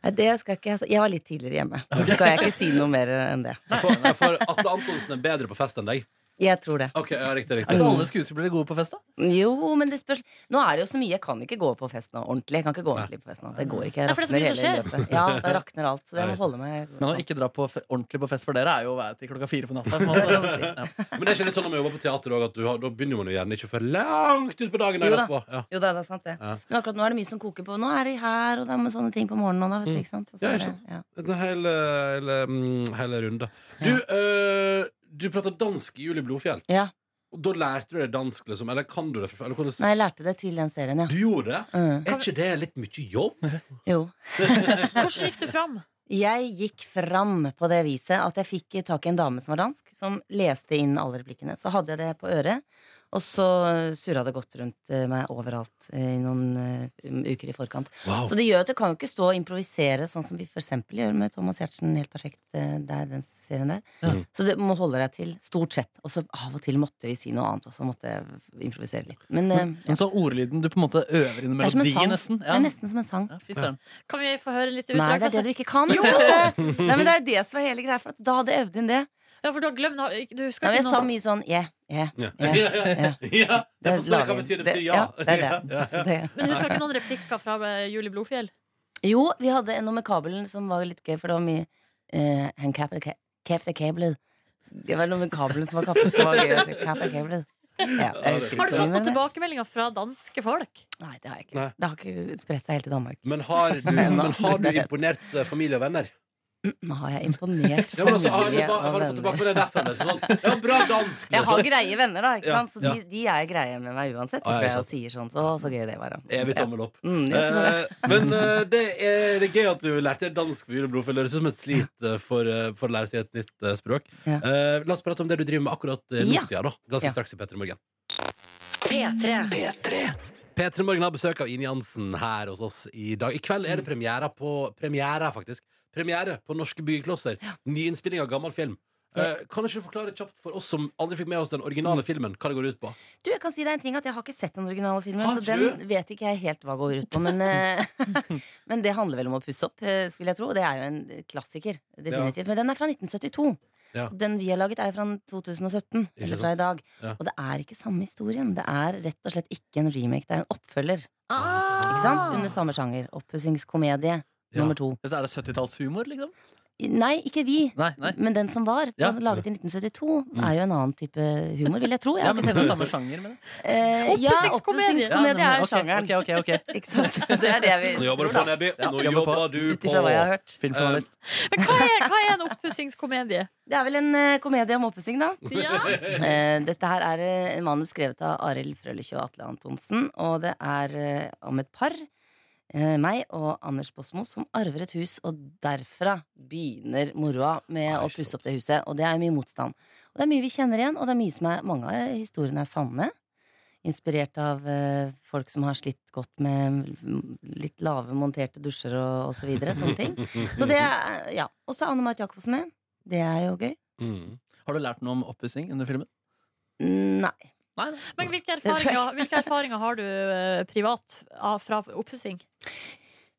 [SPEAKER 6] Nei, det skal jeg ikke altså, Jeg var litt tidligere hjemme. Så skal jeg ikke si noe mer enn det.
[SPEAKER 2] For, for Atle Antonsen er bedre på fest enn deg.
[SPEAKER 6] Jeg tror det.
[SPEAKER 2] Ok, ja, riktig,
[SPEAKER 4] Er
[SPEAKER 2] riktig
[SPEAKER 4] ikke alle skuespillere gode på fest, da?
[SPEAKER 6] Jo, men det spørs Nå er det jo så mye. Jeg kan ikke gå på fest nå ordentlig. Jeg kan ikke gå ordentlig på fest nå. Det går ikke. Jeg
[SPEAKER 10] Nei, for det er så
[SPEAKER 6] rakner
[SPEAKER 10] mye som
[SPEAKER 6] hele løpet. Ja, da rakner alt. Så
[SPEAKER 2] Ja,
[SPEAKER 6] jeg må
[SPEAKER 2] riktig.
[SPEAKER 6] holde meg sånn.
[SPEAKER 4] Men å ikke dra på fe ordentlig på fest for dere er jo å være til klokka fire på [laughs] natta. på en måte. Ja.
[SPEAKER 2] Men det er ikke litt sånn når man jobber på teater også, at du har, da begynner man jo gjerne ikke før langt utpå dagen.
[SPEAKER 6] Jo
[SPEAKER 2] eller
[SPEAKER 6] da.
[SPEAKER 2] etterpå. Ja.
[SPEAKER 6] Jo da, det er sant, det.
[SPEAKER 2] Ja.
[SPEAKER 6] Men akkurat nå er det mye som koker på. Nå er det her, og det er med sånne ting på morgenen og da, vet du, ikke sant. Og
[SPEAKER 2] Mm. Ja,
[SPEAKER 6] så
[SPEAKER 2] ikke
[SPEAKER 6] er det-
[SPEAKER 2] sant.
[SPEAKER 6] ja.
[SPEAKER 2] Det er hele, hele, mm, hele runde. Du, eh, du prater dansk i Julie Blodfjell.
[SPEAKER 6] Ja.
[SPEAKER 2] Og da lærte du deg dansk, liksom? Eller kan du det? fra før? Eller hvordan-
[SPEAKER 6] Nei, jeg lærte det til den serien, ja.
[SPEAKER 2] Du gjorde det?
[SPEAKER 6] Mm.
[SPEAKER 2] Er ikke det litt mye jobb?
[SPEAKER 6] Jo.
[SPEAKER 10] Hvordan gikk du fram?
[SPEAKER 6] Jeg gikk fram på det viset at jeg fikk tak i en dame som var dansk, som leste inn alle replikkene. Så hadde jeg det på øret. Og så surra det godt rundt eh, meg overalt eh, i noen eh, um, uker i forkant.
[SPEAKER 2] Wow.
[SPEAKER 6] Så det gjør at du kan jo ikke stå og improvisere sånn som vi for eksempel gjør med Thomas Giertsen helt perfekt eh, der, den serien der.
[SPEAKER 4] Mm.
[SPEAKER 2] Ja.
[SPEAKER 6] Så du må holde deg til stort sett. Og så av og til måtte vi si noe annet, og så måtte jeg improvisere litt. Men eh,
[SPEAKER 4] Men så ordlyden du på en måte øver inn i
[SPEAKER 6] det er som en
[SPEAKER 4] melodien,
[SPEAKER 6] sang.
[SPEAKER 4] nesten.
[SPEAKER 6] Det er nesten som en sang.
[SPEAKER 4] Ja, fy søren.
[SPEAKER 10] Kan vi få høre litt
[SPEAKER 6] Nei,
[SPEAKER 10] utdrag?
[SPEAKER 6] det er det du ikke
[SPEAKER 4] [laughs]
[SPEAKER 6] kan.
[SPEAKER 10] Jo!
[SPEAKER 6] vet du. Nei, men det er jo det som er hele greia, for at da hadde jeg øvd inn det.
[SPEAKER 10] Ja, for du har glemt har- du husker
[SPEAKER 6] Nei, men
[SPEAKER 10] ikke
[SPEAKER 6] jeg
[SPEAKER 10] noe-
[SPEAKER 6] sa mye sånn yeah, yeah.
[SPEAKER 2] Ja.
[SPEAKER 6] Ja,
[SPEAKER 2] Ja, [laughs] ja, ja. Jeg forstår
[SPEAKER 6] lager
[SPEAKER 2] hva
[SPEAKER 6] vi.
[SPEAKER 2] betyr det betyr
[SPEAKER 6] Det-
[SPEAKER 2] ja.
[SPEAKER 6] ja, det er
[SPEAKER 2] [laughs]
[SPEAKER 6] det.
[SPEAKER 2] Ja, ja.
[SPEAKER 6] Så det.
[SPEAKER 10] Men du husker ikke noen replikker fra eh, Julie Blodfjell?
[SPEAKER 6] Jo, vi hadde en noe med kabelen som var litt gøy, for det var mye eh, Han kapte ka- kapte kabelen. Det var noe med kabelen som var kappet, som var gøy. å si. Kapte kabelen. Ja, jeg husker
[SPEAKER 10] Har du
[SPEAKER 6] ikke
[SPEAKER 10] fått
[SPEAKER 6] så mye,
[SPEAKER 10] noen
[SPEAKER 6] men-
[SPEAKER 10] tilbakemeldinger fra danske folk?
[SPEAKER 6] Nei, det har jeg
[SPEAKER 2] Nei.
[SPEAKER 6] ikke. Det har ikke spredt seg helt til Danmark.
[SPEAKER 2] Men har, du,
[SPEAKER 6] Nei, nå.
[SPEAKER 2] men har du imponert eh, familie og venner?
[SPEAKER 6] Nå har jeg imponert
[SPEAKER 2] Ja, men altså, har, du,
[SPEAKER 6] familie
[SPEAKER 2] ba-
[SPEAKER 6] og
[SPEAKER 2] har du fått
[SPEAKER 6] venner.
[SPEAKER 2] tilbake på det derfor? Eller? Sånn, ja, bra dansk!
[SPEAKER 6] Jeg har
[SPEAKER 2] Liksom.
[SPEAKER 6] greie venner, da. Ikke
[SPEAKER 2] Ja,
[SPEAKER 6] sant? Så de, de er greie med meg
[SPEAKER 2] Ah,
[SPEAKER 6] uansett.
[SPEAKER 2] ja,
[SPEAKER 6] Ah,
[SPEAKER 2] ikke
[SPEAKER 6] jeg og
[SPEAKER 2] sant.
[SPEAKER 6] sier sånn så, så gøy det var. da.
[SPEAKER 2] [laughs] Evig tommel opp.
[SPEAKER 6] Mm, ja, sånn er det.
[SPEAKER 2] Eh, men eh, det, er, det er gøy at du lærte deg dansk for juleblod, for det høres ut som et slit eh, for, eh, for å lære seg et nytt eh, språk.
[SPEAKER 6] Ja.
[SPEAKER 2] Eh, la oss prate om det du driver med akkurat uh,
[SPEAKER 6] Ja.
[SPEAKER 2] nå, da. Ganske
[SPEAKER 6] Ja.
[SPEAKER 2] straks i Petter i Morgen.
[SPEAKER 10] Eh,
[SPEAKER 6] P3.
[SPEAKER 2] P3 Morgen har besøk av Ine Jansen her hos oss i dag. I kveld
[SPEAKER 6] Mm.
[SPEAKER 2] er det premiere på Premiere, faktisk. Premiere på Norske byggeklosser. Nyinnspilling av gammel film. Eh, kan ikke du forklare kjapt for oss som aldri fikk med oss den originale
[SPEAKER 6] Mm.
[SPEAKER 2] filmen, hva det går ut på?
[SPEAKER 6] Du, jeg kan si deg en ting at jeg har ikke sett den originale filmen,
[SPEAKER 2] Har
[SPEAKER 6] så
[SPEAKER 2] ikke
[SPEAKER 6] den vet ikke jeg helt hva går ut på.
[SPEAKER 2] [laughs]
[SPEAKER 6] Men, eh, [laughs] men det handler vel om å pusse opp, eh, skulle jeg tro. Det er jo en klassiker, definitivt. Men den er fra 1972.
[SPEAKER 2] Ja.
[SPEAKER 6] Og Den vi har laget, er jo fra 2017. Eller fra
[SPEAKER 2] sant?
[SPEAKER 6] i dag.
[SPEAKER 2] Ja.
[SPEAKER 6] Og det er ikke samme historien. Det er rett og slett ikke en remake, det er en oppfølger. Ikke
[SPEAKER 3] Ah.
[SPEAKER 10] Ah!
[SPEAKER 6] sant? Under samme sjanger. Oppussingskomedie
[SPEAKER 2] Ja.
[SPEAKER 6] nummer to.
[SPEAKER 4] Eller så er det 70-tallshumor, liksom?
[SPEAKER 6] Nei, ikke vi.
[SPEAKER 4] Nei, nei.
[SPEAKER 6] Men den som var,
[SPEAKER 4] Ja.
[SPEAKER 6] laget i 1972,
[SPEAKER 2] Mm.
[SPEAKER 6] er jo en annen type humor, vil jeg tro. Jeg
[SPEAKER 4] Ja,
[SPEAKER 6] har
[SPEAKER 4] men
[SPEAKER 6] ikke
[SPEAKER 4] det er
[SPEAKER 6] sett den.
[SPEAKER 4] samme sjanger, men
[SPEAKER 6] Eh, ja,
[SPEAKER 10] Oppussingskomedie.
[SPEAKER 6] oppussingskomedie er
[SPEAKER 4] ok,
[SPEAKER 6] sjangeren.
[SPEAKER 4] Ok, ok, ok
[SPEAKER 6] [laughs] Ikke sant? Det er det vi
[SPEAKER 2] Nå jobber du på, Nebby.
[SPEAKER 4] Ja,
[SPEAKER 2] Nå
[SPEAKER 4] jobber på.
[SPEAKER 2] jobber du
[SPEAKER 6] Ut
[SPEAKER 2] på
[SPEAKER 6] ifra hva jeg har hørt.
[SPEAKER 4] Filmjournalist.
[SPEAKER 10] Men hva er, hva er en
[SPEAKER 2] [laughs]
[SPEAKER 10] oppussingskomedie?
[SPEAKER 6] Det er vel en eh, komedie om oppussing, da.
[SPEAKER 10] Ja.
[SPEAKER 6] Eh, dette her er eh, en manus skrevet av Arild Frølich og Atle Antonsen, og det er eh, om et par. eh, Meg og Anders Bosmo som arver et hus, og derfra begynner moroa med
[SPEAKER 2] Nei,
[SPEAKER 6] å pusse opp det huset. Og det er mye motstand. Og det er mye vi kjenner igjen, og det er mye som er, mange av historiene er sanne. Inspirert av eh, folk som har slitt godt med mm, litt lave monterte dusjer og, og så videre. Sånne
[SPEAKER 2] [laughs]
[SPEAKER 6] ting. Så det er, ja. Og så er Anne Marit Jacobsen med. Det er jo gøy.
[SPEAKER 2] Mm.
[SPEAKER 4] Har du lært noe om oppussing under filmen?
[SPEAKER 6] Nei.
[SPEAKER 4] Nei, nei.
[SPEAKER 10] Men hvilke
[SPEAKER 6] tror jeg.
[SPEAKER 10] erfaringer, hvilke erfaringer har du eh, privat av- fra oppussing?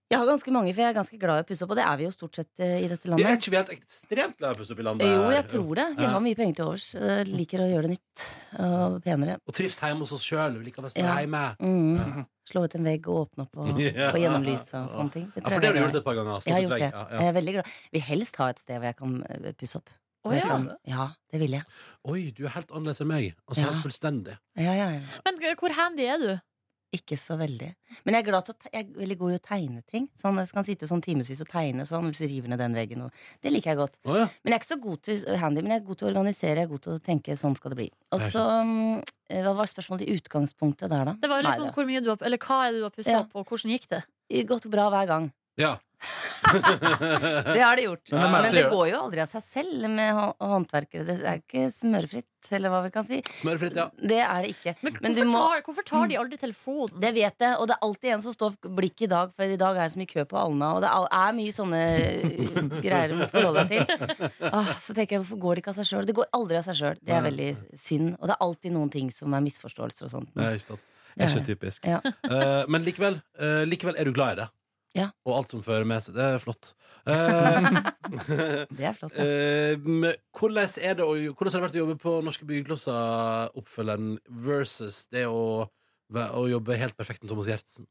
[SPEAKER 6] Jeg har ganske mange, for jeg er ganske glad i å pusse opp, og det er vi jo stort sett eh, i dette
[SPEAKER 2] Vi er
[SPEAKER 6] landet.
[SPEAKER 2] ikke vi helt ekstremt glad i å pusse opp i landet.
[SPEAKER 6] Jo, jeg
[SPEAKER 2] her.
[SPEAKER 6] tror det. Vi
[SPEAKER 2] Ja.
[SPEAKER 6] har mye penger til overs. eh, Liker å gjøre det nytt og penere.
[SPEAKER 2] Og trives hjemme hos oss sjøl. Vi liker å være
[SPEAKER 6] Ja.
[SPEAKER 2] hjemme.
[SPEAKER 6] Mm.
[SPEAKER 2] [laughs]
[SPEAKER 6] Slå ut en vegg og åpne opp og
[SPEAKER 2] Ja.
[SPEAKER 6] få gjennomlysa og sånne ting. Det
[SPEAKER 2] Ja,
[SPEAKER 6] tror
[SPEAKER 2] for det har du
[SPEAKER 6] jeg er
[SPEAKER 2] gjort
[SPEAKER 6] glad i.
[SPEAKER 2] et par ganger.
[SPEAKER 6] Jeg har
[SPEAKER 2] Stått
[SPEAKER 6] gjort
[SPEAKER 2] vegg.
[SPEAKER 6] det.
[SPEAKER 2] Ja, ja.
[SPEAKER 6] Jeg er veldig glad. Vil helst ha et sted hvor jeg kan eh, pusse opp.
[SPEAKER 10] Å ja.
[SPEAKER 6] ja, det vil jeg.
[SPEAKER 2] Oi, du er helt annerledes enn meg. Altså
[SPEAKER 6] Ja.
[SPEAKER 2] helt fullstendig.
[SPEAKER 6] Ja, ja, ja.
[SPEAKER 10] Men eh, hvor handy er du?
[SPEAKER 6] Ikke så veldig. Men jeg er, glad til å te jeg er veldig god i å tegne ting. Sånn, jeg kan sitte sånn timevis og tegne sånn, hvis jeg river ned den veggen. Og det liker jeg godt.
[SPEAKER 2] Å ja.
[SPEAKER 6] Men jeg er ikke så god til handy, men jeg er god til å organisere. Jeg er god til å tenke sånn skal det bli. Og
[SPEAKER 2] Det er
[SPEAKER 6] så mm, Hva var spørsmålet i utgangspunktet der, da?
[SPEAKER 10] Det var liksom
[SPEAKER 6] Nei, det-
[SPEAKER 10] hvor mye du har, eller hva er det du har pussa
[SPEAKER 6] Ja.
[SPEAKER 10] opp, og hvordan gikk det?
[SPEAKER 6] Gått bra hver gang.
[SPEAKER 2] ja.
[SPEAKER 6] Det har det gjort.
[SPEAKER 4] Men hvem er det
[SPEAKER 6] Men
[SPEAKER 4] som
[SPEAKER 6] det
[SPEAKER 2] altså-
[SPEAKER 4] gjør det?
[SPEAKER 6] går jo aldri av seg selv med hå- håndverkere. Det er ikke smørfritt, eller hva vi kan si.
[SPEAKER 2] [laughs] Smørfritt, ja.
[SPEAKER 6] Det er det ikke.
[SPEAKER 10] Men,
[SPEAKER 6] Men du
[SPEAKER 10] hvorfor,
[SPEAKER 6] må- Mm.
[SPEAKER 10] tar, hvorfor tar de aldri telefonen?
[SPEAKER 6] Det vet jeg, og det er alltid en som står blikket i dag, for i dag er det så mye kø på Alna, og det er- er mye
[SPEAKER 2] [laughs]
[SPEAKER 6] sånne greier du må forholde deg til. Ah, så tenker jeg, hvorfor går det ikke av seg sjøl? Det går aldri av seg sjøl. Det er veldig synd. Og det er alltid noen ting som er misforståelser og sånt.
[SPEAKER 2] Nei, ikke sant. Det er ikke typisk.
[SPEAKER 6] Ja.
[SPEAKER 2] Eh, men likevel, eh, likevel er du glad i det.
[SPEAKER 6] Ja.
[SPEAKER 2] Og alt som fører med seg. Det er flott. Eh,
[SPEAKER 6] Det er flott. da.
[SPEAKER 2] eh, men hvordan, er det å, hvordan har det vært å jobbe på Norske byggeklosser, oppfølgeren, versus det å, væ- å jobbe helt perfekt med Thomas Giertsen?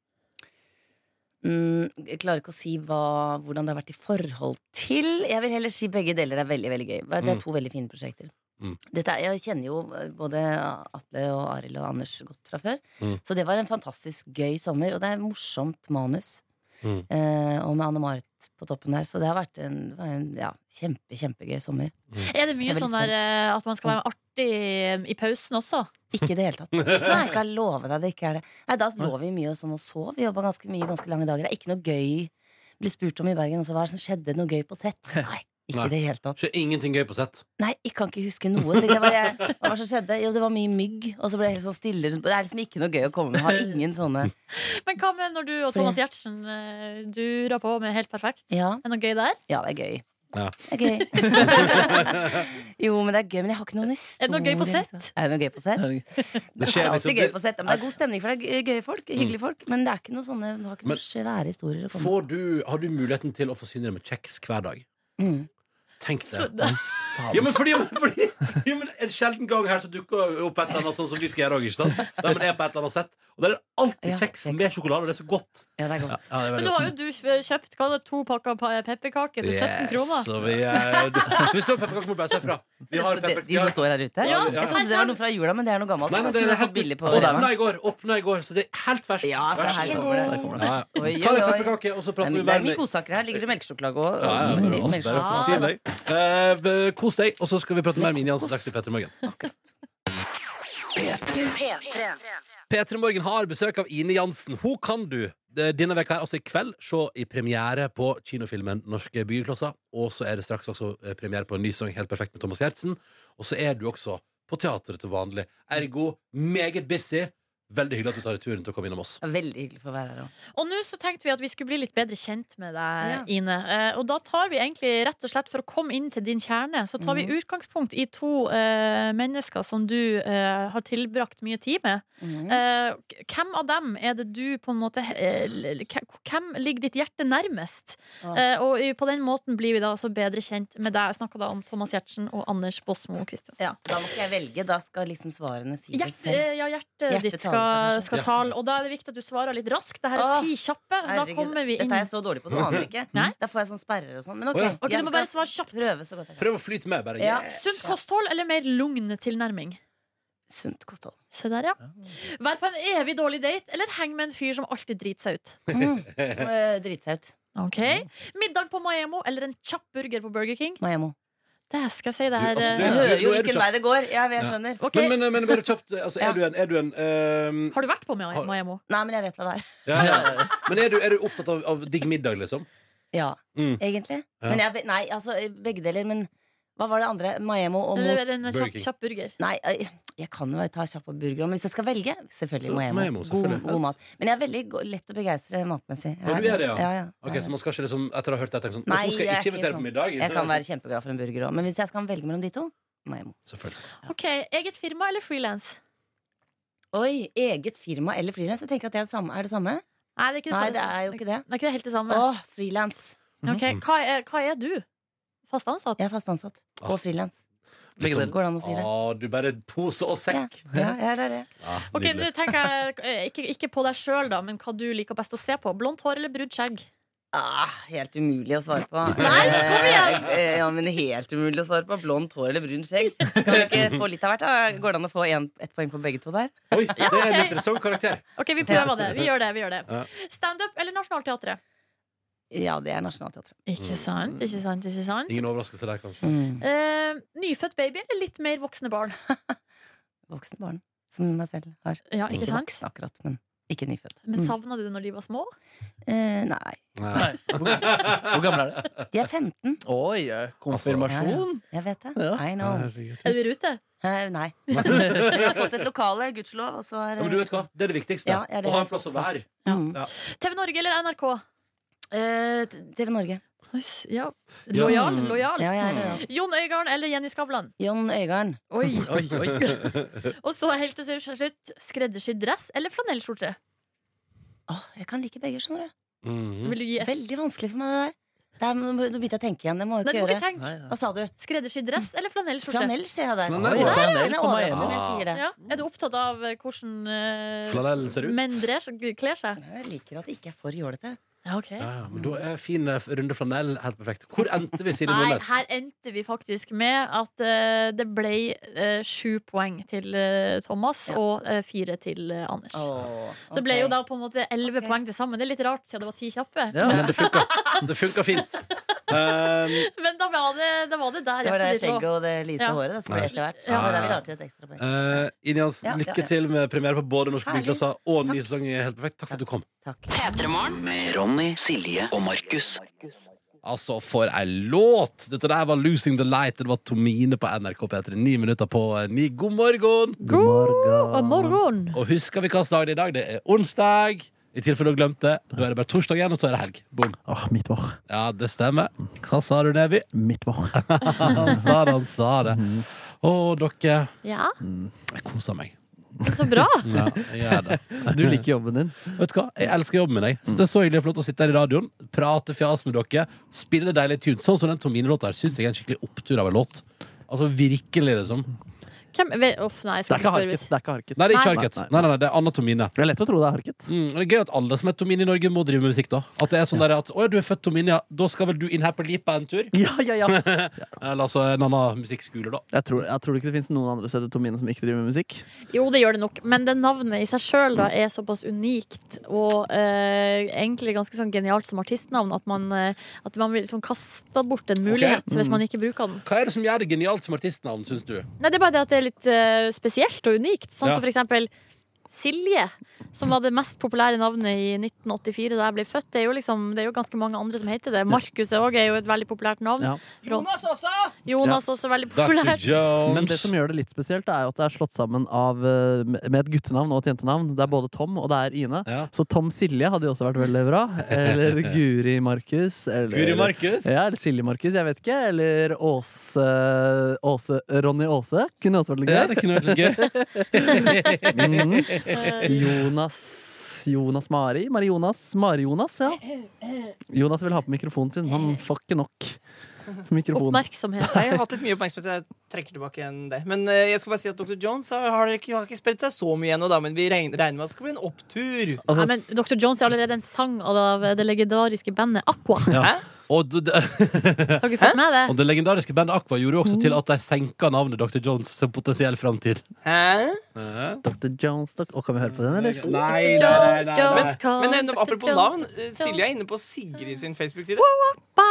[SPEAKER 6] Mm, jeg klarer ikke å si hva, hvordan det har vært i forhold til. Jeg vil heller si begge deler er veldig veldig gøy. Det er
[SPEAKER 2] Mm.
[SPEAKER 6] to veldig fine prosjekter.
[SPEAKER 2] Mm.
[SPEAKER 6] Dette er, jeg kjenner jo eh, både Atle og Arild og Anders godt fra før.
[SPEAKER 2] Mm.
[SPEAKER 6] Så det var en fantastisk gøy sommer, og det er morsomt manus.
[SPEAKER 2] Mm.
[SPEAKER 6] Eh, og med Anne Marit på toppen der. Så det har vært en, det var en ja, kjempe, kjempegøy sommer.
[SPEAKER 10] Er det mye
[SPEAKER 6] Jeg er veldig Mm.
[SPEAKER 10] sånn der eh, at man skal være artig eh, i pausen også?
[SPEAKER 6] Ikke i det hele tatt. Jeg skal love deg det ikke er det. Nei, da lå vi mye og sånn og sov. Vi jobba ganske mye ganske lange dager. Det er ikke noe gøy. Det ble spurt om i Bergen også, hva er det som skjedde noe gøy på sett. Nei, ikke
[SPEAKER 2] Nei.
[SPEAKER 6] i det hele tatt.
[SPEAKER 2] Skjer ingenting gøy på sett.
[SPEAKER 6] Nei, jeg kan ikke huske noe. Så jeg bare, jeg, hva var det som skjedde? Jo, det var mye mygg, og så ble jeg helt sånn stille. rundt- Det er liksom ikke noe gøy å komme med. Har ingen sånne
[SPEAKER 3] Men hva med når du og Thomas Giertsen eh, durer på med Helt perfekt?
[SPEAKER 6] Ja,
[SPEAKER 3] Er det noe gøy der?
[SPEAKER 6] ja det er gøy.
[SPEAKER 2] Ja.
[SPEAKER 6] Det er gøy. jo, men det er gøy, men jeg har ikke noen
[SPEAKER 3] Er
[SPEAKER 6] historie.
[SPEAKER 3] det noe gøy på
[SPEAKER 6] liksom.
[SPEAKER 3] sett?
[SPEAKER 6] Er det noe gøy på sett?
[SPEAKER 2] Det
[SPEAKER 6] Det
[SPEAKER 2] skjer liksom
[SPEAKER 6] er alltid gøy
[SPEAKER 2] det,
[SPEAKER 6] på sett. Men det er god stemning, for det er gøye folk. Hyggelige folk. Men det er ikke noe sånne, du har ikke
[SPEAKER 2] Men-
[SPEAKER 6] noen svære historier å komme med.
[SPEAKER 2] får du, Har du muligheten til å forsyne deg med kjeks hver dag?
[SPEAKER 6] Mm.
[SPEAKER 2] Tenk det. Ja, men fordi, men fordi ja, men En sjelden gang her så dukker opp et eller annet sånn som vi skal gjøre òg. Der man er på et eller annet sett. Og der er det
[SPEAKER 6] Ja,
[SPEAKER 2] alltid kjeks med sjokolade, og det er så godt.
[SPEAKER 6] Ja, det er godt.
[SPEAKER 2] Ja, det er veldig
[SPEAKER 3] Men nå
[SPEAKER 2] godt.
[SPEAKER 3] har jo du kjøpt hva er det, to pakker pa- pepperkaker til 17 kroner.
[SPEAKER 2] Så, vi, eh, så hvis du har pepperkaker, må du bare si ifra. Vi har
[SPEAKER 6] de,
[SPEAKER 2] pepper...
[SPEAKER 6] de som står her ute?
[SPEAKER 2] Ja,
[SPEAKER 6] Jeg trodde det var noe fra jula, men det er noe gammelt.
[SPEAKER 2] Nei, nei, det
[SPEAKER 6] Siden
[SPEAKER 2] er
[SPEAKER 6] jeg har fått
[SPEAKER 2] helt
[SPEAKER 6] billig på
[SPEAKER 2] Åpna
[SPEAKER 6] Rema.
[SPEAKER 2] i går, åpna i går, så det er helt ferskt.
[SPEAKER 6] Ja, se
[SPEAKER 2] Vær så
[SPEAKER 6] her
[SPEAKER 2] god.
[SPEAKER 6] kommer det. Her kommer det.
[SPEAKER 2] Ja,
[SPEAKER 6] Oi, oi,
[SPEAKER 2] ja. Ta deg
[SPEAKER 6] oi.
[SPEAKER 2] pepperkake, og så
[SPEAKER 6] Det er
[SPEAKER 2] prater vi
[SPEAKER 6] mye- det er mye
[SPEAKER 2] mer.
[SPEAKER 6] godsaker her. Ligger det melkesjokolade og,
[SPEAKER 2] Ja, ja,
[SPEAKER 6] og
[SPEAKER 2] men altså, det er
[SPEAKER 6] melkesjokolade.
[SPEAKER 2] jo forsyn, det. Eh, Kos deg, og så skal vi prate mer med Ine Jansen straks i Petter Morgen. P3 Morgen har besøk av Ine Jansen. Hun kan du eh, denne veka her, altså i kveld, se i premiere på kinofilmen Norske byggeklosser. Og så er det straks også eh, premiere på en ny sang Helt perfekt med Thomas Giertsen. Og så er du også på teatret til vanlig. Ergo meget busy. Veldig hyggelig at du tar turen til å komme innom oss.
[SPEAKER 6] Det er Veldig hyggelig for å være her òg.
[SPEAKER 3] Og nå så tenkte vi at vi skulle bli litt bedre kjent med deg,
[SPEAKER 6] Ja.
[SPEAKER 3] Ine. Eh, Og da tar vi egentlig rett og slett, for å komme inn til din kjerne, så tar
[SPEAKER 6] Mhm.
[SPEAKER 3] vi utgangspunkt i to eh, mennesker som du eh, har tilbrakt mye tid med. Eh, k- hvem av dem er det du på en måte eh, l- l- k- Hvem ligger ditt hjerte nærmest?
[SPEAKER 6] Ah.
[SPEAKER 3] Eh, og i- på den måten blir vi da altså bedre kjent med deg. Jeg snakka da om Thomas Giertsen og Anders Båsmo Christiansen.
[SPEAKER 6] Ja, da må ikke jeg velge. Da skal liksom svarene si det
[SPEAKER 3] Hjert,
[SPEAKER 6] selv.
[SPEAKER 3] eh, ja, hjertet
[SPEAKER 6] Hjertet
[SPEAKER 3] ditt
[SPEAKER 6] taler for
[SPEAKER 3] skal,
[SPEAKER 6] seg selv.
[SPEAKER 3] skal tale, og da er det viktig at du svarer litt raskt. Dette er
[SPEAKER 6] Åh,
[SPEAKER 3] ti kjappe. Da
[SPEAKER 6] Herregud,
[SPEAKER 3] kommer vi inn.
[SPEAKER 6] Dette er jeg så dårlig på, du aner ikke.
[SPEAKER 3] [laughs] Nei.
[SPEAKER 6] Da får jeg sånn sperrer og sånn. Men ok,
[SPEAKER 2] Å ja.
[SPEAKER 3] Ok,
[SPEAKER 6] jeg
[SPEAKER 3] Du må bare
[SPEAKER 6] skal
[SPEAKER 3] svare kjapt.
[SPEAKER 6] prøve så godt jeg kan.
[SPEAKER 2] Prøv å flyte med, bare.
[SPEAKER 6] Ja.
[SPEAKER 2] Yes.
[SPEAKER 3] Sunt kosthold eller mer lugn tilnærming?
[SPEAKER 6] Sunt kosthold.
[SPEAKER 3] Se der, ja. Vær på en evig dårlig date eller heng med en fyr som alltid driter seg ut.
[SPEAKER 2] [laughs]
[SPEAKER 6] Mm. Eh, Dritsaut.
[SPEAKER 3] Ok
[SPEAKER 2] Mhm.
[SPEAKER 3] Middag på Maemo eller en kjapp burger på Burger King?
[SPEAKER 6] Maemo.
[SPEAKER 3] Det skal jeg si. Det
[SPEAKER 2] Du,
[SPEAKER 3] her
[SPEAKER 2] altså,
[SPEAKER 6] Jeg
[SPEAKER 3] eh,
[SPEAKER 2] du- nå
[SPEAKER 6] hører jo
[SPEAKER 2] er du
[SPEAKER 6] hvilken
[SPEAKER 2] kjapp.
[SPEAKER 6] vei det går. Ja, jeg
[SPEAKER 2] Ja.
[SPEAKER 6] skjønner.
[SPEAKER 3] ok.
[SPEAKER 2] Men, men, men bare kjapt, altså,
[SPEAKER 6] Ja.
[SPEAKER 2] er du en, er du en ehm,
[SPEAKER 3] Har du vært på Maemo?
[SPEAKER 2] Har-
[SPEAKER 3] Maemo?
[SPEAKER 6] Nei, men jeg vet hva det er.
[SPEAKER 2] ja,
[SPEAKER 6] eh,
[SPEAKER 2] ja. Men er du, er du opptatt av, av digg middag, liksom?
[SPEAKER 6] Ja,
[SPEAKER 2] Mm.
[SPEAKER 6] egentlig.
[SPEAKER 2] Ja.
[SPEAKER 6] Men jeg, nei, altså begge deler. Men hva var det andre? Maemo og mot
[SPEAKER 3] Eller en
[SPEAKER 2] Burger
[SPEAKER 3] kjapp,
[SPEAKER 2] King.
[SPEAKER 3] kjapp burger?
[SPEAKER 6] Nei, jeg- jeg kan jo ta kjapp og burger, men hvis jeg skal velge, selvfølgelig
[SPEAKER 2] Så
[SPEAKER 6] Maemo.
[SPEAKER 2] Maemo, selvfølgelig.
[SPEAKER 6] God, god mat. Men jeg er veldig go- lett å begeistre matmessig.
[SPEAKER 2] Ja, du er det, ja.
[SPEAKER 6] ja, ja.
[SPEAKER 2] Ok, Så man skal ikke liksom, etter å ha hørt det, tenke sånn
[SPEAKER 6] Nei,
[SPEAKER 2] Nå skal
[SPEAKER 6] jeg
[SPEAKER 2] jeg ikke
[SPEAKER 6] er ikke
[SPEAKER 2] invitere
[SPEAKER 6] sånn.
[SPEAKER 2] på middag.
[SPEAKER 6] Jeg kan være kjempeglad for en burger òg, men hvis jeg skal velge mellom de to Maemo.
[SPEAKER 2] Selvfølgelig.
[SPEAKER 3] Ok, Eget firma eller frilans?
[SPEAKER 6] Oi, eget firma eller frilans? Jeg tenker at det er det samme. Er det samme?
[SPEAKER 3] Nei, det er ikke det,
[SPEAKER 6] Nei, det er jo ikke det.
[SPEAKER 3] Det er ikke helt det samme.
[SPEAKER 6] Å, frilans.
[SPEAKER 3] Ok,
[SPEAKER 2] mhm.
[SPEAKER 3] hva, er, hva er du? Fast ansatt?
[SPEAKER 6] Jeg er fast ansatt.
[SPEAKER 2] Ah. Liksom-
[SPEAKER 6] Og frilans.
[SPEAKER 4] Begge
[SPEAKER 6] Går
[SPEAKER 4] deler.
[SPEAKER 6] det an å si det?
[SPEAKER 2] Å, Ah, du bare pose og
[SPEAKER 6] Ja,
[SPEAKER 2] sekk.
[SPEAKER 6] ja, jeg er det.
[SPEAKER 2] Ja,
[SPEAKER 3] Ok, du
[SPEAKER 2] nydelig.
[SPEAKER 3] tenker jeg, eh, ikke, ikke på deg sjøl, da, men hva du liker best å se på. Blondt hår eller brunt skjegg?
[SPEAKER 6] Ah, helt umulig å svare på.
[SPEAKER 3] Nei, kom igjen!
[SPEAKER 6] Eh, eh, Ja, men helt umulig å svare på. Blondt hår eller brunt skjegg? Kan vi ikke få litt av hvert? da? Går det an å få en, ett poeng på begge to der?
[SPEAKER 2] Oi, det er en interessant karakter.
[SPEAKER 3] Ok, Vi prøver det. Vi gjør det. vi gjør det
[SPEAKER 2] Ja.
[SPEAKER 3] Standup eller Nationaltheatret?
[SPEAKER 6] Ja, det er Nationaltheatret.
[SPEAKER 3] Ikke sant, ikke sant, ikke sant.
[SPEAKER 2] Ingen overraskelse der, kanskje.
[SPEAKER 3] Eh, nyfødt baby eller litt mer voksne barn?
[SPEAKER 6] Voksen barn, som meg selv har.
[SPEAKER 3] Ja, ikke
[SPEAKER 6] Ikke
[SPEAKER 3] sant?
[SPEAKER 6] voksen akkurat, men ikke nyfødt.
[SPEAKER 3] Men
[SPEAKER 6] Mm.
[SPEAKER 3] savna du det når de var små?
[SPEAKER 6] Eh, nei.
[SPEAKER 2] Nei.
[SPEAKER 4] Hvor gammel er det?
[SPEAKER 6] De er 15.
[SPEAKER 4] Oi, eh, konfirmasjon?
[SPEAKER 6] Jeg vet det.
[SPEAKER 4] Ja.
[SPEAKER 6] I know.
[SPEAKER 3] Er du i rute?
[SPEAKER 6] Eh, nei. Vi har fått et lokale, gudskjelov, og så er
[SPEAKER 2] Ja, men du vet hva, det er det viktigste.
[SPEAKER 6] Ja, ja, det er
[SPEAKER 2] å ha en plass å være.
[SPEAKER 6] Mm.
[SPEAKER 3] TV Norge eller NRK?
[SPEAKER 6] Eh, TV Norge.
[SPEAKER 3] Nice, Ja. Lojal,
[SPEAKER 4] Mm.
[SPEAKER 3] lojal.
[SPEAKER 6] Ja, jeg er det, ja.
[SPEAKER 3] Jon Øigarden eller Jenny Skavlan?
[SPEAKER 6] Jon Øigarden.
[SPEAKER 3] Oi.
[SPEAKER 4] Oi, oi.
[SPEAKER 3] Og så helt til slutt, skreddersydd dress eller flanellskjorte?
[SPEAKER 6] Åh, jeg kan like begge, skjønner du.
[SPEAKER 2] Mhm.
[SPEAKER 3] Vil du gi F?
[SPEAKER 6] Veldig vanskelig for meg, det der. Det er, nå begynte jeg å tenke igjen. Det må jeg
[SPEAKER 3] Nei,
[SPEAKER 6] ikke
[SPEAKER 3] du må
[SPEAKER 6] gjøre.
[SPEAKER 3] ikke tenke.
[SPEAKER 4] Nei, nei.
[SPEAKER 6] Hva sa du?
[SPEAKER 3] Skreddersydd dress eller flanellskjorte?
[SPEAKER 6] Flanell, ser jeg der.
[SPEAKER 2] Flanell,
[SPEAKER 6] Oi,
[SPEAKER 2] ja.
[SPEAKER 6] der er
[SPEAKER 4] Flanell
[SPEAKER 6] den
[SPEAKER 4] på meg, ja.
[SPEAKER 6] overraskende, jeg sier det.
[SPEAKER 3] Ja. Er du opptatt av eh, hvordan eh,
[SPEAKER 2] Flanellen ser ut.
[SPEAKER 3] menn drer seg- kler seg?
[SPEAKER 6] Jeg liker at det ikke er for jålete.
[SPEAKER 3] Ja, ok
[SPEAKER 2] Ja, ja, men da er fin eh, runde flanell helt perfekt. Hvor endte vi, Silje
[SPEAKER 3] Nei,
[SPEAKER 2] Nordnes?
[SPEAKER 3] her endte vi faktisk med at eh, det ble eh, sju poeng til eh, Thomas
[SPEAKER 6] Ja.
[SPEAKER 3] og eh, fire til eh, Anders. Så det ble jo da på en måte elleve
[SPEAKER 6] Ok.
[SPEAKER 3] poeng til sammen. Det er litt rart siden det var ti kjappe.
[SPEAKER 4] Ja.
[SPEAKER 6] [laughs]
[SPEAKER 2] Men det funka. Det funka fint. Um,
[SPEAKER 3] [laughs] Men da var det, da var det der.
[SPEAKER 6] Det var det
[SPEAKER 3] hjertet ditt lå.
[SPEAKER 6] skjegget og det lyse
[SPEAKER 3] Ja.
[SPEAKER 6] håret det som ble etter hvert.
[SPEAKER 2] Ja.
[SPEAKER 6] Det var der vi la til et ekstra poeng.
[SPEAKER 2] eh, Ine Jansen,
[SPEAKER 6] Ja, ja,
[SPEAKER 2] lykke
[SPEAKER 6] ja.
[SPEAKER 2] til med premiere på både Norske
[SPEAKER 6] Herlig.
[SPEAKER 2] Bygglasser og ny sesong i Helt perfekt. Takk for at du kom.
[SPEAKER 6] Takk.
[SPEAKER 1] Med Ronny, Silje og Markus.
[SPEAKER 2] Altså, for ei låt! Dette der var 'Losing the Light'. Det var Tomine på NRK P3. Ni minutter på eh, ni. God morgen!
[SPEAKER 3] God morgen.
[SPEAKER 2] Og husker vi hvilken dag det er i dag? Det er onsdag. I tilfelle du glemte, da er det bare torsdag igjen, og så er det helg. Boom.
[SPEAKER 11] Åh, mitt vår.
[SPEAKER 2] Ja, det stemmer. Hva sa du, Neby?
[SPEAKER 11] Mitt Mhm. vår.
[SPEAKER 2] [laughs] Han sa det, han sa det. Å, dere.
[SPEAKER 3] Ja,
[SPEAKER 2] Jeg koser meg.
[SPEAKER 3] så bra.
[SPEAKER 2] Ja, jeg gjør det.
[SPEAKER 4] [laughs] Du liker jobben
[SPEAKER 5] [laughs]
[SPEAKER 4] din.
[SPEAKER 2] Vet du hva? Jeg elsker jobben min. jeg. Så Det er så hyggelig og flott å sitte her i radioen, prate fjas med dere, spille deilige tunes. Sånn som den Tomine-låta her syns jeg er en skikkelig opptur av en låt. Altså virkelig, liksom.
[SPEAKER 3] Hvem vet- Uff, nei, jeg skal
[SPEAKER 4] Det er ikke
[SPEAKER 3] ikke spørre.
[SPEAKER 4] harket. Det er
[SPEAKER 2] Nei, det er
[SPEAKER 4] ikke harket.
[SPEAKER 2] ikke
[SPEAKER 4] Nei,
[SPEAKER 2] Harket.
[SPEAKER 4] nei,
[SPEAKER 2] Nei, nei, nei, det er Anna Tomine.
[SPEAKER 4] Det er lett å tro det er harket.
[SPEAKER 2] Mm, og det er gøy at alle som er Tomine i Norge, må drive med musikk, da. At det er sånn der at Å ja, du er født Tomine, ja. Da skal vel du inn her på Lipa en tur?
[SPEAKER 4] Ja, ja, ja.
[SPEAKER 2] [laughs] Eller altså en annen musikkskole, da.
[SPEAKER 4] Jeg tror, jeg tror ikke det finnes noen andre som heter Tomine som ikke driver med musikk.
[SPEAKER 3] Jo, det gjør det nok, men det navnet i seg sjøl er såpass unikt og eh, egentlig ganske sånn genialt som artistnavn at man, eh, at man vil liksom kaste bort en mulighet hvis man ikke bruker den.
[SPEAKER 2] Hva er det som gjør det genialt som artistnavn, syns du?
[SPEAKER 3] Nei, Det er bare det at det er litt eh, spesielt og unikt. Sånn
[SPEAKER 2] Ja.
[SPEAKER 3] som for eksempel Silje, som var det mest populære navnet i 1984 da jeg ble født. Det er jo, liksom, det er jo ganske mange andre som heter det. Markus er også- er jo et veldig populært navn.
[SPEAKER 4] Ja.
[SPEAKER 5] Jonas også!
[SPEAKER 3] Jonas også veldig
[SPEAKER 2] Dr.
[SPEAKER 3] populært.
[SPEAKER 2] Jones.
[SPEAKER 4] Men det som gjør det litt spesielt, er jo at det er slått sammen av, eh, med et guttenavn og et jentenavn. Det er både Tom og det er Ine.
[SPEAKER 2] Ja.
[SPEAKER 4] Så Tom Silje hadde jo også vært veldig bra. Eller Guri Markus. Eller,
[SPEAKER 2] Guri Markus.
[SPEAKER 4] Ja, eller Silje Markus, jeg vet ikke. Eller Åse, Åse Ronny Aase. Kunne også vært litt
[SPEAKER 2] Ja,
[SPEAKER 4] gøy.
[SPEAKER 2] det kunne vært litt
[SPEAKER 4] [laughs]
[SPEAKER 2] gøy.
[SPEAKER 4] Mm.
[SPEAKER 3] eh,
[SPEAKER 2] [laughs]
[SPEAKER 4] Jonas Jonas Mari. Mari Jonas. Mari Jonas, ja. Jonas vil ha på mikrofonen sin. Han får ikke nok mikrofon.
[SPEAKER 3] Oppmerksomhet.
[SPEAKER 5] Nei, Jeg har hatt litt mye oppmerksomhet. Jeg trekker tilbake igjen det. Men eh, jeg skal bare si at Dr. Jones har, har, ikke, har ikke spredt seg så mye ennå, da, men vi regner, regner med at det skal bli en opptur.
[SPEAKER 4] Altså,
[SPEAKER 3] Nei, men Dr. Jones er allerede en sang av det legendariske bandet Aqua.
[SPEAKER 2] Og d- d-
[SPEAKER 3] Har dere fått med det?
[SPEAKER 2] Og det legendariske bandet Aqua gjorde jo også til at de senka navnet Dr. Jones som potensiell framtid.
[SPEAKER 5] Hæ?
[SPEAKER 4] Dr. Jones, dok- Å, kan vi høre på den, eller?
[SPEAKER 2] nei,
[SPEAKER 3] Jones, Jones,
[SPEAKER 5] Men eh,
[SPEAKER 3] Dr.
[SPEAKER 5] apropos
[SPEAKER 3] Jones.
[SPEAKER 5] navn, eh, Silje er inne på Sigrid sin Facebook-side.
[SPEAKER 3] Ba.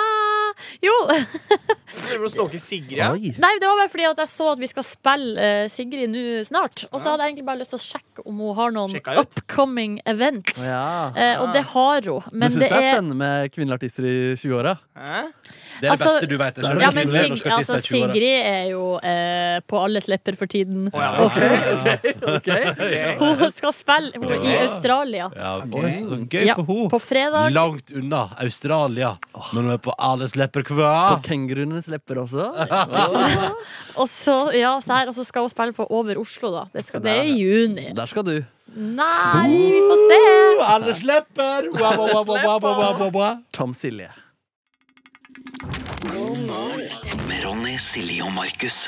[SPEAKER 3] Jo,
[SPEAKER 5] Så driver du og stalker Sigrid? Ja?
[SPEAKER 4] Oi.
[SPEAKER 3] nei, det var bare fordi at jeg så at vi skal spille eh, Sigrid nå snart. Og så hadde jeg egentlig bare lyst til å sjekke om hun har noen
[SPEAKER 5] Sjekka ut.
[SPEAKER 3] upcoming events.
[SPEAKER 4] Ja.
[SPEAKER 3] Eh, og det har hun.
[SPEAKER 4] Du
[SPEAKER 3] Men
[SPEAKER 4] syns
[SPEAKER 3] det
[SPEAKER 4] det
[SPEAKER 3] er
[SPEAKER 4] er spennende med kvinnelige artister i 20-åra?
[SPEAKER 5] Hæ?
[SPEAKER 2] Det er det
[SPEAKER 3] Altså,
[SPEAKER 2] beste du vet.
[SPEAKER 3] ja, men Sig altså, Sigrid er jo eh, på alles lepper for tiden.
[SPEAKER 5] Å, ja. [laughs]
[SPEAKER 3] Hun skal spille hun er i Australia
[SPEAKER 2] Ja, boy, så gøy
[SPEAKER 3] Ja.
[SPEAKER 2] for henne.
[SPEAKER 3] på fredag.
[SPEAKER 2] Langt unna Australia, men hun er på alles lepper hva?
[SPEAKER 3] Ah.
[SPEAKER 4] På kenguruenes lepper også?
[SPEAKER 3] Og så, ja, så her, og så skal hun spille på Over Oslo, da. Det, skal, det er i juni.
[SPEAKER 4] Der skal du.
[SPEAKER 3] Nei, vi får se.
[SPEAKER 2] Alles lepper! Wa, wa, wa, wa, wa, wa, wa, wa, wa.
[SPEAKER 4] Tom Silje.
[SPEAKER 1] Med Ronny, Silje og Markus.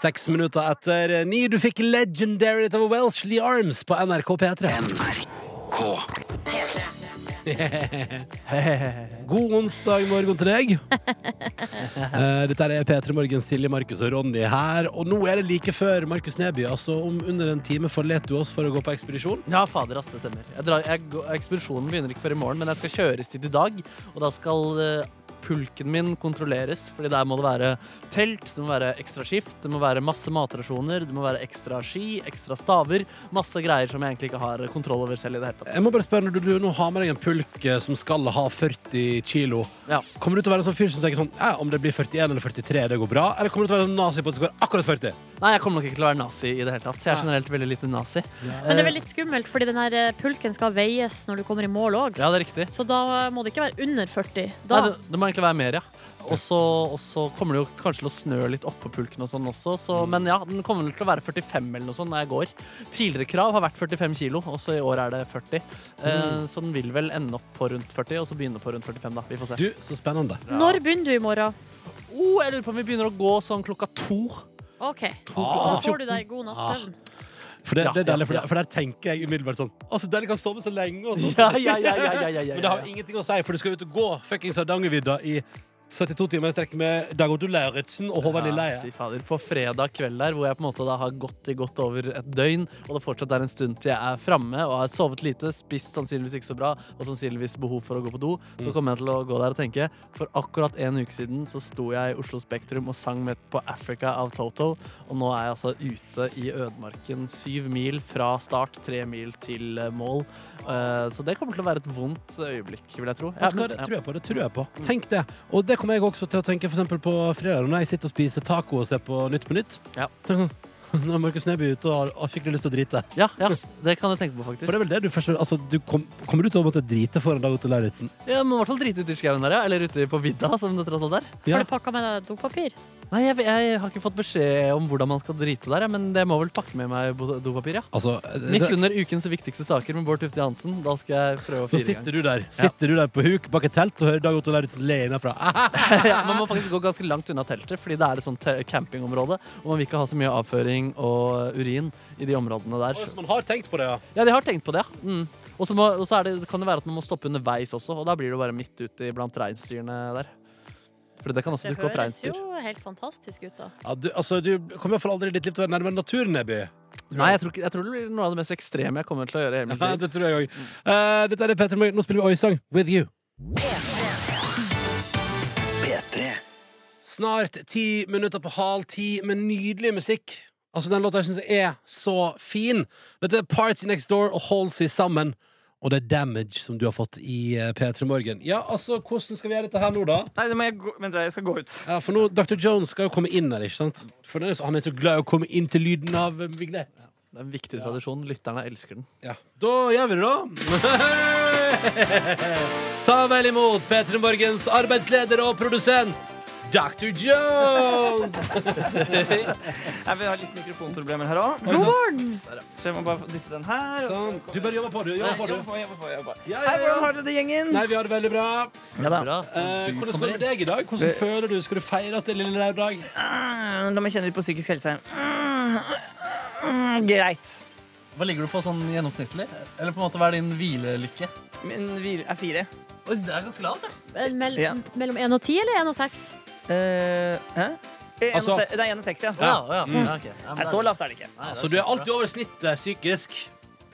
[SPEAKER 2] Seks minutter etter ni. Du fikk Legendary av Welsh Lee Arms på NRK P3.
[SPEAKER 1] NRK.
[SPEAKER 2] God onsdag morgen til deg. Eh, Dette er P3 Morgen, Silje, Markus og Ronny her. Og nå er det like før Markus Neby. Altså om under en time forlot du oss for å gå på ekspedisjon.
[SPEAKER 4] Ja, fader, ass, det stemmer. Jeg drar, jeg, går- ekspedisjonen begynner ikke før i morgen, men jeg skal kjøres dit i dag. Og da skal eh, pulken min kontrolleres, fordi der må det være telt, det må være ekstra skift, det må være masse matrasjoner, det må være ekstra ski, ekstra staver. Masse greier som jeg egentlig ikke har kontroll over selv i det hele tatt.
[SPEAKER 2] Jeg må bare spørre, når du, du nå har med deg en pulk eh, som skal ha 40 kilo,
[SPEAKER 4] Ja.
[SPEAKER 2] kommer du til å være en sånn fyr som tenker sånn ja, om det blir 41 eller 43, det går bra? Eller kommer du til å være en nazi på at det skal være akkurat 40?
[SPEAKER 4] Nei, jeg kommer nok ikke til å være nazi i det hele tatt. Så jeg er generelt veldig lite nazi.
[SPEAKER 3] Men det er vel litt skummelt, fordi den her eh, pulken skal veies når du kommer i mål òg.
[SPEAKER 4] Ja, det er riktig.
[SPEAKER 3] Så da må det ikke være under 40. Da.
[SPEAKER 4] Nei, det, det må egentlig være mer, ja. Og så og så kommer det jo kanskje til å snø litt oppå pulken og sånn også, så, men ja, den kommer vel til å være 45 eller noe sånt når jeg går. Tidligere krav har vært 45 kilo, og så i år er det 40. Eh, så den vil vel ende opp på rundt 40, og så begynne på rundt 45, da. Vi får se.
[SPEAKER 2] Du, så spennende.
[SPEAKER 3] Når begynner du i morgen?
[SPEAKER 4] oh, jeg lurer på om vi begynner å gå sånn klokka [laughs] to.
[SPEAKER 3] OK. Da
[SPEAKER 4] Ah.
[SPEAKER 3] får du deg god natts søvn.
[SPEAKER 2] Ah, For det,
[SPEAKER 4] Ja,
[SPEAKER 2] det er deilig,
[SPEAKER 4] ja,
[SPEAKER 2] for,
[SPEAKER 4] ja.
[SPEAKER 2] der, for der tenker jeg umiddelbart sånn Å, så deilig kan sove så lenge og sånn.
[SPEAKER 4] Ja, ja, ja, ja, ja, ja, ja,
[SPEAKER 2] Men det har ingenting å si, for du skal ut og gå fuckings Hardangervidda i 72 timer i strekk med Dag Otto Lauritzen og Håvard
[SPEAKER 4] Ja,
[SPEAKER 2] Lilleheie.
[SPEAKER 4] fy fader. På fredag kveld der, hvor jeg på en måte da har gått i godt over et døgn, og det fortsatt er en stund til jeg er framme og har sovet lite, spist sannsynligvis ikke så bra, og sannsynligvis behov for å gå på do,
[SPEAKER 2] Mm.
[SPEAKER 4] så kommer jeg til å gå der og tenke For akkurat en uke siden så sto jeg i Oslo Spektrum og sang med på Africa av Toto, og nå er jeg altså ute i ødemarken syv mil fra start, tre mil til eh, mål. Eh, Så det kommer til å være et vondt øyeblikk, vil jeg tro. Ja,
[SPEAKER 2] Vet du hva,
[SPEAKER 4] men-
[SPEAKER 2] det
[SPEAKER 4] ja.
[SPEAKER 2] tror jeg på. det tror jeg på Tenk det. Og det kommer jeg også til å tenke for eksempel på fredag, når jeg sitter og spiser taco og ser på Nytt på Nytt. [laughs]
[SPEAKER 4] Ja.
[SPEAKER 2] Tenk sånn, Nå er Markus Neby ute og har- har skikkelig lyst til å drite.
[SPEAKER 4] Ja, ja, det kan du tenke på, faktisk.
[SPEAKER 2] For det er vel det du først altså, du kom, Kommer du til å måtte drite foran Dag Otto Lauritzen?
[SPEAKER 4] Ja, men i hvert fall drite ute i skauen der, ja. Eller ute på vidda, som det tross alt er.
[SPEAKER 2] Ja.
[SPEAKER 10] Har du pakka med deg dopapir?
[SPEAKER 4] Nei, jeg, jeg har ikke fått beskjed om hvordan man skal drite der, jeg, men jeg må vel pakke med meg bo- dopapir, ja.
[SPEAKER 2] Altså,
[SPEAKER 4] Midt
[SPEAKER 2] det,
[SPEAKER 4] under ukens viktigste saker med Bård Tufte Hansen. Da skal jeg prøve
[SPEAKER 2] nå
[SPEAKER 4] å fire i gang.
[SPEAKER 2] sitter du der Sitter du der på huk bak et telt og hører Dag Otto Lauritzen le innenfra. Ah,
[SPEAKER 4] ja, [laughs] man må faktisk gå ganske langt unna teltet, fordi det er et sånt te- campingområde. Og man vil ikke ha så mye avføring og urin i de områdene der.
[SPEAKER 2] man har tenkt på det, ja.
[SPEAKER 4] Ja, de har tenkt på det, ja. Mm. Og så må- og så er det- kan det være at man må stoppe underveis også, og da blir du bare midt ute blant reinsdyrene der. For det kan også
[SPEAKER 10] Det
[SPEAKER 4] dukke opp
[SPEAKER 10] høres
[SPEAKER 4] reinsdyr.
[SPEAKER 10] jo helt fantastisk ut, da.
[SPEAKER 2] ja du, altså, du kommer iallfall aldri i ditt liv til å være nærmere naturen, Neby.
[SPEAKER 4] Nei, jeg tror, ikke, jeg tror det blir noe av det mest ekstreme jeg kommer til å gjøre i hele mitt
[SPEAKER 2] Ja,
[SPEAKER 4] liv.
[SPEAKER 2] det tror jeg òg. Eh, dette er Petter Morgen. Nå spiller vi Oi-sang With You.
[SPEAKER 1] P3.
[SPEAKER 2] Snart ti minutter på halv ti med nydelig musikk. Altså, Den låta jeg syns er så fin. Dette er Party Next Door og Hold Seg Sammen. Og det er damage som du har fått i eh, P3 Morgen. Ja, altså, hvordan skal vi gjøre dette her nå, da?
[SPEAKER 5] Nei, det må jeg gå, vent, jeg skal gå ut.
[SPEAKER 2] Ja, For nå, Dr. Jones skal jo komme inn her, ikke sant? For den er så, han er så glad i å komme inn til lyden av eh, vignett.
[SPEAKER 4] Det er en viktig tradisjon. Lytterne elsker den.
[SPEAKER 2] Ja. Da [laughs] gjør vi det, da. Ta vel imot P3 Morgens arbeidsleder og produsent Dr. Jones!
[SPEAKER 5] Jeg vil ha litt mikrofonproblemer her òg.
[SPEAKER 2] Oi, sant.
[SPEAKER 5] Så jeg må bare få dytte den her. og så-
[SPEAKER 2] Sånn. Du bare jobber på, du.
[SPEAKER 5] Nei,
[SPEAKER 2] Jobber på, du.
[SPEAKER 5] jobbe på, jobbe på, jobbe på.
[SPEAKER 2] Ja, ja,
[SPEAKER 5] Hei, hvordan
[SPEAKER 2] ja.
[SPEAKER 5] har dere det, gjengen?
[SPEAKER 2] Nei, vi har det veldig bra.
[SPEAKER 4] Bra.
[SPEAKER 2] Eh,
[SPEAKER 4] Du
[SPEAKER 2] hvordan
[SPEAKER 4] kommer
[SPEAKER 2] går det med deg i dag? Hvordan føler du? Skal du feire at det er lille lørdag?
[SPEAKER 5] Mm, La meg kjenne litt på psykisk helse. Mm, mm, Greit.
[SPEAKER 4] inn. Hva ligger du på sånn gjennomsnittlig? Eller på en måte, hva er din hvilelykke?
[SPEAKER 5] Min hvile er fire.
[SPEAKER 4] Oi, det er ganske lavt,
[SPEAKER 10] Men Mell
[SPEAKER 5] Ja.
[SPEAKER 10] Mellom 1 og 10 eller 1 og 6?
[SPEAKER 5] Eh, hæ? Eh, en
[SPEAKER 2] Altså-
[SPEAKER 5] og se- Nei, en og seks, ja.
[SPEAKER 4] Ja, Mm. ja, ja, ok. ja, men
[SPEAKER 5] Nei,
[SPEAKER 4] det er-
[SPEAKER 5] så lavt er det ikke.
[SPEAKER 4] Nei, det
[SPEAKER 2] Altså, du er alltid over snittet psykisk.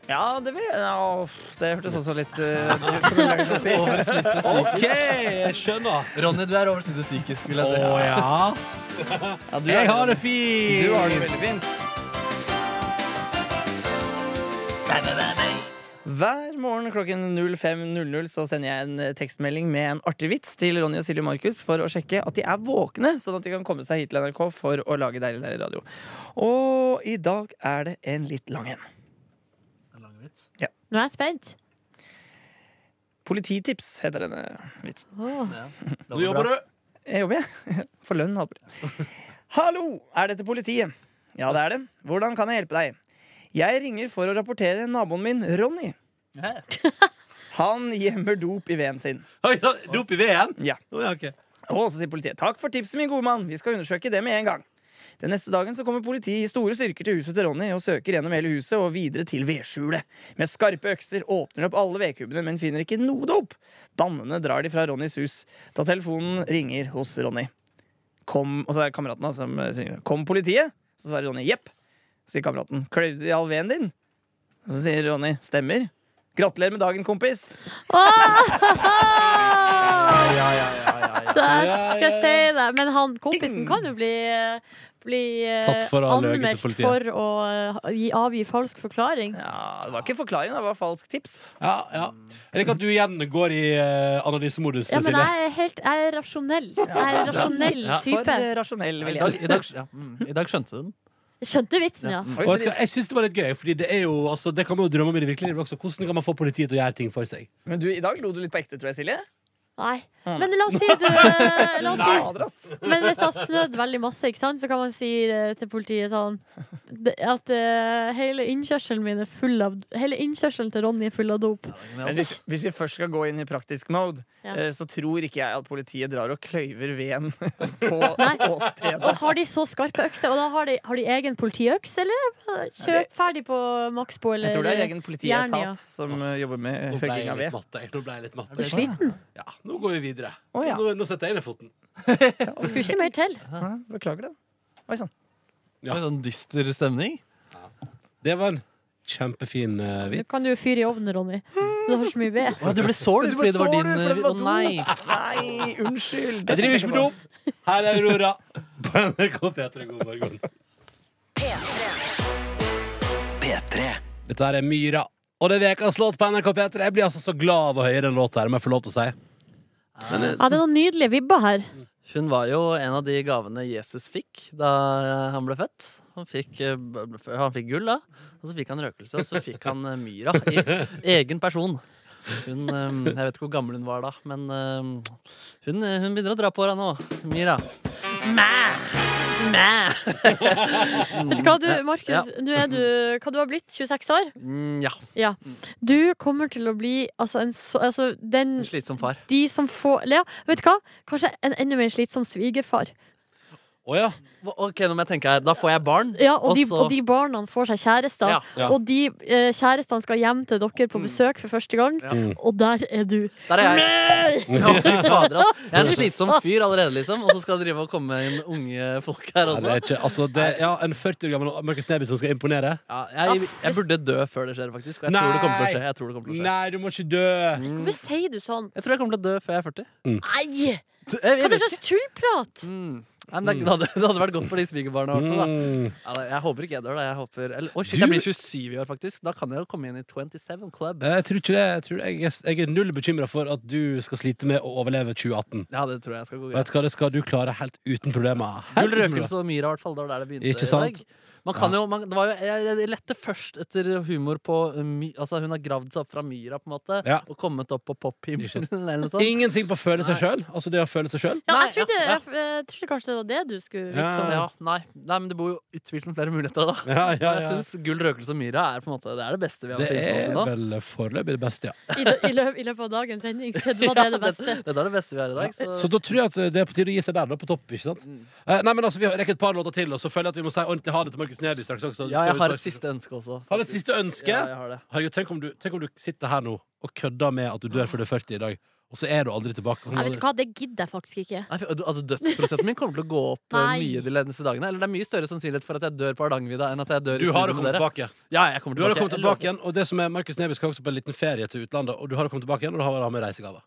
[SPEAKER 5] Ja, det vil ja, uff, Det hørtes også
[SPEAKER 2] [laughs]
[SPEAKER 5] litt eh, [laughs] forulengende å si.
[SPEAKER 2] OK, jeg skjønner.
[SPEAKER 4] bra. Ronny, du er oversindig psykisk, vil jeg si.
[SPEAKER 2] ja.
[SPEAKER 5] Ja, du
[SPEAKER 2] Jeg
[SPEAKER 5] er-
[SPEAKER 2] har det
[SPEAKER 5] Du har det
[SPEAKER 2] fint.
[SPEAKER 5] veldig fint. Hver morgen klokken 05.00 så sender jeg en eh, tekstmelding med en artig vits til Ronny og Silje Markus for å sjekke at de er våkne, sånn at de kan komme seg hit til NRK for å lage deilig, deilig radio. Og i dag er det en litt lang en.
[SPEAKER 10] Nå er jeg
[SPEAKER 4] [laughs]
[SPEAKER 10] spent.
[SPEAKER 5] Polititips heter denne vitsen.
[SPEAKER 2] Nå jobber du.
[SPEAKER 5] Jeg jobber, jeg. Eh, [laughs] For lønn, håper jeg. Hallo, er dette politiet? Ja, det er det. Hvordan kan jeg hjelpe deg? Jeg ringer for å rapportere naboen min, Ronny. Han gjemmer dop i veden sin.
[SPEAKER 2] Oi, så- Dop i veden?
[SPEAKER 5] Ja.
[SPEAKER 2] Å, ja, ok.
[SPEAKER 5] Og så sier politiet takk for tipset, min gode mann. Vi skal undersøke det med en gang. Den neste dagen så kommer politiet i store styrker til huset til Ronny og søker gjennom hele huset og videre til vedskjulet. Med skarpe økser åpner de opp alle vedkubbene, men finner ikke noe dop. Bannene drar de fra Ronnys hus da telefonen ringer hos Ronny. Kom, og så er det kameraten da som eh, sier Kom politiet? Så svarer Ronny jepp. Så sier kameraten kløyvde de all veden din? Så sier Ronny stemmer. Gratulerer med dagen, kompis.
[SPEAKER 10] Der skal jeg si det. Men han kompisen kan jo bli bli eh,
[SPEAKER 2] Tatt for å ha løyet til
[SPEAKER 10] anmeldt
[SPEAKER 2] politiet.
[SPEAKER 10] for å eh, gi, avgi falsk forklaring.
[SPEAKER 5] Ja, Det var ikke forklaring, det var falsk tips.
[SPEAKER 2] Ja, ja. Jeg liker at du igjen går i eh, analysemodus,
[SPEAKER 10] Ja, men
[SPEAKER 2] Silje.
[SPEAKER 10] jeg er helt jeg er rasjonell. Jeg er en rasjonell
[SPEAKER 4] Ja.
[SPEAKER 5] For
[SPEAKER 10] type.
[SPEAKER 5] eh, rasjonell,
[SPEAKER 4] I
[SPEAKER 5] vil
[SPEAKER 4] dag,
[SPEAKER 5] jeg si.
[SPEAKER 4] i, dag, ja, mm, I dag skjønte du den.
[SPEAKER 10] Skjønte vitsen, ja.
[SPEAKER 2] Og vet du hva, jeg syns det var litt gøy, Fordi det er jo, altså, det kan man jo drømme om i det virkelige livet også. Hvordan kan man få politiet til å gjøre ting for seg?
[SPEAKER 5] Men du, i dag lo du litt på ekte, tror jeg, Silje.
[SPEAKER 10] Nei.
[SPEAKER 5] Mm.
[SPEAKER 10] Men la oss si du eh,
[SPEAKER 5] [laughs]
[SPEAKER 10] la oss si,
[SPEAKER 5] Fader, ass.
[SPEAKER 10] Men hvis det har snødd veldig masse, ikke sant, så kan man si eh, til politiet sånn det- At eh, hele innkjørselen min er full av Hele innkjørselen til Ronny er full av dop.
[SPEAKER 5] Men hvis, hvis vi først skal gå inn i praktisk mode,
[SPEAKER 10] Ja.
[SPEAKER 5] eh, så tror ikke jeg at politiet drar og kløyver veden [laughs] på
[SPEAKER 10] Nei.
[SPEAKER 5] [laughs] åstedet.
[SPEAKER 10] Og har de så skarpe økser? Og da har de, har de egen politiøks, eller? Kjøp ferdig på Maxbo eller
[SPEAKER 5] Jeg tror det er egen
[SPEAKER 10] Jern, ja.
[SPEAKER 5] politietat som eh, jobber med
[SPEAKER 2] Nå ble
[SPEAKER 5] høgging
[SPEAKER 2] jeg
[SPEAKER 5] av
[SPEAKER 2] litt
[SPEAKER 5] ved.
[SPEAKER 2] matt. jeg. Nå ble jeg litt matt.
[SPEAKER 4] Er du sliten?
[SPEAKER 2] Ja, Nå går vi videre.
[SPEAKER 5] Å, ja.
[SPEAKER 2] nå, nå setter jeg ned foten.
[SPEAKER 3] Skulle ikke mer til.
[SPEAKER 5] Ja, Beklager det. Oi sann.
[SPEAKER 2] Ja.
[SPEAKER 4] Det er Sånn dyster stemning.
[SPEAKER 2] Det var en kjempefin eh,
[SPEAKER 3] Nå
[SPEAKER 2] vits.
[SPEAKER 3] kan du jo fyre i ovnen, Ronny. Du har så mye ved.
[SPEAKER 4] Å, du ble sår du,
[SPEAKER 5] Du ble
[SPEAKER 4] fordi det var
[SPEAKER 5] sår,
[SPEAKER 4] din
[SPEAKER 5] du, fordi det var
[SPEAKER 4] Å nei!
[SPEAKER 5] Nei, unnskyld.
[SPEAKER 2] Jeg driver ikke med dop! Her er Aurora på NRK P3. God morgen.
[SPEAKER 1] P3.
[SPEAKER 2] Dette her er Myra. Og det er ukas låt på NRK P3. Jeg blir altså så glad av å høre den låta her, om jeg får lov til å si.
[SPEAKER 3] Ja, det er noen nydelige vibber her.
[SPEAKER 4] Hun var jo en av de gavene Jesus fikk da han ble født. Han fikk, eh, b- b- han fikk gull, da. Og så fikk han røkelse, og så fikk han eh, myra i
[SPEAKER 2] [laughs]
[SPEAKER 4] egen person. Hun, eh, jeg vet ikke hvor gammel hun var da, men eh, hun, hun begynner å dra på henne nå. Myra.
[SPEAKER 2] [laughs]
[SPEAKER 3] Vet du hva, du, Markus?
[SPEAKER 4] Ja.
[SPEAKER 3] Nå er du Hva du har blitt? 26 år?
[SPEAKER 4] Mm, ja.
[SPEAKER 3] Du kommer til å bli altså, en så Altså, den
[SPEAKER 4] En slitsom far.
[SPEAKER 3] De som får eller Ja, vet du hva? Kanskje en enda mer slitsom svigerfar.
[SPEAKER 2] Å ja.
[SPEAKER 4] Ok, nå må jeg tenke her. Da får jeg barn.
[SPEAKER 3] Ja, og, de,
[SPEAKER 4] så-
[SPEAKER 3] og de barna får seg kjærester.
[SPEAKER 4] Ja. Mm.
[SPEAKER 2] Ja.
[SPEAKER 3] Og de eh, kjærestene skal hjem til dere på besøk for første gang,
[SPEAKER 4] Ja. Mm.
[SPEAKER 3] og der er du.
[SPEAKER 4] Der er jeg.
[SPEAKER 3] Nei!
[SPEAKER 4] Ja, fy fader, ass. Jeg er en slitsom fyr allerede, liksom. Og så skal det drive og komme inn unge folk her
[SPEAKER 2] Nei, det er
[SPEAKER 4] også.
[SPEAKER 2] ikke, altså, det, ja, en 40 år gammel Markus Neby som skal imponere?
[SPEAKER 4] Ja, jeg, jeg burde dø før det skjer, faktisk. Og jeg tror det kommer til å skje. Jeg tror det kommer til å skje.
[SPEAKER 2] Nei, du må ikke dø!
[SPEAKER 4] Mm.
[SPEAKER 3] [laughs] Hvorfor sier du sånn?
[SPEAKER 4] Jeg tror jeg kommer til å dø før jeg er 40.
[SPEAKER 3] Nei!
[SPEAKER 4] Jeg,
[SPEAKER 3] Hva
[SPEAKER 4] eh, jeg,
[SPEAKER 3] er
[SPEAKER 4] vet
[SPEAKER 3] det
[SPEAKER 4] ikke.
[SPEAKER 3] slags tullprat?
[SPEAKER 4] Mm. Nei, men det, det, hadde, det hadde vært godt for de svigerbarna. i hvert fall, Sånn da.
[SPEAKER 2] Mm.
[SPEAKER 4] Ja, da, Jeg håper ikke jeg dør, da. Jeg håper, eller, oi, shit,
[SPEAKER 2] Du-
[SPEAKER 4] jeg blir 27 i år, faktisk. Da kan jeg jo komme inn i 27 Club.
[SPEAKER 2] Jeg tror ikke det. Jeg, tror, jeg, jeg er null bekymra for at du skal slite med å overleve 2018.
[SPEAKER 4] Ja, det tror jeg skal gå greit.
[SPEAKER 2] Vet du hva, Det skal du klare helt uten problemer. Helt
[SPEAKER 4] Gull,
[SPEAKER 2] uten problemer.
[SPEAKER 4] røkelse og myra, i hvert fall. Det var der det begynte
[SPEAKER 2] Ikke sant?
[SPEAKER 4] i dag. Man kan jo, man, det var jo, jeg, jeg lette først etter humor på my, Altså, hun har gravd seg opp fra myra, på en måte,
[SPEAKER 2] Ja.
[SPEAKER 4] og kommet opp på
[SPEAKER 2] Ikke
[SPEAKER 4] pophimmelen,
[SPEAKER 2] sant.
[SPEAKER 4] eller noe sånt.
[SPEAKER 2] Ingenting på å føle seg sjøl. Altså det å føle seg sjøl.
[SPEAKER 3] Ja,
[SPEAKER 4] Nei,
[SPEAKER 3] jeg, trodde,
[SPEAKER 4] ja, ja.
[SPEAKER 3] jeg, eh, jeg trodde kanskje det var det du skulle
[SPEAKER 2] Ja.
[SPEAKER 3] vitse om.
[SPEAKER 4] sånn, Ja, nei, nei, men det bor jo utvilsomt flere muligheter, da.
[SPEAKER 2] Ja, ja,
[SPEAKER 4] Men Jeg
[SPEAKER 2] ja.
[SPEAKER 4] syns gull, røkelse og myra er på en måte Det er det beste vi har
[SPEAKER 2] Det er
[SPEAKER 4] funnet på til nå.
[SPEAKER 2] vel foreløpig det beste, ja.
[SPEAKER 3] I, lø- i, løp, I løpet av dagens sending. Så det
[SPEAKER 4] [laughs]
[SPEAKER 3] var det det beste.
[SPEAKER 4] Dette er det beste vi har i dag. Så, Mm.
[SPEAKER 2] Så da tror jeg at eh, det er på tide å gi seg der, da, på topp. ikke sant? Eh, Nei, men altså, Vi rekker et par låter til, og så føler jeg at vi må si ordentlig ha det til Markus Neby straks også. Du skal
[SPEAKER 4] ja, jeg
[SPEAKER 2] jo
[SPEAKER 4] har
[SPEAKER 2] straks-
[SPEAKER 4] et siste ønske også.
[SPEAKER 2] Har du et siste ønske?
[SPEAKER 4] Ja, jeg har det.
[SPEAKER 2] Herregud, tenk om, du, tenk om du sitter her nå og kødder med at du dør før du er 40 i dag, og så er du aldri tilbake.
[SPEAKER 3] Nei, vet du hva, det gidder jeg faktisk ikke.
[SPEAKER 4] Nei, for- altså, dødsprosenten min kommer til å gå opp eh,
[SPEAKER 3] Nei.
[SPEAKER 4] mye de neste dagene. Eller det er mye større sannsynlighet for at jeg dør på Hardangervidda enn at jeg dør
[SPEAKER 2] Du
[SPEAKER 4] i
[SPEAKER 2] har jo
[SPEAKER 4] studio med
[SPEAKER 2] kommet
[SPEAKER 4] dere.
[SPEAKER 2] tilbake.
[SPEAKER 4] Ja, jeg kommer
[SPEAKER 2] Du har jo kommet
[SPEAKER 4] tilbake. Jeg
[SPEAKER 2] tilbake
[SPEAKER 4] lover.
[SPEAKER 2] igjen, og det som er Markus Neby skal også på en liten ferie til utlandet, og du har jo kommet tilbake igjen, og da har han med reisegaver.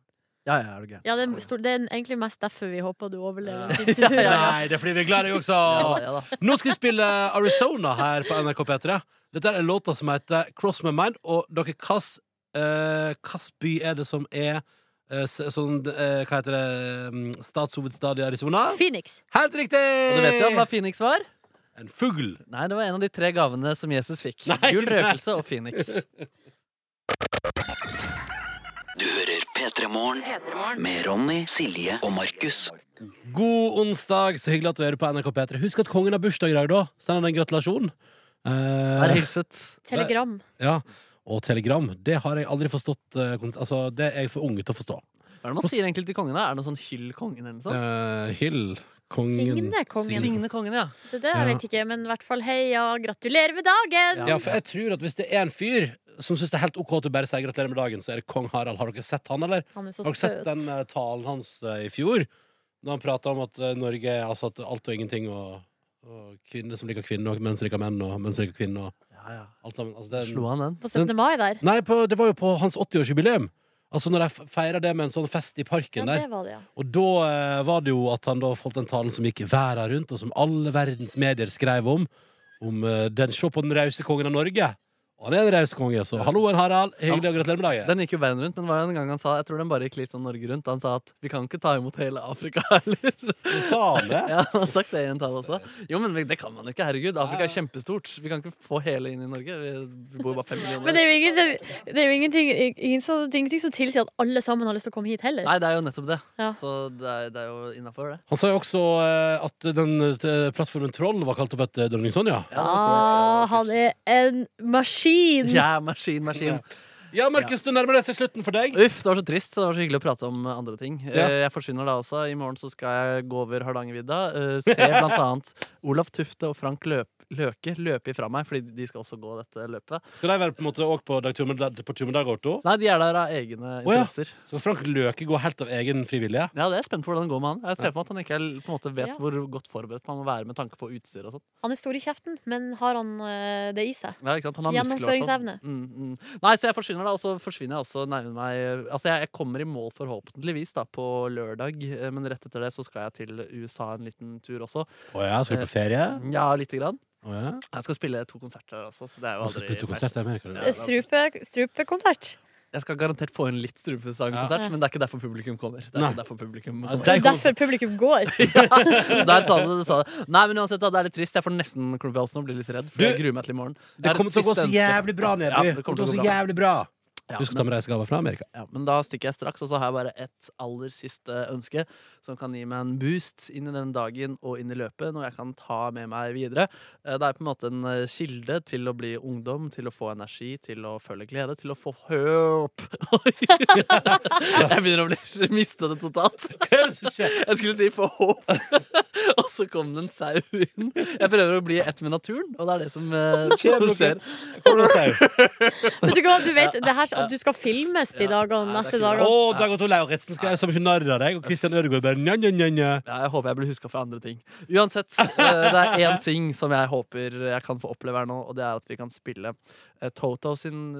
[SPEAKER 4] Ja, ja, er du gæren.
[SPEAKER 3] Ja, det, er stor, det er egentlig mest derfor vi håper du overlever.
[SPEAKER 4] [laughs]
[SPEAKER 2] Nei, det er fordi vi er glad i deg også!
[SPEAKER 4] Ja, da, ja, da.
[SPEAKER 2] Nå skal vi spille Arizona her på NRK P3. Dette er låta som heter Cross My Mind, og dere, hvilken eh, hvilken by er det som er eh, s- sånn, eh, hva heter det, mm, statshovedstad i Arizona?
[SPEAKER 3] Phoenix.
[SPEAKER 2] Helt riktig!
[SPEAKER 4] Og du vet jo hva Phoenix var?
[SPEAKER 2] En fugl.
[SPEAKER 4] Nei, det var en av de tre gavene som Jesus fikk.
[SPEAKER 2] Nei,
[SPEAKER 4] Gull,
[SPEAKER 2] nei.
[SPEAKER 4] røkelse og [laughs] Phoenix.
[SPEAKER 1] Du hører P3 Morgen med Ronny, Silje og Markus.
[SPEAKER 2] God onsdag, så hyggelig at du hører på NRK P3. Husk at kongen har bursdag i dag, da. Send han en gratulasjon.
[SPEAKER 4] Her
[SPEAKER 2] Eh,
[SPEAKER 4] hilset.
[SPEAKER 3] Telegram.
[SPEAKER 2] ja. Og telegram. Det har jeg aldri forstått. eh, kons- Altså, det er jeg for ung til å forstå.
[SPEAKER 4] Hva er det man sier egentlig til kongen? da? Er det noe sånn hyll kongen eller noe sånt?
[SPEAKER 2] Eh, hyll kongen.
[SPEAKER 3] Signe kongen.
[SPEAKER 2] Signe.
[SPEAKER 4] Signe kongen, ja.
[SPEAKER 3] Det er det, jeg
[SPEAKER 2] Ja.
[SPEAKER 3] vet ikke, men i hvert fall heia. Gratulerer med dagen!
[SPEAKER 2] Ja, for jeg tror at hvis det er en fyr som syns det er helt OK at du bare sier gratulerer med dagen, så er det kong Harald. Har dere sett han, eller?
[SPEAKER 3] Han er så
[SPEAKER 2] Har dere sett
[SPEAKER 3] søt.
[SPEAKER 2] den eh, talen hans eh, i fjor? Da han prata om at eh, Norge er altså at alt og ingenting, og, og kvinner som liker kvinner, og menn som liker menn, og menn som liker kvinner, og
[SPEAKER 4] ja, ja.
[SPEAKER 2] alt sammen. Altså, det er en-
[SPEAKER 4] Slo han den?
[SPEAKER 3] På 17. mai der.
[SPEAKER 2] Nei, på, det var jo på hans 80-årsjubileum. Altså når de feira det med en sånn fest i
[SPEAKER 3] Ja,
[SPEAKER 2] parken
[SPEAKER 3] det
[SPEAKER 2] der.
[SPEAKER 3] var det, ja.
[SPEAKER 2] Og da eh, var det jo at han da holdt den talen som gikk verden rundt, og som alle verdens medier skrev om. Om eh, den Se på den rause kongen av Norge. Og han er en raus konge, så hallo, en Harald. Hyggelig å gratulere med dagen.
[SPEAKER 4] Den gikk jo verden rundt, men det var jo en gang han sa Jeg tror den bare gikk litt sånn Norge rundt. Han sa at vi kan ikke ta imot hele Afrika [laughs] heller.
[SPEAKER 2] Sa han det?
[SPEAKER 4] Ja, han har sagt det i en tale også. Jo, men det kan man jo ikke. Herregud, Afrika er kjempestort. Vi kan ikke få hele inn i Norge. Vi bor jo bare fem
[SPEAKER 3] Men det
[SPEAKER 4] millioner.
[SPEAKER 3] er jo, ingen, som- det er jo ingenting, ingen, som- det er ingenting som tilsier at alle sammen har lyst til å komme hit heller.
[SPEAKER 4] Nei, det er jo nettopp det.
[SPEAKER 3] Ja.
[SPEAKER 4] Så det er, det er jo innafor, det.
[SPEAKER 2] [laughs] Han sa jo også eh, at den eh, plattformen Troll var kalt opp etter dronning Sonja.
[SPEAKER 4] Ja, det var
[SPEAKER 3] Ah,
[SPEAKER 4] kos, ja,
[SPEAKER 3] han er en maskin!
[SPEAKER 4] det var kos. Ja, maskin, maskin.
[SPEAKER 2] Ja, Markus, du nærmer deg seg slutten for deg.
[SPEAKER 4] Uff, det var så trist. så Det var så hyggelig å prate om eh, andre ting.
[SPEAKER 2] Ja.
[SPEAKER 4] Eh, Jeg forsyner deg også. I morgen så skal jeg gå over Hardangervidda. eh, Se blant
[SPEAKER 2] [laughs]
[SPEAKER 4] annet Olaf Tufte og Frank Løp Løke løpe ifra meg, fordi de skal også gå dette løpet.
[SPEAKER 2] Skal de være på en måte også på, dag- tur med- på tur med Dag Otto?
[SPEAKER 4] Nei, de er der av egne
[SPEAKER 2] Å, ja.
[SPEAKER 4] interesser.
[SPEAKER 2] Skal Frank Løke gå helt av egen frivillige?
[SPEAKER 4] Ja, det er jeg spent på hvordan det går med han. Jeg ser for meg at han ikke er, på en måte vet
[SPEAKER 3] Ja.
[SPEAKER 4] hvor godt forberedt man må være med tanke på utstyr og sånn.
[SPEAKER 3] Han er stor i kjeften, men har han eh, det i seg?
[SPEAKER 4] Ja, ikke sant? Han har muskler, i hvert fall.
[SPEAKER 3] Gjennomføringsevne.
[SPEAKER 4] Mm, mm. Nei, så jeg forsyner deg, og så forsvinner jeg også nærmere meg Altså, jeg, jeg kommer i mål forhåpentligvis da på lørdag, eh, men rett etter det så skal jeg til USA en liten tur også.
[SPEAKER 2] Å ja, skal du på ferie?
[SPEAKER 4] Ja, lite grann.
[SPEAKER 2] Å ja.
[SPEAKER 4] Jeg skal spille to konserter også, så det er jo
[SPEAKER 2] Og så
[SPEAKER 4] aldri
[SPEAKER 2] spiller du
[SPEAKER 4] feil.
[SPEAKER 2] konsert i Amerika, du.
[SPEAKER 4] Ja, det er-
[SPEAKER 3] Strupe- Strupekonsert.
[SPEAKER 4] Jeg skal garantert få en litt strupesangkonsert,
[SPEAKER 3] Ja.
[SPEAKER 4] men det er ikke derfor publikum kommer. Det er
[SPEAKER 2] Nei.
[SPEAKER 4] ikke derfor publikum
[SPEAKER 2] Ja,
[SPEAKER 4] kommer.
[SPEAKER 3] Det er derfor publikum går.
[SPEAKER 4] [laughs] Der sa du det, sa det. Nei, men uansett, da, det er litt trist. Jeg får nesten klump i halsen og blir litt redd,
[SPEAKER 2] Du,
[SPEAKER 4] for jeg gruer meg til i morgen. Jeg
[SPEAKER 2] Det
[SPEAKER 4] har
[SPEAKER 2] kommer
[SPEAKER 4] et
[SPEAKER 2] til å gå
[SPEAKER 4] siste
[SPEAKER 2] så
[SPEAKER 4] ønske.
[SPEAKER 2] jævlig bra,
[SPEAKER 4] Ja,
[SPEAKER 2] Neby.
[SPEAKER 4] det
[SPEAKER 2] det
[SPEAKER 4] kommer
[SPEAKER 2] kommer til
[SPEAKER 4] til å
[SPEAKER 2] å gå så
[SPEAKER 4] gå bra.
[SPEAKER 2] jævlig bra.
[SPEAKER 4] Ja,
[SPEAKER 2] Du skal ta med reisegaver fra Amerika.
[SPEAKER 4] Ja, men da stikker jeg straks, og så har jeg bare et aller siste ønske som kan gi meg en boost inn i den dagen og inn i løpet, noe jeg kan ta med meg videre. Eh, Det er på en måte en eh, kilde til å bli ungdom, til å få energi, til å føle glede, til å få håp. [laughs] Oi. Jeg begynner å bli, miste det totalt.
[SPEAKER 2] [laughs] Hva er det som skjer?
[SPEAKER 4] Jeg skulle si få håp, [laughs] og så kom det en sau inn. Jeg prøver å bli ett med naturen, og det er det som, eh, som skjer.
[SPEAKER 2] Hvor er det sau?
[SPEAKER 3] Vet du hva, du vet det her, at du skal filmes de dagene,
[SPEAKER 4] Ja, det er
[SPEAKER 3] neste
[SPEAKER 4] ikke
[SPEAKER 2] Å,
[SPEAKER 3] dagene.
[SPEAKER 2] Dag Otto Lauritzen skal være så mye narr av deg, og Christian Ødegaard bare nja, nja, nja, nja.
[SPEAKER 4] Ja, jeg håper jeg blir huska for andre ting. Uansett, eh, det er
[SPEAKER 2] [laughs]
[SPEAKER 4] én ting som jeg håper jeg kan få oppleve her nå, og det er at vi kan spille eh, Toto sin [laughs]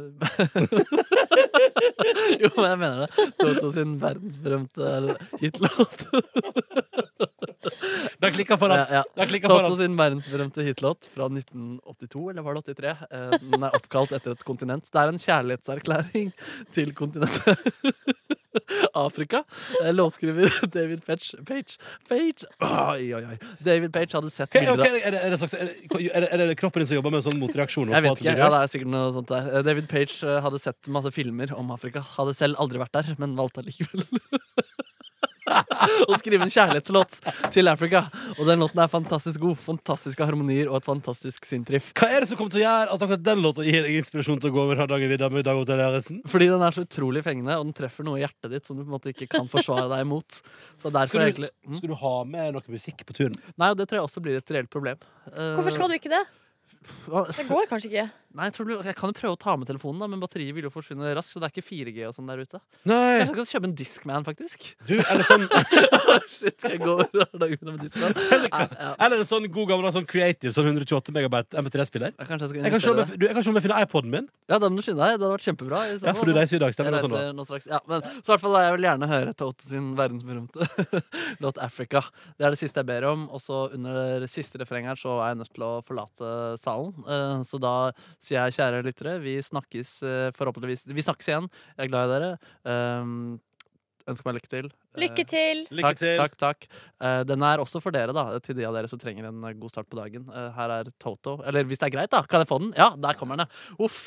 [SPEAKER 4] Jo, men jeg mener det. Toto sin verdensberømte hitlåt.
[SPEAKER 2] Det klikker for
[SPEAKER 4] Ja,
[SPEAKER 2] ham.
[SPEAKER 4] ja.
[SPEAKER 2] Det klikker for
[SPEAKER 4] Toto
[SPEAKER 2] ham.
[SPEAKER 4] sin verdensberømte hitlåt fra 1982, eller var det 83? Eh, Den er oppkalt etter et kontinent. Det er en kjærlighetserklæring til kontinentet Afrika. Eh, Låtskriver [laughs] David Page Page, Page. Oi, oi, oi. David Page hadde sett
[SPEAKER 2] Ok, ok,
[SPEAKER 4] bilder av
[SPEAKER 2] er, det, er, det, slags- er, det, er, det, er det kroppen din som jobber med en sånn motreaksjon?
[SPEAKER 4] Jeg vet
[SPEAKER 2] på at du
[SPEAKER 4] ikke, ja,
[SPEAKER 2] blir
[SPEAKER 4] det er sikkert noe sånt der Eh, David Page eh, hadde sett masse filmer om Afrika Hadde selv aldri vært der, men valgte likevel [laughs] Å skrive en kjærlighetslåt til Afrika Og den låten er fantastisk god Fantastiske harmonier og et fantastisk syntriff
[SPEAKER 2] Hva er det som kommer til å gjøre at akkurat den låta gir deg inspirasjon til å gå over Hardangervidda med Dag Otto Lauritzen?
[SPEAKER 4] Fordi den er så utrolig fengende Og den treffer noe i hjertet ditt som du på en måte ikke kan forsvare deg imot Så derfor
[SPEAKER 2] Skal, du-
[SPEAKER 4] egentlig mm.
[SPEAKER 2] skal du ha med noe musikk på turen?
[SPEAKER 4] Nei, og det tror jeg også blir et reelt problem Eh,
[SPEAKER 3] Hvorfor skal du ikke det? [laughs] Det går kanskje ikke.
[SPEAKER 4] Nei, jeg, tror du, jeg kan jo prøve å ta med telefonen da Men batteriet vil jo forsvinne raskt Så det er ikke 4G og sånn der ute
[SPEAKER 2] Nei,
[SPEAKER 4] Kanskje jeg skal kjøpe en Discman faktisk [laughs]
[SPEAKER 2] du, eller sånn,
[SPEAKER 4] Shit, skal jeg gå over Hardangervidda med Discman? Nei, ja.
[SPEAKER 2] [laughs] eller en sånn god gammel sånn creative sånn 128 megabyte MP3-spiller.
[SPEAKER 4] Ja, Kanskje jeg skal
[SPEAKER 2] Jeg kan se
[SPEAKER 4] investere
[SPEAKER 2] om
[SPEAKER 4] det.
[SPEAKER 2] jeg, du, jeg kan se om jeg finner iPoden min.
[SPEAKER 4] Ja, da må du skynde deg. Det hadde vært kjempebra. i så
[SPEAKER 2] Ja,
[SPEAKER 4] fall,
[SPEAKER 2] for du
[SPEAKER 4] da.
[SPEAKER 2] reiser jo i dag,
[SPEAKER 4] Jeg
[SPEAKER 2] stemmer det? Sånn, da.
[SPEAKER 4] reiser nå straks. Ja, men, så i hvert fall, jeg vil gjerne høre Toto sin verdensberømte [laughs] låt 'Africa'. Det er det siste jeg ber om. Og så under det siste refrenget her så er jeg nødt til å forlate salen. Eh, Så da sier jeg, kjære lyttere, vi snakkes eh, forhåpentligvis Vi snakkes igjen. Jeg er glad i dere. Eh, Ønsker meg lykke til. Eh,
[SPEAKER 3] Lykke til!
[SPEAKER 2] Lykke
[SPEAKER 4] takk,
[SPEAKER 2] til.
[SPEAKER 4] Takk, takk. Eh, den er også for dere, da. Til de av dere som trenger en eh, god start på dagen. Eh, her er Toto. Eller hvis det er greit, da. Kan jeg få den? Ja, der kommer den, ja. Uff.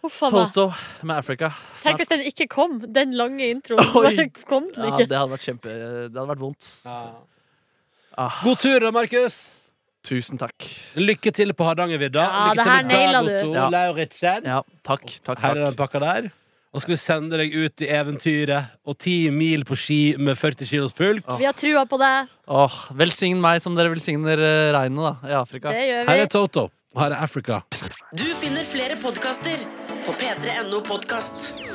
[SPEAKER 3] Huff a meg.
[SPEAKER 4] Toto med Africa.
[SPEAKER 3] Tenk
[SPEAKER 4] Snart.
[SPEAKER 3] hvis den ikke kom, den lange introen. Så
[SPEAKER 4] Oi.
[SPEAKER 3] bare kom
[SPEAKER 4] Ja,
[SPEAKER 3] den
[SPEAKER 4] det
[SPEAKER 3] ikke.
[SPEAKER 4] hadde vært kjempe Det hadde vært vondt. Ah,
[SPEAKER 2] God tur, da, Markus.
[SPEAKER 4] tusen takk.
[SPEAKER 2] Lykke til på Hardangervidda.
[SPEAKER 3] Ja,
[SPEAKER 2] Lykke
[SPEAKER 3] det her
[SPEAKER 2] til med
[SPEAKER 3] naila
[SPEAKER 2] Dag
[SPEAKER 3] du.
[SPEAKER 2] Otto
[SPEAKER 4] Ja.
[SPEAKER 2] Lauritzen.
[SPEAKER 4] Ja, takk, takk,
[SPEAKER 2] Her er den
[SPEAKER 4] takk.
[SPEAKER 2] pakka der. Og skal vi sende deg ut i eventyret og ti mil på ski med 40 kilos pulk.
[SPEAKER 3] Vi har trua på deg.
[SPEAKER 4] Åh, velsign meg som dere velsigner eh, regnet, da, i Afrika.
[SPEAKER 3] Det gjør vi.
[SPEAKER 2] Her er Toto, og her er Afrika.
[SPEAKER 6] Du finner flere podkaster på p3.no podkast.